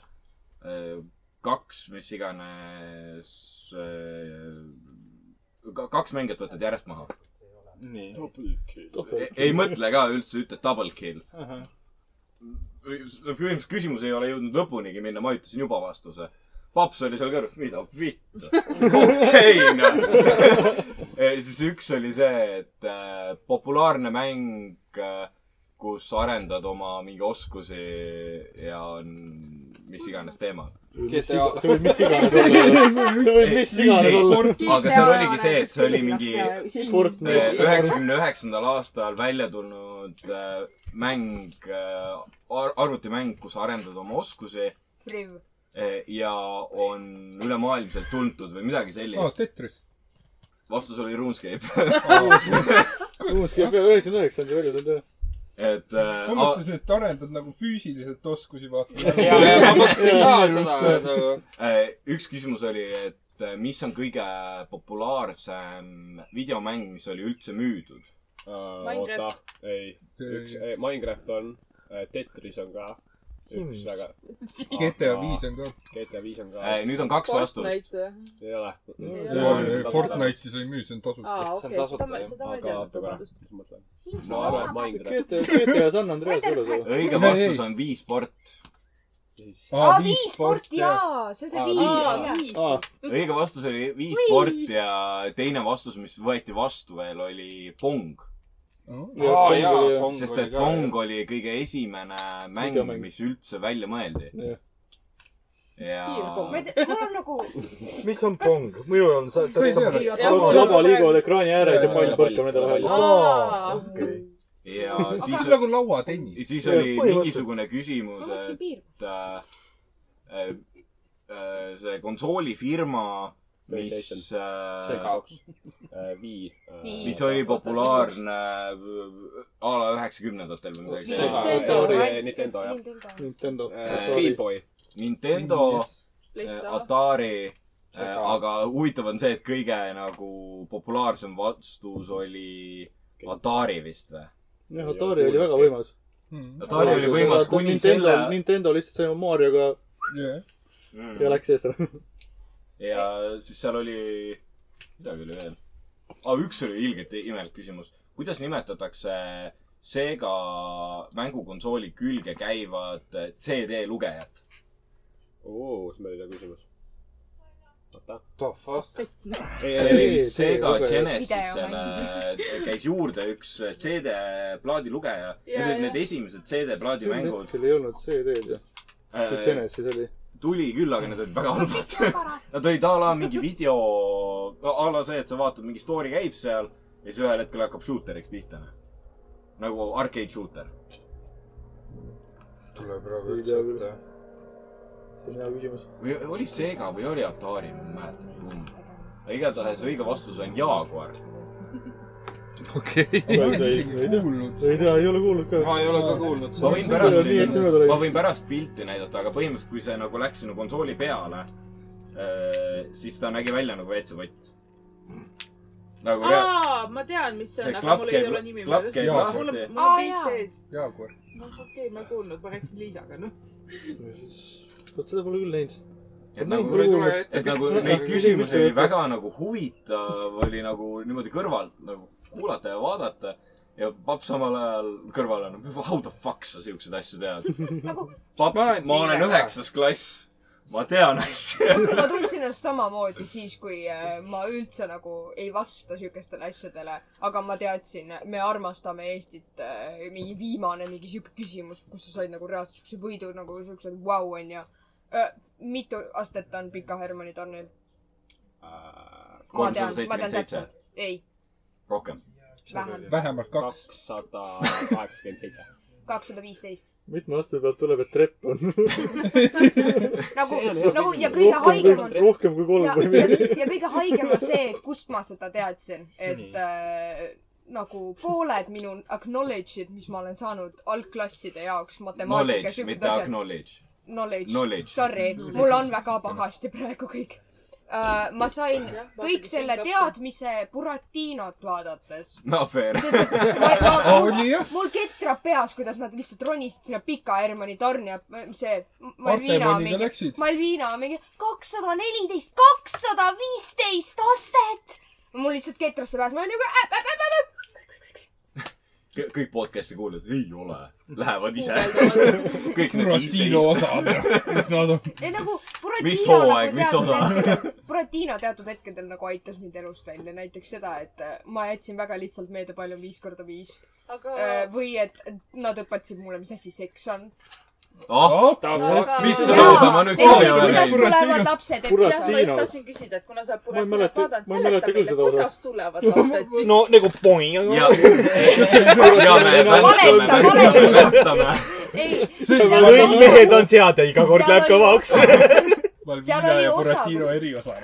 [SPEAKER 2] äh, kaks , mis iganes äh, , kaks mängijat võtad järjest maha .
[SPEAKER 5] nii .
[SPEAKER 2] ei mõtle ka üldse , ütled double kill .
[SPEAKER 5] Ahah.
[SPEAKER 2] põhimõtteliselt küsimus ei ole jõudnud lõpunigi minna , ma ütlesin juba vastuse . paps oli seal kõrval , mida vittu . okei , noh . siis üks oli see , et äh, populaarne mäng äh, , kus arendad oma mingi oskusi ja n- mis iganes teemal .
[SPEAKER 1] GTA. See võib mis iganes olla. See võib mis iganes olla.
[SPEAKER 2] aga seal oligi see , et see oli mingi
[SPEAKER 1] Fortnite.
[SPEAKER 2] Äh, üheksakümne üheksandal aastal välja tulnud äh, mäng äh, , arvutimäng , kus arendad oma oskusi
[SPEAKER 25] Priv .
[SPEAKER 2] eh, ja on ülemaailmselt tuntud või midagi
[SPEAKER 8] aa ,
[SPEAKER 2] sellist .
[SPEAKER 8] Tetris .
[SPEAKER 2] vastus oli RuneScape .
[SPEAKER 1] kuuskümmend , üheksakümmend üheksa on see välja tulnud jah .
[SPEAKER 2] et äh,
[SPEAKER 8] ma
[SPEAKER 2] a-
[SPEAKER 8] mõtlesin , et arendad nagu füüsiliselt oskusi , vaata .
[SPEAKER 2] Ja ma mõtlesin ka seda, et- ah, eh, üks küsimus oli , et eh, mis on kõige populaarsem videomäng , mis oli üldse müüdud ?
[SPEAKER 37] oota , ei ,
[SPEAKER 8] äh,
[SPEAKER 37] üks , Minecraft on , Tetris on ka , üks
[SPEAKER 8] Sims.
[SPEAKER 37] väga .
[SPEAKER 8] GTA viis on ka.
[SPEAKER 37] GTA viis on ka
[SPEAKER 2] Ei, Eh, nüüd on kaks Fortnite vastust. või?
[SPEAKER 37] ei ole .
[SPEAKER 8] äh, Fortnite'i sa ei müü , see on tasuta .
[SPEAKER 3] aa , okei , seda ma , seda ma ei
[SPEAKER 37] aga
[SPEAKER 3] teadnud ,
[SPEAKER 37] oota korra ,
[SPEAKER 3] vabandust .
[SPEAKER 37] mis ma mõtlen .
[SPEAKER 3] Ma
[SPEAKER 37] ma arvan , et
[SPEAKER 1] GTA ,
[SPEAKER 37] Minecraft .
[SPEAKER 1] GTA San Andreas ei ole see või ?
[SPEAKER 2] õige vastus on viisport .
[SPEAKER 25] aa , viisport jaa , see on see viis , jaa .
[SPEAKER 2] õige vastus oli viisport ja teine vastus , mis võeti vastu veel , oli pong .
[SPEAKER 1] Aa, jaa, Pong oli
[SPEAKER 2] sest
[SPEAKER 1] ka,
[SPEAKER 2] et pong oli kõige esimene mäng ,
[SPEAKER 1] Videomäng.
[SPEAKER 2] mis üldse välja mõeldi . ja
[SPEAKER 25] ma ei tea , mul on nagu ,
[SPEAKER 39] mis on pong ? minul on sa- .
[SPEAKER 1] Sa ei tea. Kaks laba liiguvad ekraani ääres ja pall põrkab nende vahel. Aa,
[SPEAKER 39] okei .
[SPEAKER 2] ja
[SPEAKER 8] Aga
[SPEAKER 2] siis .
[SPEAKER 8] see on nagu lauatennis.
[SPEAKER 2] siis
[SPEAKER 8] Jah,
[SPEAKER 2] oli
[SPEAKER 8] põhimõtteliselt.
[SPEAKER 2] mingisugune küsimus ,
[SPEAKER 8] Ma mõtlesin
[SPEAKER 2] et äh, äh, äh, see konsoolifirma , mis
[SPEAKER 37] PlayStation.
[SPEAKER 2] äh,
[SPEAKER 37] Xbox , Wii .
[SPEAKER 2] mis oli . populaarne äh, a la üheksakümnendatel või midagi
[SPEAKER 37] Atari , Nintendo jah .
[SPEAKER 1] Nintendo
[SPEAKER 2] Äh,
[SPEAKER 37] Game Boy .
[SPEAKER 2] Nintendo äh,
[SPEAKER 37] Yes. ,
[SPEAKER 2] Atari , aga huvitav on see , et kõige nagu populaarsem vastus oli Atari vist või ?
[SPEAKER 1] jah , Atari oli väga võimas .
[SPEAKER 8] Hmm,
[SPEAKER 2] Atari oli võimas kuni
[SPEAKER 1] Nintendo
[SPEAKER 2] selle- , Mm.
[SPEAKER 1] Nintendo lihtsalt sai oma Marioga ja läks eest ära .
[SPEAKER 2] ja siis seal oli , midagi oli veel . aa , üks oli ilgelt imelik küsimus . kuidas nimetatakse seega mängukonsooli külge käivad CD lugejat ?
[SPEAKER 5] oo , siis meil ei ole küsimus . oota .
[SPEAKER 2] ei , Sega
[SPEAKER 5] Video
[SPEAKER 2] Genesisele käis juurde üks CD-plaadi lugeja .
[SPEAKER 40] Jaa,
[SPEAKER 2] Need olid
[SPEAKER 40] jaa.
[SPEAKER 2] need esimesed CD-plaadi mängud .
[SPEAKER 40] hetkel ei olnud CD-d ju . kui Genesis oli .
[SPEAKER 2] Äh, tuli küll , aga need olid väga halvad . Nad olid a la mingi video , a la see , et sa vaatad , mingi story käib seal ja siis ühel hetkel hakkab shooteriks pihta . nagu arcade shooter .
[SPEAKER 8] tuleb praegu üldse ette .
[SPEAKER 40] see on hea küsimus .
[SPEAKER 2] või oli Sega või oli Atari , ma ei mäleta kumb . aga igatahes õige vastus on Jaguar .
[SPEAKER 40] okei
[SPEAKER 2] Ma ei ole isegi
[SPEAKER 40] kuulnud . ei tea , ei ole kuulnud ka .
[SPEAKER 2] ma ei ole ka kuulnud ma võin
[SPEAKER 40] nii hästi mööda
[SPEAKER 2] pärast , ma
[SPEAKER 40] läinud .
[SPEAKER 2] võin pärast pilti näidata , aga põhimõtteliselt , kui see nagu läks sinna konsooli peale , siis ta nägi välja nagu WC-pott . nagu rea-
[SPEAKER 3] aa , ma tean , mis see on ,
[SPEAKER 2] See
[SPEAKER 3] aga mul ei
[SPEAKER 2] klapp
[SPEAKER 3] ole
[SPEAKER 2] käib-
[SPEAKER 3] nimi .
[SPEAKER 2] klapp käib lahti.
[SPEAKER 3] mul on , mul
[SPEAKER 2] Aa,
[SPEAKER 3] on
[SPEAKER 2] jaa.
[SPEAKER 3] pilt ees .
[SPEAKER 8] Jaaguar .
[SPEAKER 3] no okei , ma ei kuulnud , ma rääkisin Liisaga , noh .
[SPEAKER 40] vot seda pole küll näinud .
[SPEAKER 2] et nagu , et nagu neid küsimusi oli väga nagu huvitav oli nagu niimoodi kõrvalt nagu kuulata ja vaadata ja paps samal ajal kõrval on , how the fuck sa siukseid asju tead .
[SPEAKER 25] Nagu
[SPEAKER 2] paps , ma olen üheksas klass , ma tean asju .
[SPEAKER 25] ma tundsin ennast samamoodi siis , kui äh, ma üldse nagu ei vasta siukestele asjadele , aga ma teadsin , me armastame Eestit , mingi viimane mingi siuke küsimus , kus sa said nagu reaalselt siukse võidu nagu siukse vau onju . mitu astet on Pika Hermanni tornil ? ma tean , ma tean täpselt . ei ,
[SPEAKER 2] rohkem .
[SPEAKER 25] vähem ,
[SPEAKER 8] vähemalt
[SPEAKER 5] kaks . kakssada kaheksakümmend seitse .
[SPEAKER 25] kakssada viisteist .
[SPEAKER 40] mitme aste pealt tuleb , et trepp on ?
[SPEAKER 25] nagu
[SPEAKER 40] See oli ,
[SPEAKER 25] nagu ja
[SPEAKER 40] hea
[SPEAKER 25] kõige
[SPEAKER 40] küsimus.
[SPEAKER 25] haigem on
[SPEAKER 40] Rohkem kui- rohkem kui kolm
[SPEAKER 25] ja-
[SPEAKER 40] või
[SPEAKER 25] ja-
[SPEAKER 40] midagi.
[SPEAKER 25] ja kõige haigem on see , kust ma seda teadsin , et äh, nagu pooled minu acknowledge'id , mis ma olen saanud algklasside jaoks matemaatika ,
[SPEAKER 2] Knowledge ,
[SPEAKER 25] siuksed
[SPEAKER 2] mitte
[SPEAKER 25] asjad .
[SPEAKER 2] acknowledge .
[SPEAKER 25] Knowledge,
[SPEAKER 2] Knowledge.
[SPEAKER 25] sorry , mul on väga pahasti praegu kõik . ma sain kõik selle teadmise Buratinot vaadates .
[SPEAKER 2] no fair .
[SPEAKER 25] oli jah . mul ketrab peas , kuidas nad lihtsalt ronisid sinna Pika Hermanni torni ja see Malvina
[SPEAKER 8] Artemoniga
[SPEAKER 25] mingi
[SPEAKER 8] läksid. ,
[SPEAKER 25] Malvina mingi kakssada neliteist , kakssada viisteist astet . mul lihtsalt ketras see peas , ma olin nagu äpp , äpp , äpp , äpp , äpp .
[SPEAKER 2] kõik podcast'i kuulajad , ei ole , lähevad ise . kõik need
[SPEAKER 8] Kuratino osad , mis nad on .
[SPEAKER 25] ei nagu
[SPEAKER 2] Mis
[SPEAKER 25] Buratino
[SPEAKER 2] hooaeg,
[SPEAKER 25] nagu
[SPEAKER 2] mis
[SPEAKER 25] teatud
[SPEAKER 2] osa?
[SPEAKER 25] hetkedel , Buratino teatud hetkedel nagu aitas mind elust välja , näiteks seda , et äh, ma jätsin väga lihtsalt meelde , palju on viis korda viis .
[SPEAKER 3] Aga-
[SPEAKER 25] või et nad õpetasid mulle , mis asi seks on
[SPEAKER 2] ah ,
[SPEAKER 3] Aga-
[SPEAKER 2] mis lausa ma nüüd ka ei ole
[SPEAKER 25] tulevad
[SPEAKER 2] näinud .
[SPEAKER 25] lapsed , et
[SPEAKER 3] Buratino . ma
[SPEAKER 25] kuidas
[SPEAKER 3] just tahtsin küsida , et kuna sa
[SPEAKER 40] ei
[SPEAKER 3] Buratinot
[SPEAKER 40] mäleta-
[SPEAKER 3] vaadad ,
[SPEAKER 40] ma ei
[SPEAKER 3] seleta
[SPEAKER 40] mäleta küll
[SPEAKER 3] meile ,
[SPEAKER 40] seda osa.
[SPEAKER 3] kuidas tulevad lapsed siis .
[SPEAKER 5] no nagu poing .
[SPEAKER 2] ja , ja me mäletame , mäletame , mäletame .
[SPEAKER 25] ei ,
[SPEAKER 5] kõik mehed on sead ja iga kord läheb kõvaks .
[SPEAKER 25] seal oli
[SPEAKER 8] ja
[SPEAKER 25] osa ,
[SPEAKER 8] Buratino eriosa .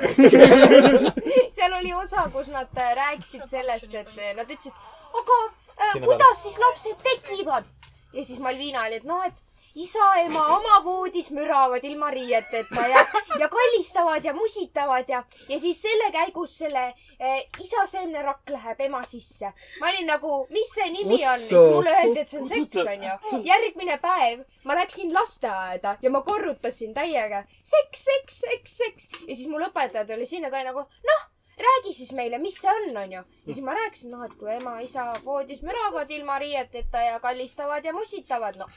[SPEAKER 25] seal oli osa , kus nad äh, rääkisid sellest , et äh, nad ütlesid , aga äh,
[SPEAKER 5] Sinna
[SPEAKER 25] kuidas siis lapsed tekivad ja siis Malvina oli , et noh , et isa-ema oma voodis müravad ilma riieteta ja , ja kallistavad ja musitavad ja , ja siis selle käigus selle eh, isa seemnerakk läheb ema sisse . ma olin nagu , mis see nimi on , siis mulle öeldi , et see on seks onju . järgmine päev ma läksin lasteaeda ja ma korrutasin täiega seks , seks , seks , seks ja siis mul õpetaja tuli sinna , ta oli nagu noh räägi siis meile , mis see on , onju . ja siis ma rääkisin , noh , et kui ema-isa voodis müravad ilma riieteta ja kallistavad ja musitavad , noh .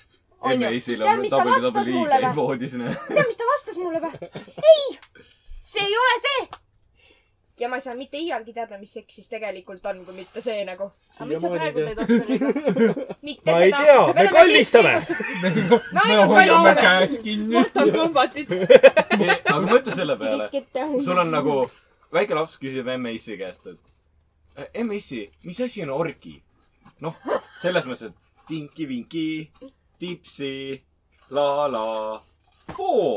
[SPEAKER 2] emme
[SPEAKER 25] tead ,
[SPEAKER 2] isil on
[SPEAKER 25] mis ta vastas
[SPEAKER 2] WWE
[SPEAKER 25] mulle
[SPEAKER 2] käib
[SPEAKER 25] või ?
[SPEAKER 2] voodis , noh .
[SPEAKER 25] tead , mis ta vastas mulle või ? ei , see ei ole see . ja ma ei saa mitte iialgi teada , mis seks siis tegelikult on , kui mitte see nagu .
[SPEAKER 3] aga mis sa
[SPEAKER 25] Siiamaani
[SPEAKER 3] praegu
[SPEAKER 25] ei
[SPEAKER 3] teed , Oskar ?
[SPEAKER 25] mitte
[SPEAKER 5] ma ei tea , me kallistame .
[SPEAKER 25] me ainult kallistame .
[SPEAKER 8] kinni
[SPEAKER 3] Mortal Combatit .
[SPEAKER 2] aga mõtle selle peale , sul on nagu väike laps küsib emme issi käest , et "Eh, emme issi , mis asi on orgi ? noh , selles mõttes , et tinki-vinki , tipsi , la-la , oo ,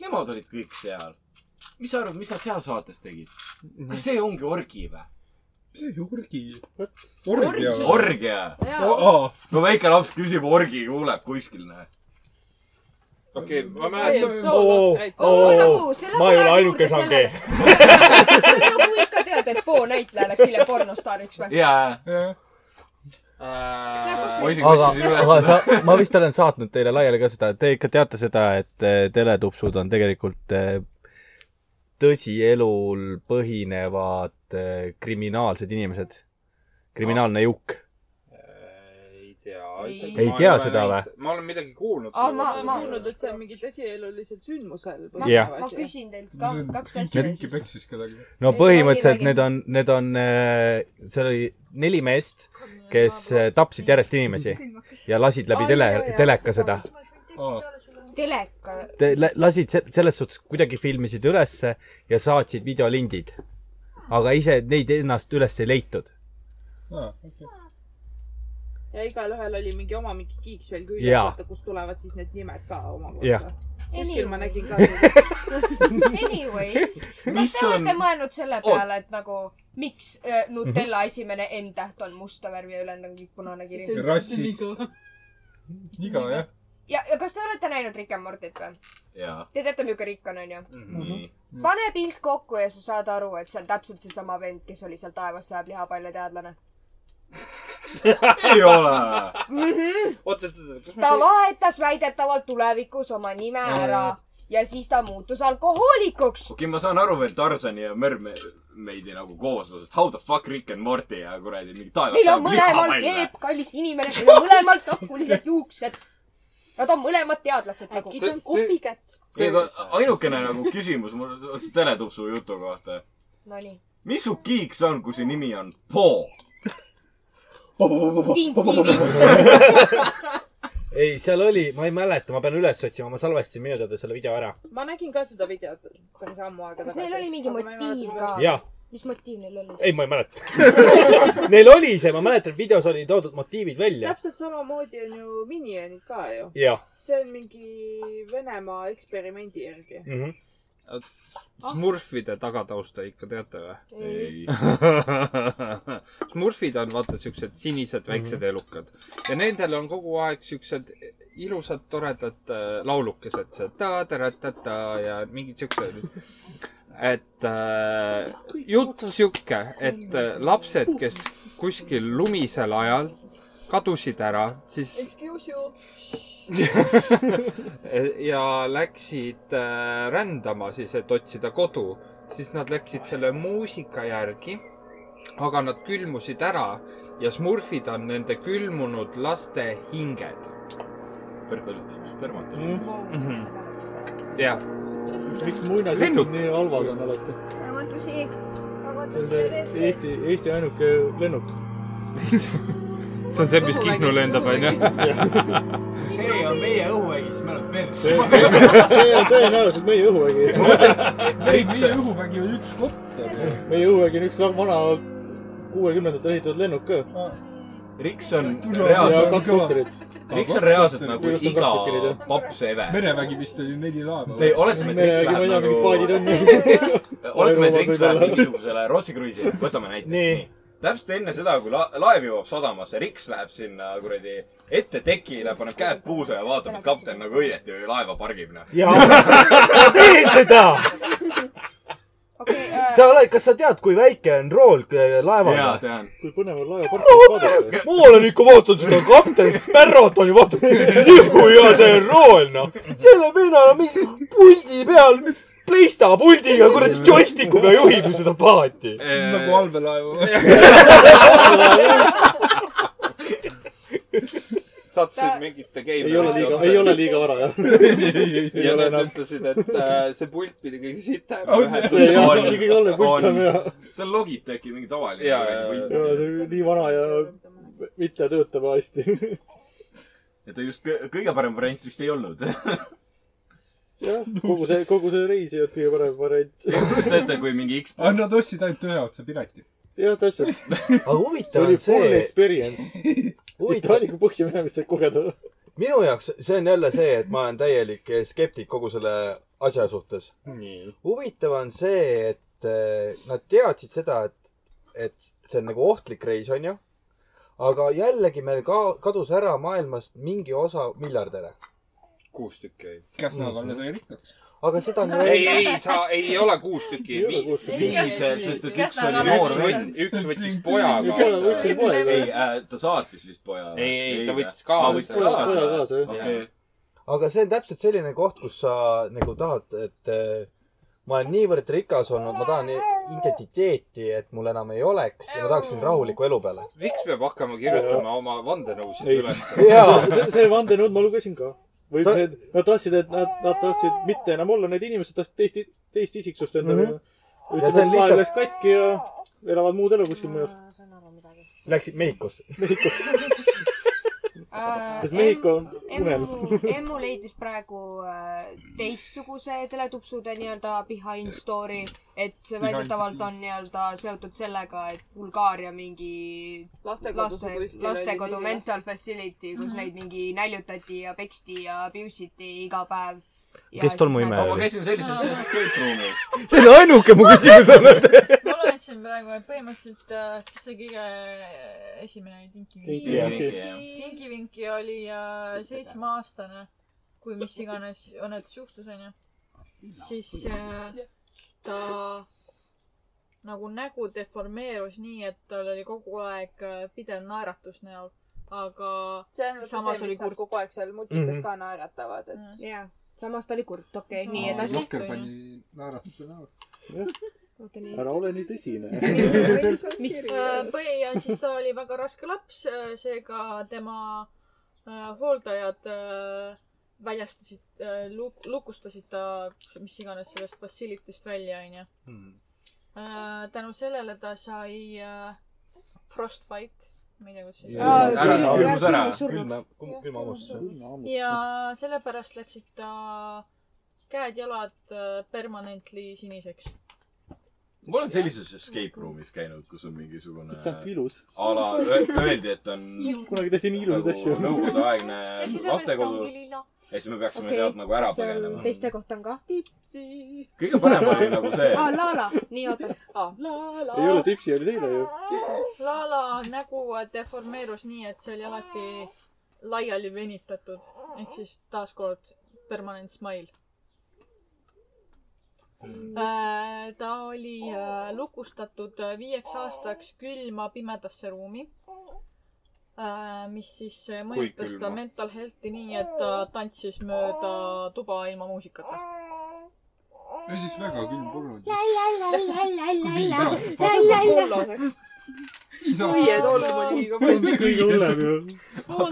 [SPEAKER 2] nemad olid kõik seal . mis sa arvad , mis nad seal saates tegid ? kas see ongi orgi või ?
[SPEAKER 8] mis asi orgi ?
[SPEAKER 2] orgia
[SPEAKER 8] või?
[SPEAKER 2] orgia . no väike laps küsib orgi , kuuleb kuskil , näe .
[SPEAKER 41] okei , ma
[SPEAKER 25] Ei,
[SPEAKER 41] mäletan
[SPEAKER 25] soolost rääkida. . Oo, nagu, see
[SPEAKER 5] ma ei ole
[SPEAKER 25] läheb
[SPEAKER 5] ainuke
[SPEAKER 25] juurde
[SPEAKER 5] sange .
[SPEAKER 25] see on nagu ikka tead , et Bo näitleja läks hiljem pornostaariks või ?
[SPEAKER 2] jaa .
[SPEAKER 5] Äh,
[SPEAKER 25] ma
[SPEAKER 2] isegi
[SPEAKER 1] aga
[SPEAKER 2] otsisin , üles
[SPEAKER 1] aga
[SPEAKER 2] seda .
[SPEAKER 1] sa , ma vist olen saatnud teile laiali ka seda , te ikka teate seda , et eh, teletupsud on tegelikult eh, tõsielul põhinevad eh, kriminaalsed inimesed . kriminaalne juk .
[SPEAKER 5] ei tea .
[SPEAKER 3] Ei.
[SPEAKER 6] ei tea seda või ?
[SPEAKER 5] ma olen midagi kuulnud .
[SPEAKER 3] aa , ma , ma olen kuulnud , et see on mingi tõsielulisel sündmusel .
[SPEAKER 9] ma,
[SPEAKER 6] Jah.
[SPEAKER 9] ma küsin teilt ka kaks asja
[SPEAKER 8] mingi . peksis kedagi .
[SPEAKER 6] no
[SPEAKER 9] Ei,
[SPEAKER 6] põhimõtteliselt
[SPEAKER 9] räägi,
[SPEAKER 6] need on , need on , seal oli neli meest , kes äh, tapsid järjest inimesi ja lasid läbi tele , teleka seda .
[SPEAKER 9] teleka .
[SPEAKER 6] lasid , selles suhtes kuidagi filmisid ülesse ja saatsid videolindid . aga ise neid ennast üles ei leitud .
[SPEAKER 3] ja igalühel oli mingi oma mingi kiiks veel küljes ,
[SPEAKER 6] Jaa.
[SPEAKER 3] vaata , kust tulevad siis need nimed ka
[SPEAKER 6] Jah.
[SPEAKER 3] omakorda . kuskil ma nägin ka .
[SPEAKER 25] Anyways ,
[SPEAKER 3] Mis
[SPEAKER 25] kas te olete
[SPEAKER 3] on-
[SPEAKER 25] mõelnud selle
[SPEAKER 3] Oot. Mhm.
[SPEAKER 25] peale , et nagu miks äh, Nutella esimene N-täht on musta värvi ja ülejäänud on kõik punane kiri ?
[SPEAKER 8] rassist . iga jah .
[SPEAKER 25] ja , ja kas te olete näinud Rick and Mortit või ?
[SPEAKER 2] jaa .
[SPEAKER 25] Te teate , milline Rick on ,
[SPEAKER 3] Mm.
[SPEAKER 25] onju ?
[SPEAKER 2] nii .
[SPEAKER 25] pane pilt kokku ja sa saad aru , et see on täpselt seesama vend , kes oli seal taevas sajab lihapalja teadlane .
[SPEAKER 2] ei ole .
[SPEAKER 5] oota , oota , oota , kas
[SPEAKER 25] ta
[SPEAKER 5] ma .
[SPEAKER 25] vahetas väidetavalt tulevikus oma nime
[SPEAKER 2] Aa,
[SPEAKER 25] ära ja siis ta muutus alkohoolikuks .
[SPEAKER 2] okei , ma saan aru veel Tarzani ja Mermaidi nagu kooslusest . How the fuck Rick and Morty ja kuradi mingi taevas .
[SPEAKER 25] Neil on mõlemal keep , kallis inimene , neil on mõlemal takulised juuksed . Nad on mõlemad teadlased nagu .
[SPEAKER 2] see on
[SPEAKER 25] kopikätt .
[SPEAKER 2] ainukene nagu küsimus mul on see teletupsu jutu kohta .
[SPEAKER 25] Nonii .
[SPEAKER 2] mis su kiik see on , kui su nimi on Paul ?
[SPEAKER 6] ei , seal oli , ma ei mäleta , ma pean üles otsima , ma salvestasin minu teada selle video ära .
[SPEAKER 3] ma nägin ka seda videot päris ammu aega
[SPEAKER 9] kas neil oli mingi
[SPEAKER 3] aga ma ei mäleta,
[SPEAKER 9] motiiv
[SPEAKER 3] mis-
[SPEAKER 9] ka ?
[SPEAKER 6] Jah.
[SPEAKER 9] mis motiiv neil oli ?
[SPEAKER 6] ei , ma ei mäleta . Neil oli see , ma mäletan , videos oli toodud motiivid välja .
[SPEAKER 3] täpselt samamoodi on ju Minionid ka ju .
[SPEAKER 6] jah .
[SPEAKER 3] see on mingi Venemaa eksperimendi järgi mm .
[SPEAKER 6] Mhm.
[SPEAKER 5] Smurfide tagatausta ikka teate või ?
[SPEAKER 3] Ei. .
[SPEAKER 5] Smurfid on vaata siuksed sinised väiksed mm
[SPEAKER 2] Mhm.
[SPEAKER 5] -hmm. elukad ja nendel on kogu aeg siuksed ilusad toredad äh, laulukesed , see ta-ta-ra-ta-ta ja mingid siuksed . et äh, jutt sihuke , et äh, lapsed , kes kuskil lumisel ajal kadusid ära , siis
[SPEAKER 42] Excuse you .
[SPEAKER 5] ja läksid äh, rändama siis , et otsida kodu , siis nad läksid selle muusika järgi , aga nad külmusid ära ja smurfid on nende külmunud laste hinged .
[SPEAKER 2] spermat
[SPEAKER 5] jah .
[SPEAKER 1] miks muinasjutud
[SPEAKER 5] lennud ,
[SPEAKER 1] nii halvad on alati ?
[SPEAKER 43] raamatusi ,
[SPEAKER 44] eh.
[SPEAKER 43] raamatusi .
[SPEAKER 1] Eesti , Eesti ainuke lennuk .
[SPEAKER 5] see on see , mis Kihnu lendab , onju .
[SPEAKER 45] see on meie õhuvägi , siis me oleme pers .
[SPEAKER 1] see on tõenäoliselt meie õhuvägi .
[SPEAKER 8] meie õhuvägi on üks kopter .
[SPEAKER 1] meie õhuvägi on üks väga vana kuuekümnendatel ehitatud lennuk ka .
[SPEAKER 2] Riks on
[SPEAKER 1] ja kaks
[SPEAKER 2] reaalselt ,
[SPEAKER 1] kopterit .
[SPEAKER 2] Riks on reaalselt nagu iga paps eve .
[SPEAKER 8] merevägi vist oli neli laeva .
[SPEAKER 2] ei , oletame , et Riks läheb nagu . oletame , et Riks läheb mingisugusele Rootsi kruiisile , võtame näiteks nii, nii. . täpselt enne seda , kui la- laev jõuab sadamasse , Riks läheb sinna kuradi ette tekile , paneb käed puusa ja vaatab , et kapten nagu õieti laeva pargib , noh .
[SPEAKER 6] ja ma teen seda .
[SPEAKER 25] eh.
[SPEAKER 6] sa oled , kas sa tead , kui väike on rool äh, laeval ?
[SPEAKER 2] jaa , tean .
[SPEAKER 1] kui põnev on laeva parkis vaadata .
[SPEAKER 6] ma olen ikka vaadanud seda kapteni Sparrot on ju , vaata , kui hea see on rool , noh . selle venna mingi puldi peal , pleista puldiga , kuradi joystikuga juhib ju seda paati .
[SPEAKER 5] äh,
[SPEAKER 8] nagu allveelaevu .
[SPEAKER 5] sattusid mingite game .
[SPEAKER 1] Ei ole liiga- ei ole liiga vara, jah. Ei
[SPEAKER 5] ja
[SPEAKER 1] ole
[SPEAKER 5] nad
[SPEAKER 1] enam.
[SPEAKER 5] ütlesid , et äh, see pult pidi kõige sitem
[SPEAKER 1] On, see jah, see on kõige halvem pult on, jah.
[SPEAKER 2] see on Logitechi mingi tavaline .
[SPEAKER 5] Jaa,
[SPEAKER 1] see on nii vana ja mitte töötama hästi .
[SPEAKER 2] et ta just kõ- kõige parem variant vist ei olnud .
[SPEAKER 1] jah , kogu see , kogu see reis ei olnud kõige parem variant .
[SPEAKER 2] kujuta ette , kui mingi X .
[SPEAKER 8] aga Ah, nad ostsid ainult ühe otsa pileti .
[SPEAKER 1] jah , täpselt .
[SPEAKER 6] aga
[SPEAKER 1] see
[SPEAKER 6] huvitav
[SPEAKER 1] oli
[SPEAKER 6] on
[SPEAKER 1] full
[SPEAKER 6] see ,
[SPEAKER 1] experience . Titanicu põhja minemist sai kogeda .
[SPEAKER 46] minu jaoks , see on jälle see , et ma olen täielik skeptik kogu selle asja suhtes . huvitav on see , et eh, nad teadsid seda , et , et see on nagu ohtlik reis , onju . aga jällegi meil ka kadus ära maailmast mingi osa miljardäre .
[SPEAKER 5] kuus tükki oli .
[SPEAKER 8] kas nad on sai rikkaks ?
[SPEAKER 46] aga seda on ju
[SPEAKER 5] ei , ei sa , ei ole kuus tükki .
[SPEAKER 2] viis , sest et üks oli noor vend .
[SPEAKER 5] üks võttis poja kaasa .
[SPEAKER 2] ei , ta saatis vist poja .
[SPEAKER 5] Ei, ei, ta võttis
[SPEAKER 2] aa ,
[SPEAKER 5] kaasa.
[SPEAKER 2] võttis
[SPEAKER 5] Poja-
[SPEAKER 2] kaasa .
[SPEAKER 5] poja kaasa, jah.
[SPEAKER 2] okei .
[SPEAKER 46] aga see on täpselt selline koht , kus sa nagu tahad , et eh,
[SPEAKER 44] ma olen niivõrd rikas olnud , ma tahan identiteeti , et mul enam ei oleks ja ma tahaksin rahuliku elu peale .
[SPEAKER 5] miks peab hakkama kirjutama oma vandenõusid
[SPEAKER 44] Ei.
[SPEAKER 5] üles ?
[SPEAKER 1] see , see vandenõud ma lugesin ka . või
[SPEAKER 5] Sa-
[SPEAKER 1] Sa... need , nad tahtsid , et nad , nad tahtsid mitte enam olla need inimesed , tahtsid teist , teist isiksust endale mm .
[SPEAKER 8] Mhm.
[SPEAKER 1] -hmm. ütleme ,
[SPEAKER 8] Ja see on
[SPEAKER 1] et maailm
[SPEAKER 8] lihtsalt-
[SPEAKER 1] läks katki ja elavad muud elu kuskil mujal .
[SPEAKER 8] Läksid Mehhikosse ?
[SPEAKER 25] Ah,
[SPEAKER 1] Sest Mehhiko on unelm.
[SPEAKER 25] emmu , emmu leidis praegu äh, teistsuguse teletupsude nii-öelda behind story , et see
[SPEAKER 6] Behind
[SPEAKER 25] väidetavalt on nii-öelda seotud sellega , et Bulgaaria mingi
[SPEAKER 6] Lastekodus või
[SPEAKER 3] nagu
[SPEAKER 6] kuskil oli
[SPEAKER 25] lastekodu
[SPEAKER 6] mingi-
[SPEAKER 25] mental facility , kus
[SPEAKER 6] Mhm.
[SPEAKER 25] neid mingi näljutati ja peksti ja abuse iti iga päev . nagu-
[SPEAKER 47] Kes tolmuimeja
[SPEAKER 2] ma
[SPEAKER 47] oli?
[SPEAKER 2] käisin sellises , sellises gate room'is .
[SPEAKER 47] see oli ainuke mu küsimus olnud .
[SPEAKER 9] ma loetsin praegu , et põhimõtteliselt , kes see kõige esimene oli ,
[SPEAKER 2] Tinky Winky.
[SPEAKER 9] Tinkivinki . Tinkivinki oli äh, seitsmeaastane , kui mis iganes õnnetus juhtus , onju . siis äh, ta nagu nägu deformeerus nii , et tal oli kogu aeg äh, pidev naeratus näol , aga
[SPEAKER 3] see on vaata
[SPEAKER 9] samas
[SPEAKER 3] see ,
[SPEAKER 9] oli
[SPEAKER 3] miks nad
[SPEAKER 9] kurb .
[SPEAKER 3] kogu aeg seal mutikas
[SPEAKER 9] Mhm.
[SPEAKER 3] ka naeratavad , et .
[SPEAKER 25] jah , samas ta oli kurt , okei
[SPEAKER 3] Aa,
[SPEAKER 25] okay, , nii edasi .
[SPEAKER 48] Jokker pani naeratuse näol .
[SPEAKER 25] oota nii .
[SPEAKER 1] ära ole nii tõsine .
[SPEAKER 9] mis põhi Äh, ja siis ta oli väga raske laps , seega tema äh, hooldajad äh, väljastasid , lukustasid ta , mis iganes sellest facility'st välja , onju .
[SPEAKER 25] Hmm.
[SPEAKER 9] Äh, tänu sellele ta sai äh, frostbite , ma ei tea , kuidas see
[SPEAKER 8] Aa,
[SPEAKER 9] on .
[SPEAKER 8] Ära- külm-
[SPEAKER 9] külmus ära.
[SPEAKER 8] külma , külma hammustus .
[SPEAKER 9] ja sellepärast läksid ta käed-jalad äh, permanently siniseks .
[SPEAKER 2] ma olen sellises escape room'is käinud , kus on mingisugune
[SPEAKER 1] See on ilus.
[SPEAKER 2] ala , öeldi , et on nagu
[SPEAKER 1] kunagi tehti nii ilusaid asju .
[SPEAKER 2] nõukogudeaegne lastekodu
[SPEAKER 25] ongi lila.
[SPEAKER 2] ja siis me peaksime okay. sealt nagu ära põgenema .
[SPEAKER 25] teiste kohta on ka
[SPEAKER 9] äh,
[SPEAKER 25] tipsi .
[SPEAKER 2] kõige parem oli nagu see ,
[SPEAKER 25] aa , la la , nii oota .
[SPEAKER 3] Ah,
[SPEAKER 1] ei ole tipsi , oli teile ju .
[SPEAKER 9] Lala nägu deformeerus nii , et see oli alati laiali venitatud ehk siis taaskord permanent smile . ta oli äh, lukustatud äh, viieks aastaks külma pimedasse ruumi , mis siis äh, mõjutas ta
[SPEAKER 5] külma.
[SPEAKER 9] mental health'i nii , et ta tantsis mööda tuba ilma muusikata .
[SPEAKER 48] ja siis väga külm polnud .
[SPEAKER 9] Viie tolmu liiga
[SPEAKER 1] palju . kõige hullem ju .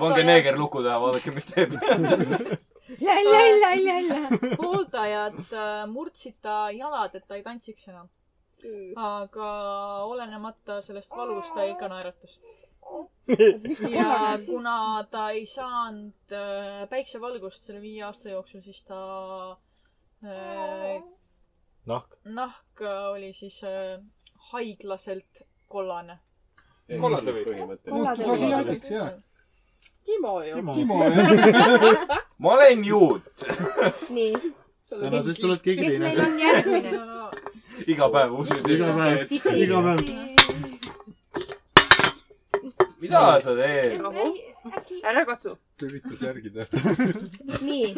[SPEAKER 2] pange neeger luku taha , vaadake , mis teeb .
[SPEAKER 9] hooldajad äh, murdsid ta jalad , et ta ei tantsiks enam . aga olenemata sellest valust ta ikka naeratas . ja kuna ta ei saanud äh, päiksevalgust selle viie aasta jooksul , siis ta äh,
[SPEAKER 8] nahk .
[SPEAKER 9] nahk äh, oli siis äh, haiglaselt kollane .
[SPEAKER 5] kollade või ?
[SPEAKER 9] Kollade
[SPEAKER 48] muutus asiaadiks ja .
[SPEAKER 3] Timo ju .
[SPEAKER 48] Timo jah .
[SPEAKER 2] ma olen juut .
[SPEAKER 25] nii .
[SPEAKER 1] tänasest oled keegi
[SPEAKER 25] kes
[SPEAKER 1] teine
[SPEAKER 25] meil . on järgmine ?
[SPEAKER 2] iga päev usun
[SPEAKER 1] iga päev , iga päev .
[SPEAKER 2] mida sa teed ?
[SPEAKER 3] ära katsu .
[SPEAKER 48] ta üritas järgida .
[SPEAKER 25] nii .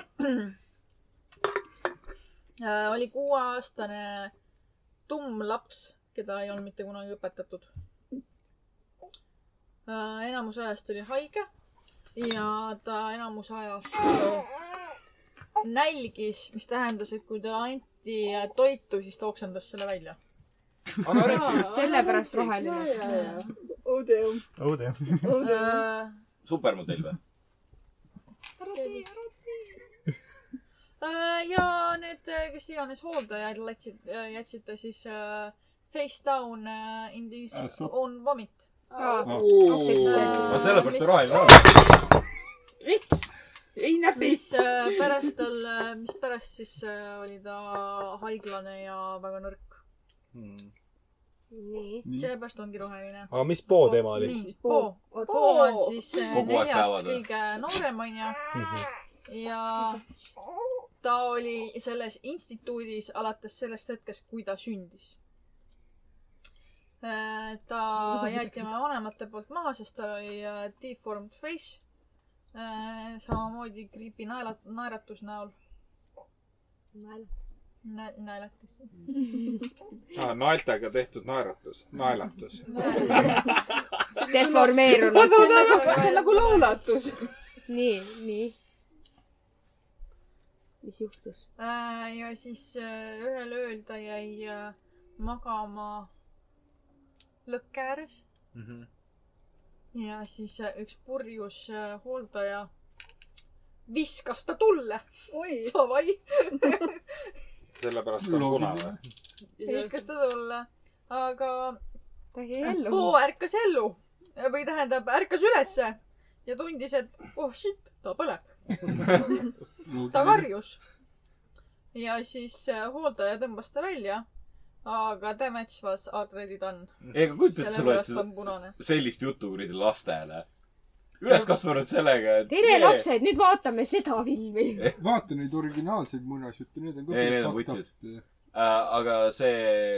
[SPEAKER 9] Äh, oli kuueaastane tumm laps , keda ei olnud mitte kunagi õpetatud . enamus ajast oli haige ja ta enamus ajast nälgis , mis tähendas , et kui talle anti toitu , siis ta oksendas selle välja .
[SPEAKER 25] sellepärast roheline .
[SPEAKER 49] oh damn .
[SPEAKER 1] oh damn .
[SPEAKER 2] supermodell või ?
[SPEAKER 9] Äh, ja need , kes iganes hooldajad lätsid , jätsid ta siis äh, face down äh, in this
[SPEAKER 2] Ah, sopp.
[SPEAKER 9] own vomit . Äh,
[SPEAKER 6] Aa.
[SPEAKER 2] no sellepärast ta roheline on .
[SPEAKER 9] miks ?
[SPEAKER 6] ei näpi .
[SPEAKER 9] mis äh, pärast tal , mis pärast siis äh, oli ta haiglane ja väga nõrk .
[SPEAKER 25] nii .
[SPEAKER 9] seepärast ongi roheline .
[SPEAKER 8] aga mis Mhm. poo teema oli ?
[SPEAKER 9] nii , Poo .
[SPEAKER 25] Poo.
[SPEAKER 9] Poo on siis äh,
[SPEAKER 8] Kogu aeg
[SPEAKER 9] neljast
[SPEAKER 8] päevad või?
[SPEAKER 9] kõige noorem onju ja ta oli selles instituudis alates sellest hetkest , kui ta sündis . ta jäeti oma vanemate poolt maha , sest tal oli äh, deformed face . samamoodi creepy naela- , naeratus näol . Nä- , naelatis .
[SPEAKER 5] aa , naeltega tehtud naeratus , naelatus .
[SPEAKER 25] deformeerunud .
[SPEAKER 6] See on nagu- see on nagu
[SPEAKER 25] laulatus . nii , nii . mis juhtus ?
[SPEAKER 9] Äh, ja siis äh, ühel ööl ta jäi äh, magama lõkke ääres ja siis äh, üks purjus äh, hooldaja viskas ta tulle .
[SPEAKER 6] oi .
[SPEAKER 9] Davai .
[SPEAKER 8] sellepärast ta on puna või ?
[SPEAKER 9] viskas ta tulle , aga .
[SPEAKER 25] ta jäi ellu.
[SPEAKER 9] Poo ärkas ellu või tähendab , ärkas ülesse ja tundis , et oh shit , ta põleb . ta karjus . ja siis äh, hooldaja tõmbas ta välja , aga damage was already done .
[SPEAKER 2] ega kujuta ette , sa loed
[SPEAKER 9] sellepärast ta on punane .
[SPEAKER 2] seda- sellist jutu kuradi lastele . üles kasvanud sellega , et .
[SPEAKER 25] tere , lapsed , nüüd vaatame seda filmi .
[SPEAKER 8] vaata neid originaalseid muinasjutte , need on ka
[SPEAKER 2] ei , need on vutsid . Äh, aga see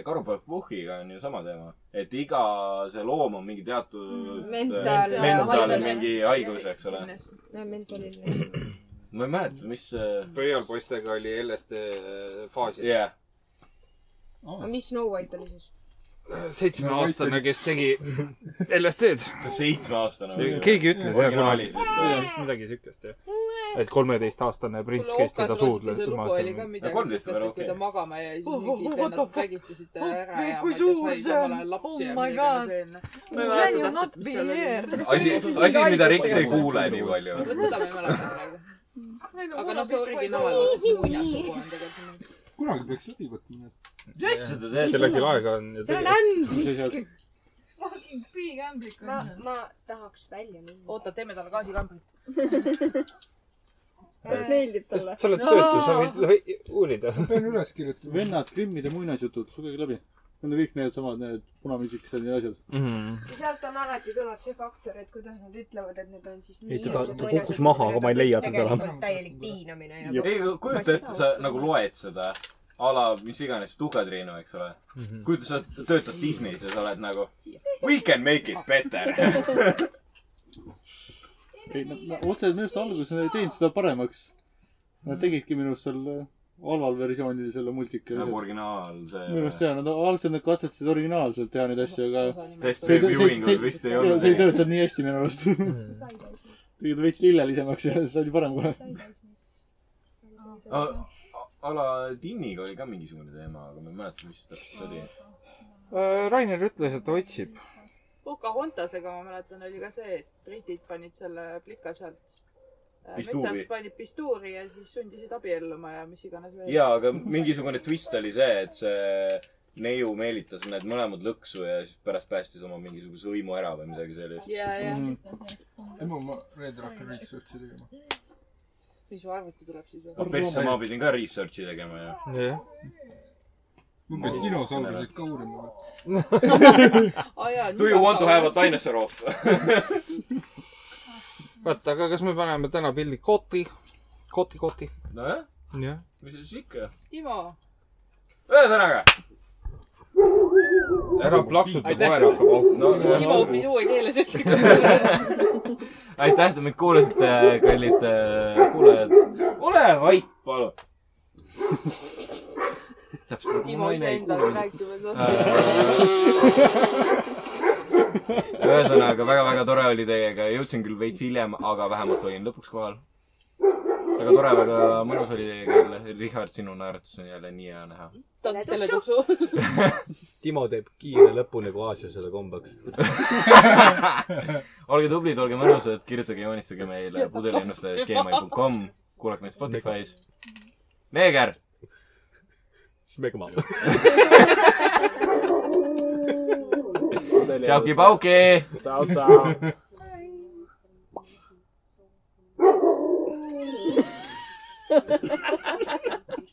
[SPEAKER 2] karupoeg Puhhiga on ju sama teema , et iga see loom on mingi teatud
[SPEAKER 25] Mental-
[SPEAKER 2] mental ,
[SPEAKER 25] haigus.
[SPEAKER 2] mingi haigus , eks ole .
[SPEAKER 25] mentaline .
[SPEAKER 2] ma ei mäleta , mis äh,
[SPEAKER 5] pöial poistega oli LSD faasis
[SPEAKER 2] yeah. .
[SPEAKER 25] aga mis Snow White oli siis ?
[SPEAKER 5] seitsmeaastane , kes tegi LSD-d .
[SPEAKER 2] seitsmeaastane või?
[SPEAKER 5] keegi ütles
[SPEAKER 2] Originaalis vist, jah.
[SPEAKER 5] midagi siukest jah . et kolmeteistaastane prints ,
[SPEAKER 2] Kuule,
[SPEAKER 5] kes teda
[SPEAKER 2] Okas
[SPEAKER 5] suudles
[SPEAKER 2] Lastise lugu oli ka midagi Ja kolmteist sihukest, veel et kui
[SPEAKER 3] kui
[SPEAKER 2] okei.
[SPEAKER 3] ta
[SPEAKER 2] ta
[SPEAKER 3] magama jäi ,
[SPEAKER 25] Oh,
[SPEAKER 9] siis
[SPEAKER 3] siis mingid vennad vägistasid teda ära ja
[SPEAKER 9] ma ei tea, sai samal ajal
[SPEAKER 3] lapsi ja midagi
[SPEAKER 9] ja midagi Can
[SPEAKER 25] Oh
[SPEAKER 9] you not be here ?
[SPEAKER 2] asi , asi , mida Riks ei kuule nii palju .
[SPEAKER 3] seda ma ei mäleta praegu . aga noh , see originaal
[SPEAKER 9] Nii,
[SPEAKER 3] on see
[SPEAKER 9] nii,
[SPEAKER 3] muinaslugu
[SPEAKER 9] nii.
[SPEAKER 3] on tegelikult .
[SPEAKER 8] kunagi peaks läbi võtma .
[SPEAKER 2] mis sa teed ?
[SPEAKER 5] kellelgi aega on ja
[SPEAKER 25] see on ämblik .
[SPEAKER 9] Fucking big ämblik
[SPEAKER 25] ma , ma tahaks välja minna . Äh,
[SPEAKER 9] oota , teeme talle gaasikambrit .
[SPEAKER 25] Kas
[SPEAKER 6] meeldib talle ?
[SPEAKER 5] sa oled töötu , sa võid või, uurida .
[SPEAKER 8] ma pean üles kirjutama .
[SPEAKER 1] vennad , Krimmide muinasjutud , lugege läbi . Need on kõik need samad , need punamüsiksed ja asjad .
[SPEAKER 50] sealt on alati tulnud see faktor , et kuidas nad ütlevad , et need on siis
[SPEAKER 1] Ei,
[SPEAKER 50] nii
[SPEAKER 1] teda-
[SPEAKER 50] ilusad
[SPEAKER 1] ta
[SPEAKER 50] muinasjutud,
[SPEAKER 1] kukkus maha, aga ma ei leia teda
[SPEAKER 50] tegelikult
[SPEAKER 1] enam.
[SPEAKER 50] täielik piinamine ja
[SPEAKER 2] ei , kujuta ette , sa nagu loed seda a la mis iganes Tuhkatriinu , eks ole . kujuta , sa töötad Disney's ja sa oled nagu we can make it better .
[SPEAKER 1] ei , nad otseselt minu arust alguses nad ei teinud seda paremaks .
[SPEAKER 8] Mm.
[SPEAKER 1] Nad tegidki minu arust seal halval versioonil selle multika .
[SPEAKER 2] nagu originaal see .
[SPEAKER 1] minu arust jaa , nad algselt nad katsetasid originaalselt teha neid asju , aga .
[SPEAKER 2] Test reviewing ul vist ei olnud.
[SPEAKER 1] see ei töötanud nii hästi minu arust . tegid veits lillelisemaks ja see oli parem kohe .
[SPEAKER 2] a la Tinniga oli ka mingisugune teema , aga ma ei mäleta , mis täpselt oli .
[SPEAKER 5] Äh, Rainer ütles , et ta otsib .
[SPEAKER 3] Pocahontasega ma mäletan , oli ka see , et britid panid selle plika sealt äh,
[SPEAKER 2] Pistuuri.
[SPEAKER 3] metsast panid pistuuri ja siis sundisid abielluma ja mis iganes veel .
[SPEAKER 2] jaa , aga mingisugune twist oli see , et see neiu meelitas need mõlemad lõksu ja siis pärast päästis oma mingisuguse hõimu ära või midagi sellist .
[SPEAKER 3] ja , ja
[SPEAKER 8] Mhm. ema , ma reedel hakkan research'i tegema .
[SPEAKER 3] mis su arvuti tuleb siis
[SPEAKER 2] no
[SPEAKER 3] või ?
[SPEAKER 2] persse ma pidin ka research'i tegema ju .
[SPEAKER 5] jah .
[SPEAKER 8] ma pean dinosauruseid ka uurima .
[SPEAKER 3] Aa, jaa,
[SPEAKER 2] Do you want to have a dinosaur off ?
[SPEAKER 5] vaata , aga kas me paneme täna pildi koti , koti , koti ?
[SPEAKER 2] nojah ,
[SPEAKER 5] jah .
[SPEAKER 2] mis siis ikka .
[SPEAKER 3] Timo .
[SPEAKER 2] ühesõnaga .
[SPEAKER 5] ära plaksuta ,
[SPEAKER 2] Aitäh.
[SPEAKER 5] koer hakkab
[SPEAKER 2] No,
[SPEAKER 5] haukama
[SPEAKER 3] Timo õppis uue keele selgeks .
[SPEAKER 2] aitäh , et te mind kuulasite , kallid äh, kuulajad . ole vait , palun . täpselt nagu
[SPEAKER 3] Timo iseendale rääkib , et
[SPEAKER 2] ühesõnaga väga-väga tore oli teiega , jõudsin küll veits hiljem , aga vähemalt olin lõpuks kohal . väga tore , väga mõnus oli teiega jälle . Richard , sinu naeratus on jälle nii hea näha .
[SPEAKER 3] Tants teile tuksu .
[SPEAKER 51] Timo teeb kiire lõpu nagu Aasiasele kombeks .
[SPEAKER 2] olge tublid , olge mõnusad , kirjutage , joonistage meile pudeliennustajad.gmail.com , kuulake meid Spotify's . Neeger ,
[SPEAKER 51] Smegma .
[SPEAKER 2] tšauki-pauki !
[SPEAKER 51] Tšau , tšau .
[SPEAKER 3] noh .